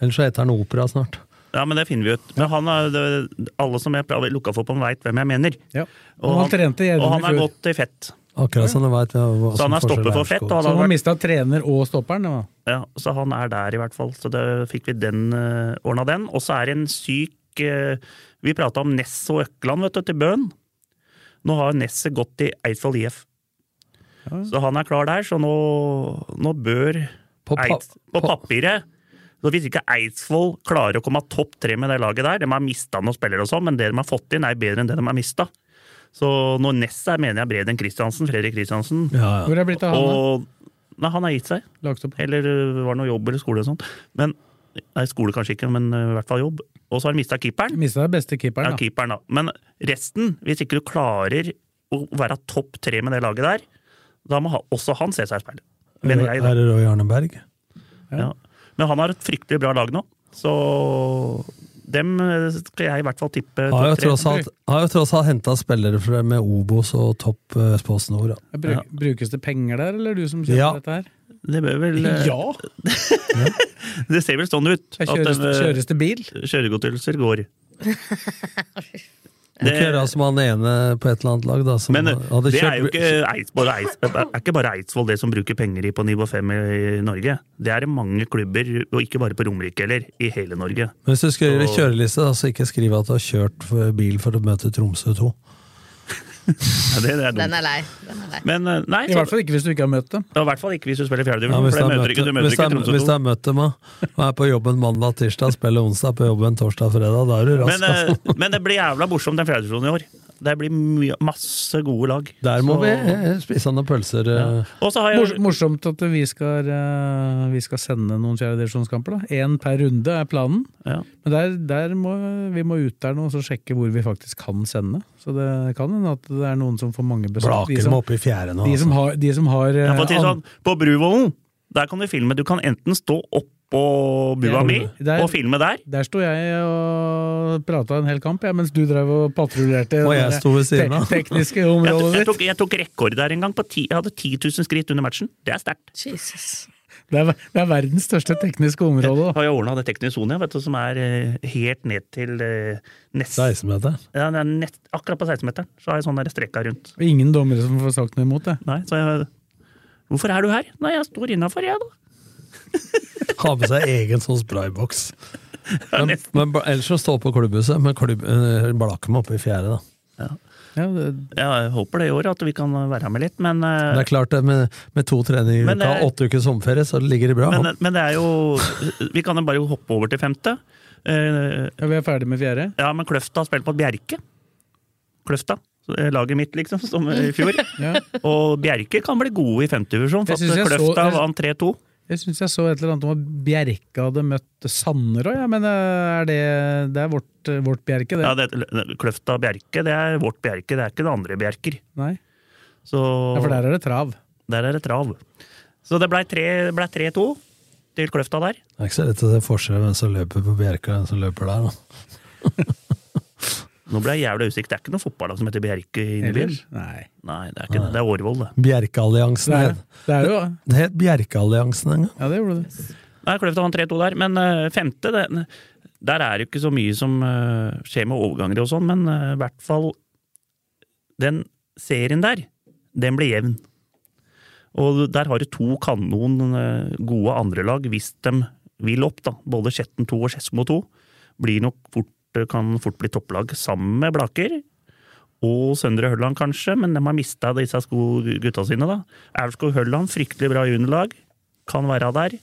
D: ellers så heter han Opera snart.
E: Ja, men det finner vi ut. Men han er, det, alle som jeg prater- lukka for på, han veit hvem jeg mener.
B: Ja. Og han trente
E: og
B: Gjerdrum
E: han
B: i
E: er
B: fjor.
E: godt i fett.
D: Akkurat som du veit.
E: Så han er stoppet for fett. Og
B: Så han
E: han har
B: har
E: vært,
B: mista trener og stopperen? Da.
E: ja, så han er der, i hvert fall. Så det fikk vi den uh, ordna, den. Og så er det en syk eh, Vi prata om Ness og Økland vet du, til Bøen. Nå har Nesset gått i Eidsvoll IF. Så han er klar der, så nå, nå bør
D: På pa-
E: Eids, på
D: på-
E: papiret så Hvis ikke Eidsvoll klarer å komme topp tre med det laget der De har mista noen spillere og sånn, men det de har fått inn, er bedre enn det de har mista. Så når Ness er, mener jeg Breden Christiansen, Fredrik Christiansen.
D: Ja, ja.
B: Hvor er det blitt av han? da?
E: Og Nei, han har gitt seg.
B: Lagt opp.
E: Eller øh, var det noe jobb eller skole og sånt. Men Nei, skole kanskje ikke, men øh, i hvert fall jobb. Og så har han mista keeperen.
B: Mista den beste
E: Ja,
B: keeperen, da.
E: keeperen, da. Men resten, hvis ikke du klarer å være topp tre med det laget der, da må ha, også han se seg i speilet. Mener jeg, da.
D: Er det Roy Arneberg?
E: Ja. Men han har et fryktelig bra lag nå, så dem eh, skal jeg i hvert fall tippe
D: Har jo
E: topp tre.
D: tross alt, har jo tross alt henta spillere fra, med Obos og topp eh, Spås Nord. da.
B: Bruk, Brukes det penger der, eller du som kjøper
D: Ja.
B: dette her?
E: Det bør vel eh, Det ser vel sånn ut.
B: Her Kjøres,
E: at de,
B: kjøres det bil?
E: eh, Kjøregodtgjørelser går.
D: Du kan gjøre som han ene på et eller annet lag, da. Som
E: Men eh,
D: hadde
E: det
D: kjørt,
E: er jo ikke Eidsvoll, Eidsvoll, det er ikke bare Eidsvoll det som bruker penger i på nivå fem i Norge. Det er det mange klubber, og ikke bare på Romerike heller, i hele Norge.
D: Men Hvis du skal gjøre kjøreliste, da, så ikke skriv at du har kjørt for- bil for å møte Tromsø 2.
E: Ja, det, det er
C: Den
E: dumt.
C: er lei. Den er lei.
E: Men eh, nei,
B: I
E: så,
B: hvert fall ikke hvis du ikke har møtt dem.
E: ja, i hvert fall ikke hvis du spiller
D: Ja,
E: fjerdedivisjon,
D: hvis
E: Mm, for
D: du har
E: det møter
D: møtt,
E: ikke, du møter
D: hvis du
E: ikke
D: har- hvis
E: Tromsø
D: du
E: 2.
D: har møtt dem da, og er på jobben mandag, tirsdag, spiller onsdag, på jobben torsdag, fredag, da er du rask.
E: Men,
D: altså.
E: eh, men det blir jævla morsomt den fjerdedivisjonen i år. Det blir mye, masse gode lag.
D: Der må
E: Så-
D: vi eh, spise noen pølser. eh.
E: Og så har
B: Mors,
E: jeg
B: morsomt at vi skal, eh, vi skal sende noen fjerdedivisjonskamper. Én per runde er planen.
E: ja.
B: Men der, der må, vi må ut der nå og så sjekke hvor vi faktisk kan sende. Så det kan hende at det er noen som får mange besøk.
D: Blaker
B: De
D: dem
B: som,
D: opp i fjerde nå. altså.
B: de som har, de som har eh,
E: Jeg får si
B: an-
E: sånn, på Bruvollen, der kan du filme. Du kan enten stå oppå bua
B: Ja,
E: mi
B: der-
E: og filme der,
B: Der sto jeg og prata en hel kamp, ja, mens du drev og patruljerte
D: Og jeg
B: det
D: sto ved siden av.
B: te- tekniske
E: Jeg, tok-
B: området
E: jeg,
B: ditt.
E: tok, jeg tok rekord der en gang. På ti, jeg hadde 10 000 skritt under matchen. Det er sterkt.
C: Jesus.
B: Det er, det er verdens største tekniske område.
E: Jeg
B: Da.
E: har jo ordna det teknisk sone, vet du, som er eh, helt ned til eh, nest,
D: 16-meteren.
E: ja, det er nett, akkurat på 16-meteren. Så har jeg sånn der strekka rundt.
B: Og Ingen dommere som får sagt noe imot det.
E: Nei, så jeg 'Hvorfor er du her?' 'Nei, jeg står innafor, jeg, da'.
D: Ha med seg egen sånn sprayboks. Men, men, ba- ellers så stå på klubbhuset, men klubb, eh, blaker meg oppe i fjære, da.
E: Jeg håper det i år at vi kan være med litt, men eh,
D: Det er klart, det, med, med to treninger i
E: Men,
D: uka
E: eh,
D: og åtte ukers sommerferie, så ligger det bra.
E: men, eh, men det er jo Vi kan jo bare hoppe over til femte. Eh, ja,
B: Vi er ferdig med fjerde.
E: Ja, men Kløfta spiller på Bjerke. Kløfta. Så, eh, Laget mitt, liksom, som i fjor. Og Bjerke kan bli gode i femtedivisjon, for
B: Jeg synes
E: at eh,
B: jeg så-
E: Kløfta
B: jeg-
E: vant 3-2.
B: Jeg syns jeg så et eller annet om at Bjerke hadde møtt Sanderøy, ja, men eh, er det, det er vårt, eh, vårt Bjerke, det?
E: Ja, det, Kløfta Bjerke, det er vårt Bjerke, det er ikke det andre Bjerker.
B: Nei.
E: Så,
B: Ja, for der er det trav.
E: der er det trav. Så det blei tre- det blei 3-2 til Kløfta der.
D: Det er ikke så lett å se forskjell på hvem som løper på Bjerka og hvem som løper der. Da.
E: Nå ble jeg jævla usikker. Det er ikke noe fotballag som heter Bjerke inni byen.
B: Eller? Nei.
E: Nei, det er ikke det. Det er Årvoll, det.
D: Bjerkealliansen
B: Det er,
D: het
B: det er jo
D: Det het Bjerkealliansen en gang.
B: Ja, det gjorde det.
E: Nei, Kløfta vant 3-2 der. Men eh, femte, det, der er det jo ikke så mye som eh, skjer med overganger og sånn, men eh, i hvert fall den serien der, den blir jevn. Og der har du to kanon eh, gode andrelag, hvis de vil opp, da. Både Skjetten 2 og Skedsmo 2 blir nok fort, eh, kan fort bli topplag sammen med Blaker. Og Søndre Hølland, kanskje, men de har mista disse sko- gutta sine, da. Aurskog Hølland, fryktelig bra juniorlag, kan være der.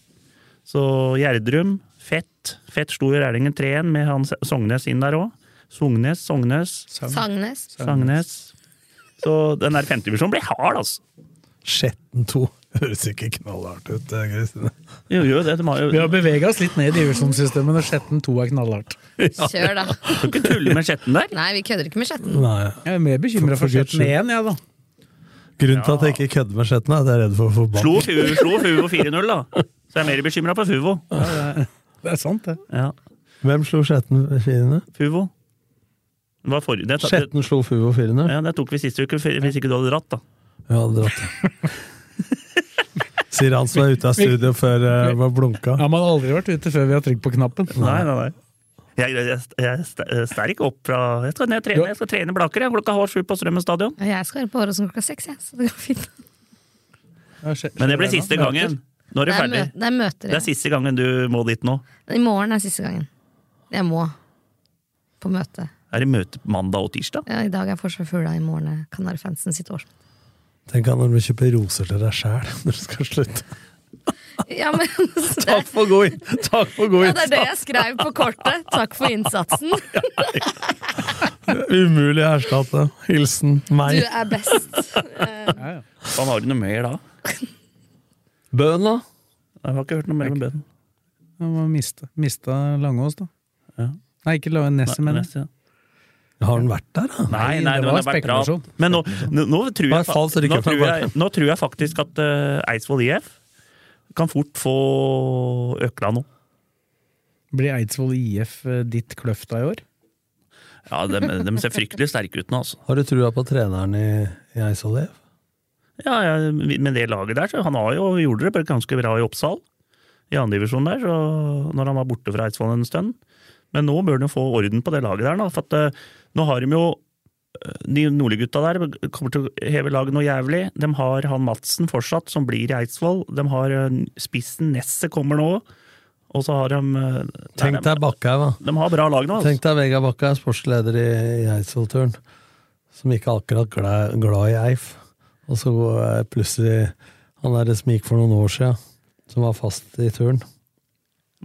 E: Så Gjerdrum, Fett. Fett slo i Rælingen 3-1 med han Sognes inn der òg. Sognes, Sognes,
C: Sagnes.
E: Sagnes. Så den der femtedivisjonen blir hard, altså.
D: Skjetten 2. Høres ikke knallhardt ut, eh, Kristine.
E: Jo, jo, det, de har jo
B: Vi har bevega oss litt ned i divisjonssystemet når Skjetten 2 er knallhardt.
C: Kjør, da.
E: Skal ikke tulle med Skjetten der.
C: Nei, vi kødder ikke med chatten.
D: Nei.
B: Jeg er mer bekymra
D: For- for
B: for
D: Guds
B: Skjetten 1, jeg, ja, da.
D: Grunnen til at jeg ikke kødder med Skjetten, er at jeg er redd for å få bann.
E: Slo Fuvo, slo Fuvo 4-0, da. Så jeg er mer bekymra for Fuvo.
B: Det er sant, det.
E: Ja,
D: Hvem slo Skjetten 4-0?
E: Fuvo. Det var for, det, det,
D: Skjetten slo Fuvo 4-0?
E: ja, det tok vi siste uke, hvis ikke du hadde dratt, da.
D: Ja, dratt det. Sier han som er ute av studio før uh, var blunka.
B: Ja, Man har aldri vært ute før vi har trykt på knappen.
E: Nei, nei, nei. Jeg, jeg, jeg st- står ikke opp fra Jeg skal ned og trene, jeg skal trene Blaker jeg, klokka halv sju på Strømmen stadion.
C: Ja, Jeg skal være på Åråsen klokka seks, jeg. Så det går fint.
B: Ja, Skje-
E: Men det blir
B: Skjetten
E: siste
B: ennå.
E: gangen. Nå er
C: Det
E: du
C: er,
E: ferdig.
C: mø det er møter.
E: Det
C: ja.
E: er siste gangen du må dit nå.
C: I morgen er siste gangen. Jeg må på møte.
E: Er det møte mandag og tirsdag?
C: Ja, I dag er Forsvar Fugla, i morgen er Kanarifansen sitt årsmøte.
D: Tenk han når du kjøper roser til deg sjæl når du skal slutte.
C: Ja, men så det,
D: Takk for god inn- Takk for god
C: ja, det er det
D: innsats!
C: jeg skrev på kortet. Takk for innsatsen.
D: Umulig å erstatte. Hilsen
C: Du
D: meg.
C: er best.
E: Faen, har du noe mer da?
D: Bøn, da?
E: Jeg har ikke hørt noe mer om bønnen.
B: Ja, man mista, mista Langås, da.
E: Ja.
B: Nei, ikke Lange- Nesset, men
E: neste, ja.
D: Har han vært der, da?
E: Nei,
B: Nei,
E: nei,
B: det
E: det
B: var
E: har vært prat.
B: spekulasjon.
E: Men nå, nå, nå, tror
D: Nei,
E: jeg, fa-
D: falsk rykker
E: nå,
D: fra
E: tror jeg,
D: Barca.
E: nå tror jeg faktisk at eh, Eidsvoll IF kan fort få Økla nå.
B: blir Eidsvoll IF eh, ditt Kløfta i år?
E: Ja, de, de ser fryktelig sterke ut nå, altså.
D: Har du trua på treneren i, i Eidsvoll IF?
E: Ja, ja, med det laget der, så han har jo, gjorde det ganske bra i Oppsal. I andredivisjon der, så når han var borte fra Eidsvoll en stund. Men nå bør han jo få orden på det laget der, da. For at, eh, nå har de jo eh, De nordlige gutta der kommer til å heve laget noe jævlig. De har han Madsen fortsatt, som blir i Eidsvoll. De har eh, spissen Nesset kommer nå. Og så har de eh,
D: Tenk
E: nei,
D: deg Bakkhaug, da.
E: de, de har bra lag nå, altså.
D: Tenk deg Vegard Bakkhaug, sportsleder i, i Eidsvollturen, som ikke er akkurat glad, glad i Eif. Og så går jeg plutselig han der som gikk for noen år siden, som var fast i turen.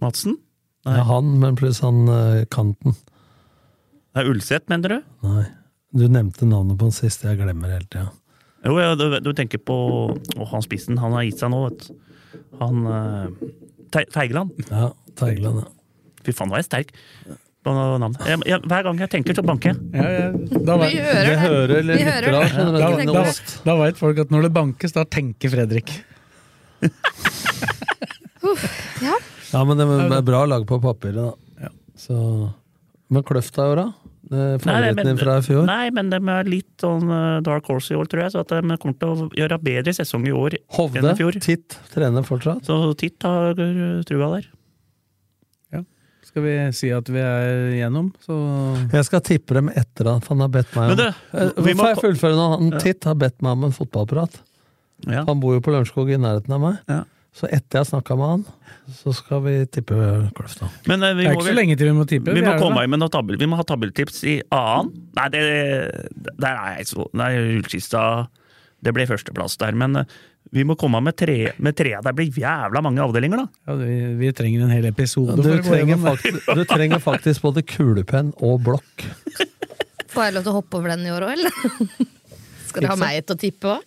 E: Madsen? Nei.
D: Ja, han, men pluss han eh, kanten.
E: Det er Ulseth, mener du?
D: Nei. Du nevnte navnet på han sist, jeg glemmer hele tida.
E: Jo, ja, du, du tenker på Å, han spissen, han har gitt seg nå, vet du. Han eh, Te- Teigeland.
D: Ja, Teigeland, ja.
E: Fy faen, var jeg sterk på navnet. Jeg, jeg, hver gang jeg tenker, så banker jeg.
B: Ja, ja. Da,
C: Vi
B: var,
D: Det
C: hører det.
D: hører
C: Vi
D: litt
C: hører
D: bra,
C: det.
D: skjønner
C: Ja,
D: du. Det er
C: vi tenker
D: noe-
C: det.
B: da veit folk at når det bankes, da tenker Fredrik.
C: Ja.
D: Ja, men det er- det er bra lag på papiret, da. Så Men Kløfta i år, da? Det er Favoritten din fra i fjor?
E: nei, men de er litt sånn eh, dark horse i år, tror jeg. Så at de kommer til å gjøre bedre sesong i år enn i
D: Hovde?
E: fjor.
D: Titt? Trener fortsatt?
E: Så Titt har eh, trua der.
B: Skal vi si at vi er gjennom, så
D: Jeg skal tippe dem etter han, for han har bedt meg
E: Men
D: om
E: du,
D: Eh,
E: vi må
D: Hvorfor jeg
E: ko-
D: fullfører nå? Han Titt har bedt meg om en fotballprat. Han bor jo på Lørenskog i nærheten av meg. Så etter jeg snakka med han, så skal vi tippe Kløfta.
E: Men, eh, vi
B: Det er
E: må
B: ikke
E: vel-
B: så lenge til vi må tippe. vi
E: Vi må
B: er jo
E: komme
B: da.
E: med noen tabell, vi må ha tabelltips i annen. Nei, det, der er jeg så Nei, Ullkista Det ble førsteplass der, men eh, vi må komme med tre. Med tre. Det blir jævla mange avdelinger, da.
B: Ja, vi, vi trenger en hel episode.
D: Du
B: for å gå
D: trenger,
B: gjennom det.
D: faktisk, du trenger faktisk både kulepenn og blokk.
C: Får jeg lov til å hoppe over den i år òg, eller? Skal dere ha meg til å tippe òg?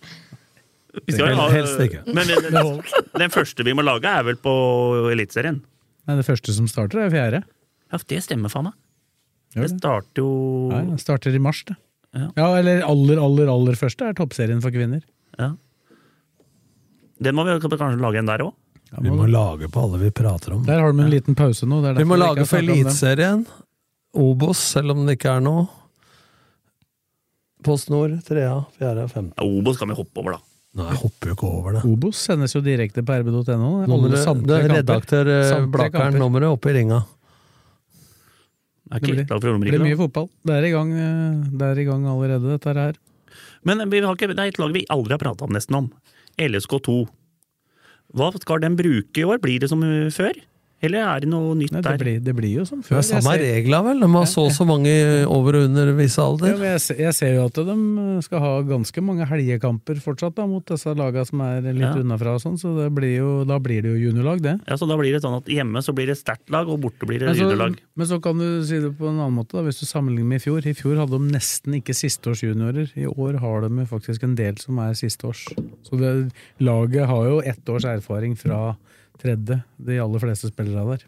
E: Vi skal jo ha-
D: Helst ikke.
E: Men eh, den første vi må lage, er vel på Eliteserien.
B: Nei, det første som starter, er fjerde.
E: Ja, det stemmer faen meg.
B: Gjør
E: Det starter jo
B: Nei, det starter i mars, det.
E: Oh. Ja.
B: Ja, eller aller, aller, aller første er Toppserien for kvinner.
E: ja. Den må vi kanskje lage en der òg.
B: Ja,
D: Vi
B: må
D: må
B: det.
D: lage på alle vi prater om.
B: Der har de en liten pause nå. det er
D: Vi må
B: derfor
D: lage
B: ikke
D: for
B: har snakket om dem.
D: Eliteserien. Obos, selv om det ikke er noe. Post Nord, trea, fjerde, femte.
E: Ja, Obos kan vi hoppe over, da.
D: Nei, jeg hopper jo ikke over det.
B: Obos sendes jo direkte på rb.no. Det er alle
D: Nummeret, det
B: samtlige
D: er
B: kamper.
D: redaktør eh,
B: Samtlige
D: Blakeren,
B: kamper.
D: nummeret oppe i ringa.
E: Det er
B: Det
E: ikke
B: blir-
E: helt klart for
B: Det blir
E: Romerike,
B: mye
E: da.
B: fotball. Det er i gang, eh, det er i gang allerede, dette her.
E: Men vi har ikke, det er et lag vi aldri har prata om nesten om. LSK2. Hva skal den bruke i år? Blir det som eh, før? Eller er det noe nytt
B: Nei, det,
E: der?
B: blir, det blir jo som
D: Det
B: før.
D: er samme
B: jeg, ser,
D: regler, vel? De har så og så mange over og under visse
B: ja,
D: alder.
B: men jeg, ser, jeg ser jo at de skal ha ganske mange helgekamper fortsatt da, mot disse lagene som er litt
E: Ja.
B: unnafra og sånn, så det blir jo, da blir det jo juniorlag, det.
E: Ja, så da blir det sånn at Hjemme så blir det sterkt lag, og borte blir det
B: Men så,
E: rydelag.
B: men så kan du si det på en annen måte, da, hvis du sammenligner med i fjor. I fjor hadde de nesten ikke sisteårs juniorer. I år har de jo faktisk en del som er sisteårs. Så det, laget har jo ett års erfaring fra tredje, de aller fleste spillere der.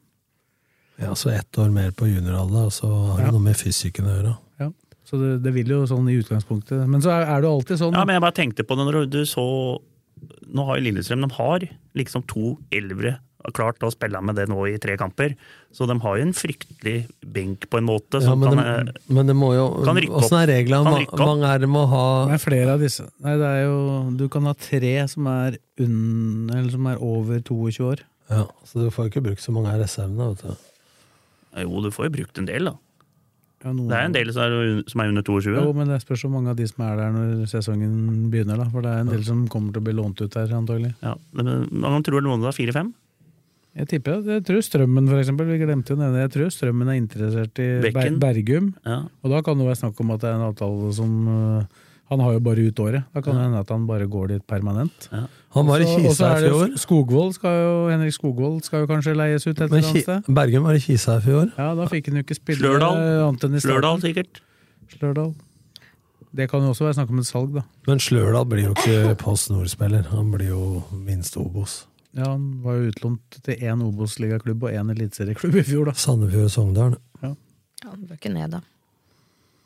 D: Ja, så ett år mer på junioralder, og så har
B: Ja.
D: det noe med fysikken å gjøre.
B: Ja. Så det, det vil jo sånn i utgangspunktet. Men så er, er det jo alltid sånn.
E: Ja, men jeg bare tenkte på det når du så Nå har jo Lillestrøm de har liksom to elvere og klart å spille med det nå i tre kamper. Så de har jo en fryktelig benk på en måte.
D: Ja,
E: Som
D: men,
E: kan,
D: det, men det må jo
E: kan rykke opp.
D: Åssen er reglene?
E: Kan
D: Hvor
E: rykke opp.
D: mange er det med å ha
B: Det er flere av disse. Nei, det er jo Du kan ha tre som er, unn, eller som er over 22 år.
D: ja, Så du får jo ikke brukt så mange av reservene, vet du.
E: eh, jo, du får jo brukt en del, da.
B: Ja, noen-
E: Det er en del som er, som er under 22.
B: Jo, men det spørs hvor mange av de som er der når sesongen begynner, da. For det er en del som kommer til å bli lånt ut der, antagelig.
E: Ja, men Man tror noen av det er fire-fem.
B: Jeg tipper at- jeg tror Strømmen, for eksempel. Vi glemte jo å nevne Jeg tror Strømmen er interessert i Ber
E: Bekken.
B: Bergum.
E: Ja.
B: Og da kan det være snakk om at det er en avtale som øh, Han har jo bare ut året. Da kan det hende at han bare går dit permanent.
D: Han var i
B: Så- og så
D: Kisa
B: er
D: i
B: det jo
D: fjor.
B: Skogvold skal jo, Henrik Skogvold skal jo kanskje leies ut et eller
D: Men
B: annet
D: Ki
B: sted.
D: Bergum var i Kisa i fjor.
B: Ja, da fikk han jo ikke spille
E: Slørdal.
B: øh, annet enn i starten.
E: Slørdal, sikkert.
B: Slørdal. Det kan jo også være snakk om et salg, da.
D: Men Slørdal blir jo ikke Post Nord-spiller. Han blir jo minst Obos.
B: Ja, Han var jo utlånt til én Obos-ligaklubb og én eliteserieklubb i fjor, da.
D: Sandefjord og Sogndal.
C: Ja, det bør ikke ned, da.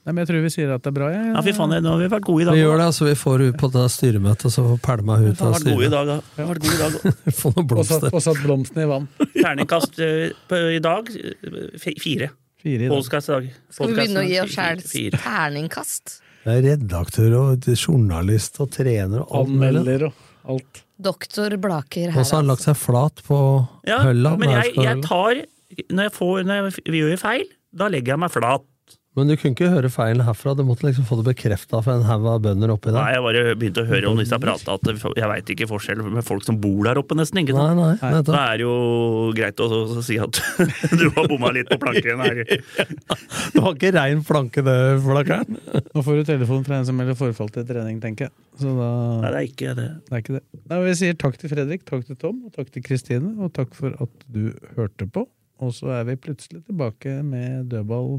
B: Nei, men Jeg tror vi sier at det er bra. Jeg.
E: Ja, fy faen, nå har vi vært gode i dag.
D: Vi gjør det, altså. Vi får ut på det styremøtet, så får pælma
E: Vi
D: ut
E: har
D: av
E: vært gode i
D: styret.
E: dag, da. Vi har vært gode i dag.
D: Få noen
B: Og satt,
D: blomster.
B: og satt blomstene i vann.
E: Terningkast eh, på, i dag eh, fi- fire.
B: Fire i dag.
E: Podcast i dag.
C: Skal vi begynne å gi oss
E: Podcasten,
C: sjæl
E: fire.
C: terningkast?
D: Det er redaktør og journalist og trener og alt mulig.
B: Anmelder og alt.
C: Doktor Blaker her,
D: Og så har han lagt seg flat på
E: Ja,
D: hølla.
E: men jeg, jeg
D: Maurskog-hølla.
E: tar Når, jeg får, når jeg, vi gjør feil, da legger jeg meg flat.
D: Men du kunne ikke høre feilen herfra. Du måtte liksom få det bekrefta for en haug av bønder oppi
E: Nei,
D: der.
E: jeg bare begynte å høre om disse prata at jeg veit ikke forskjell med folk som bor der oppe, nesten.
D: Nei,
E: ikke sant?
D: nei.
E: Da
D: nettopp.
E: er det jo greit å, å si at du har bomma litt på planken her.
D: Det var ikke rein flanke, det, Flakkeren.
B: Nå får du telefon fra en som melder forfall til trening, tenker jeg. Så da
E: Nei, det er ikke det.
B: det er ikke det. Nei, men vi sier takk til Fredrik, takk til Tom, og takk til Kristine, og takk for at du hørte på. Og så er vi plutselig tilbake med dødball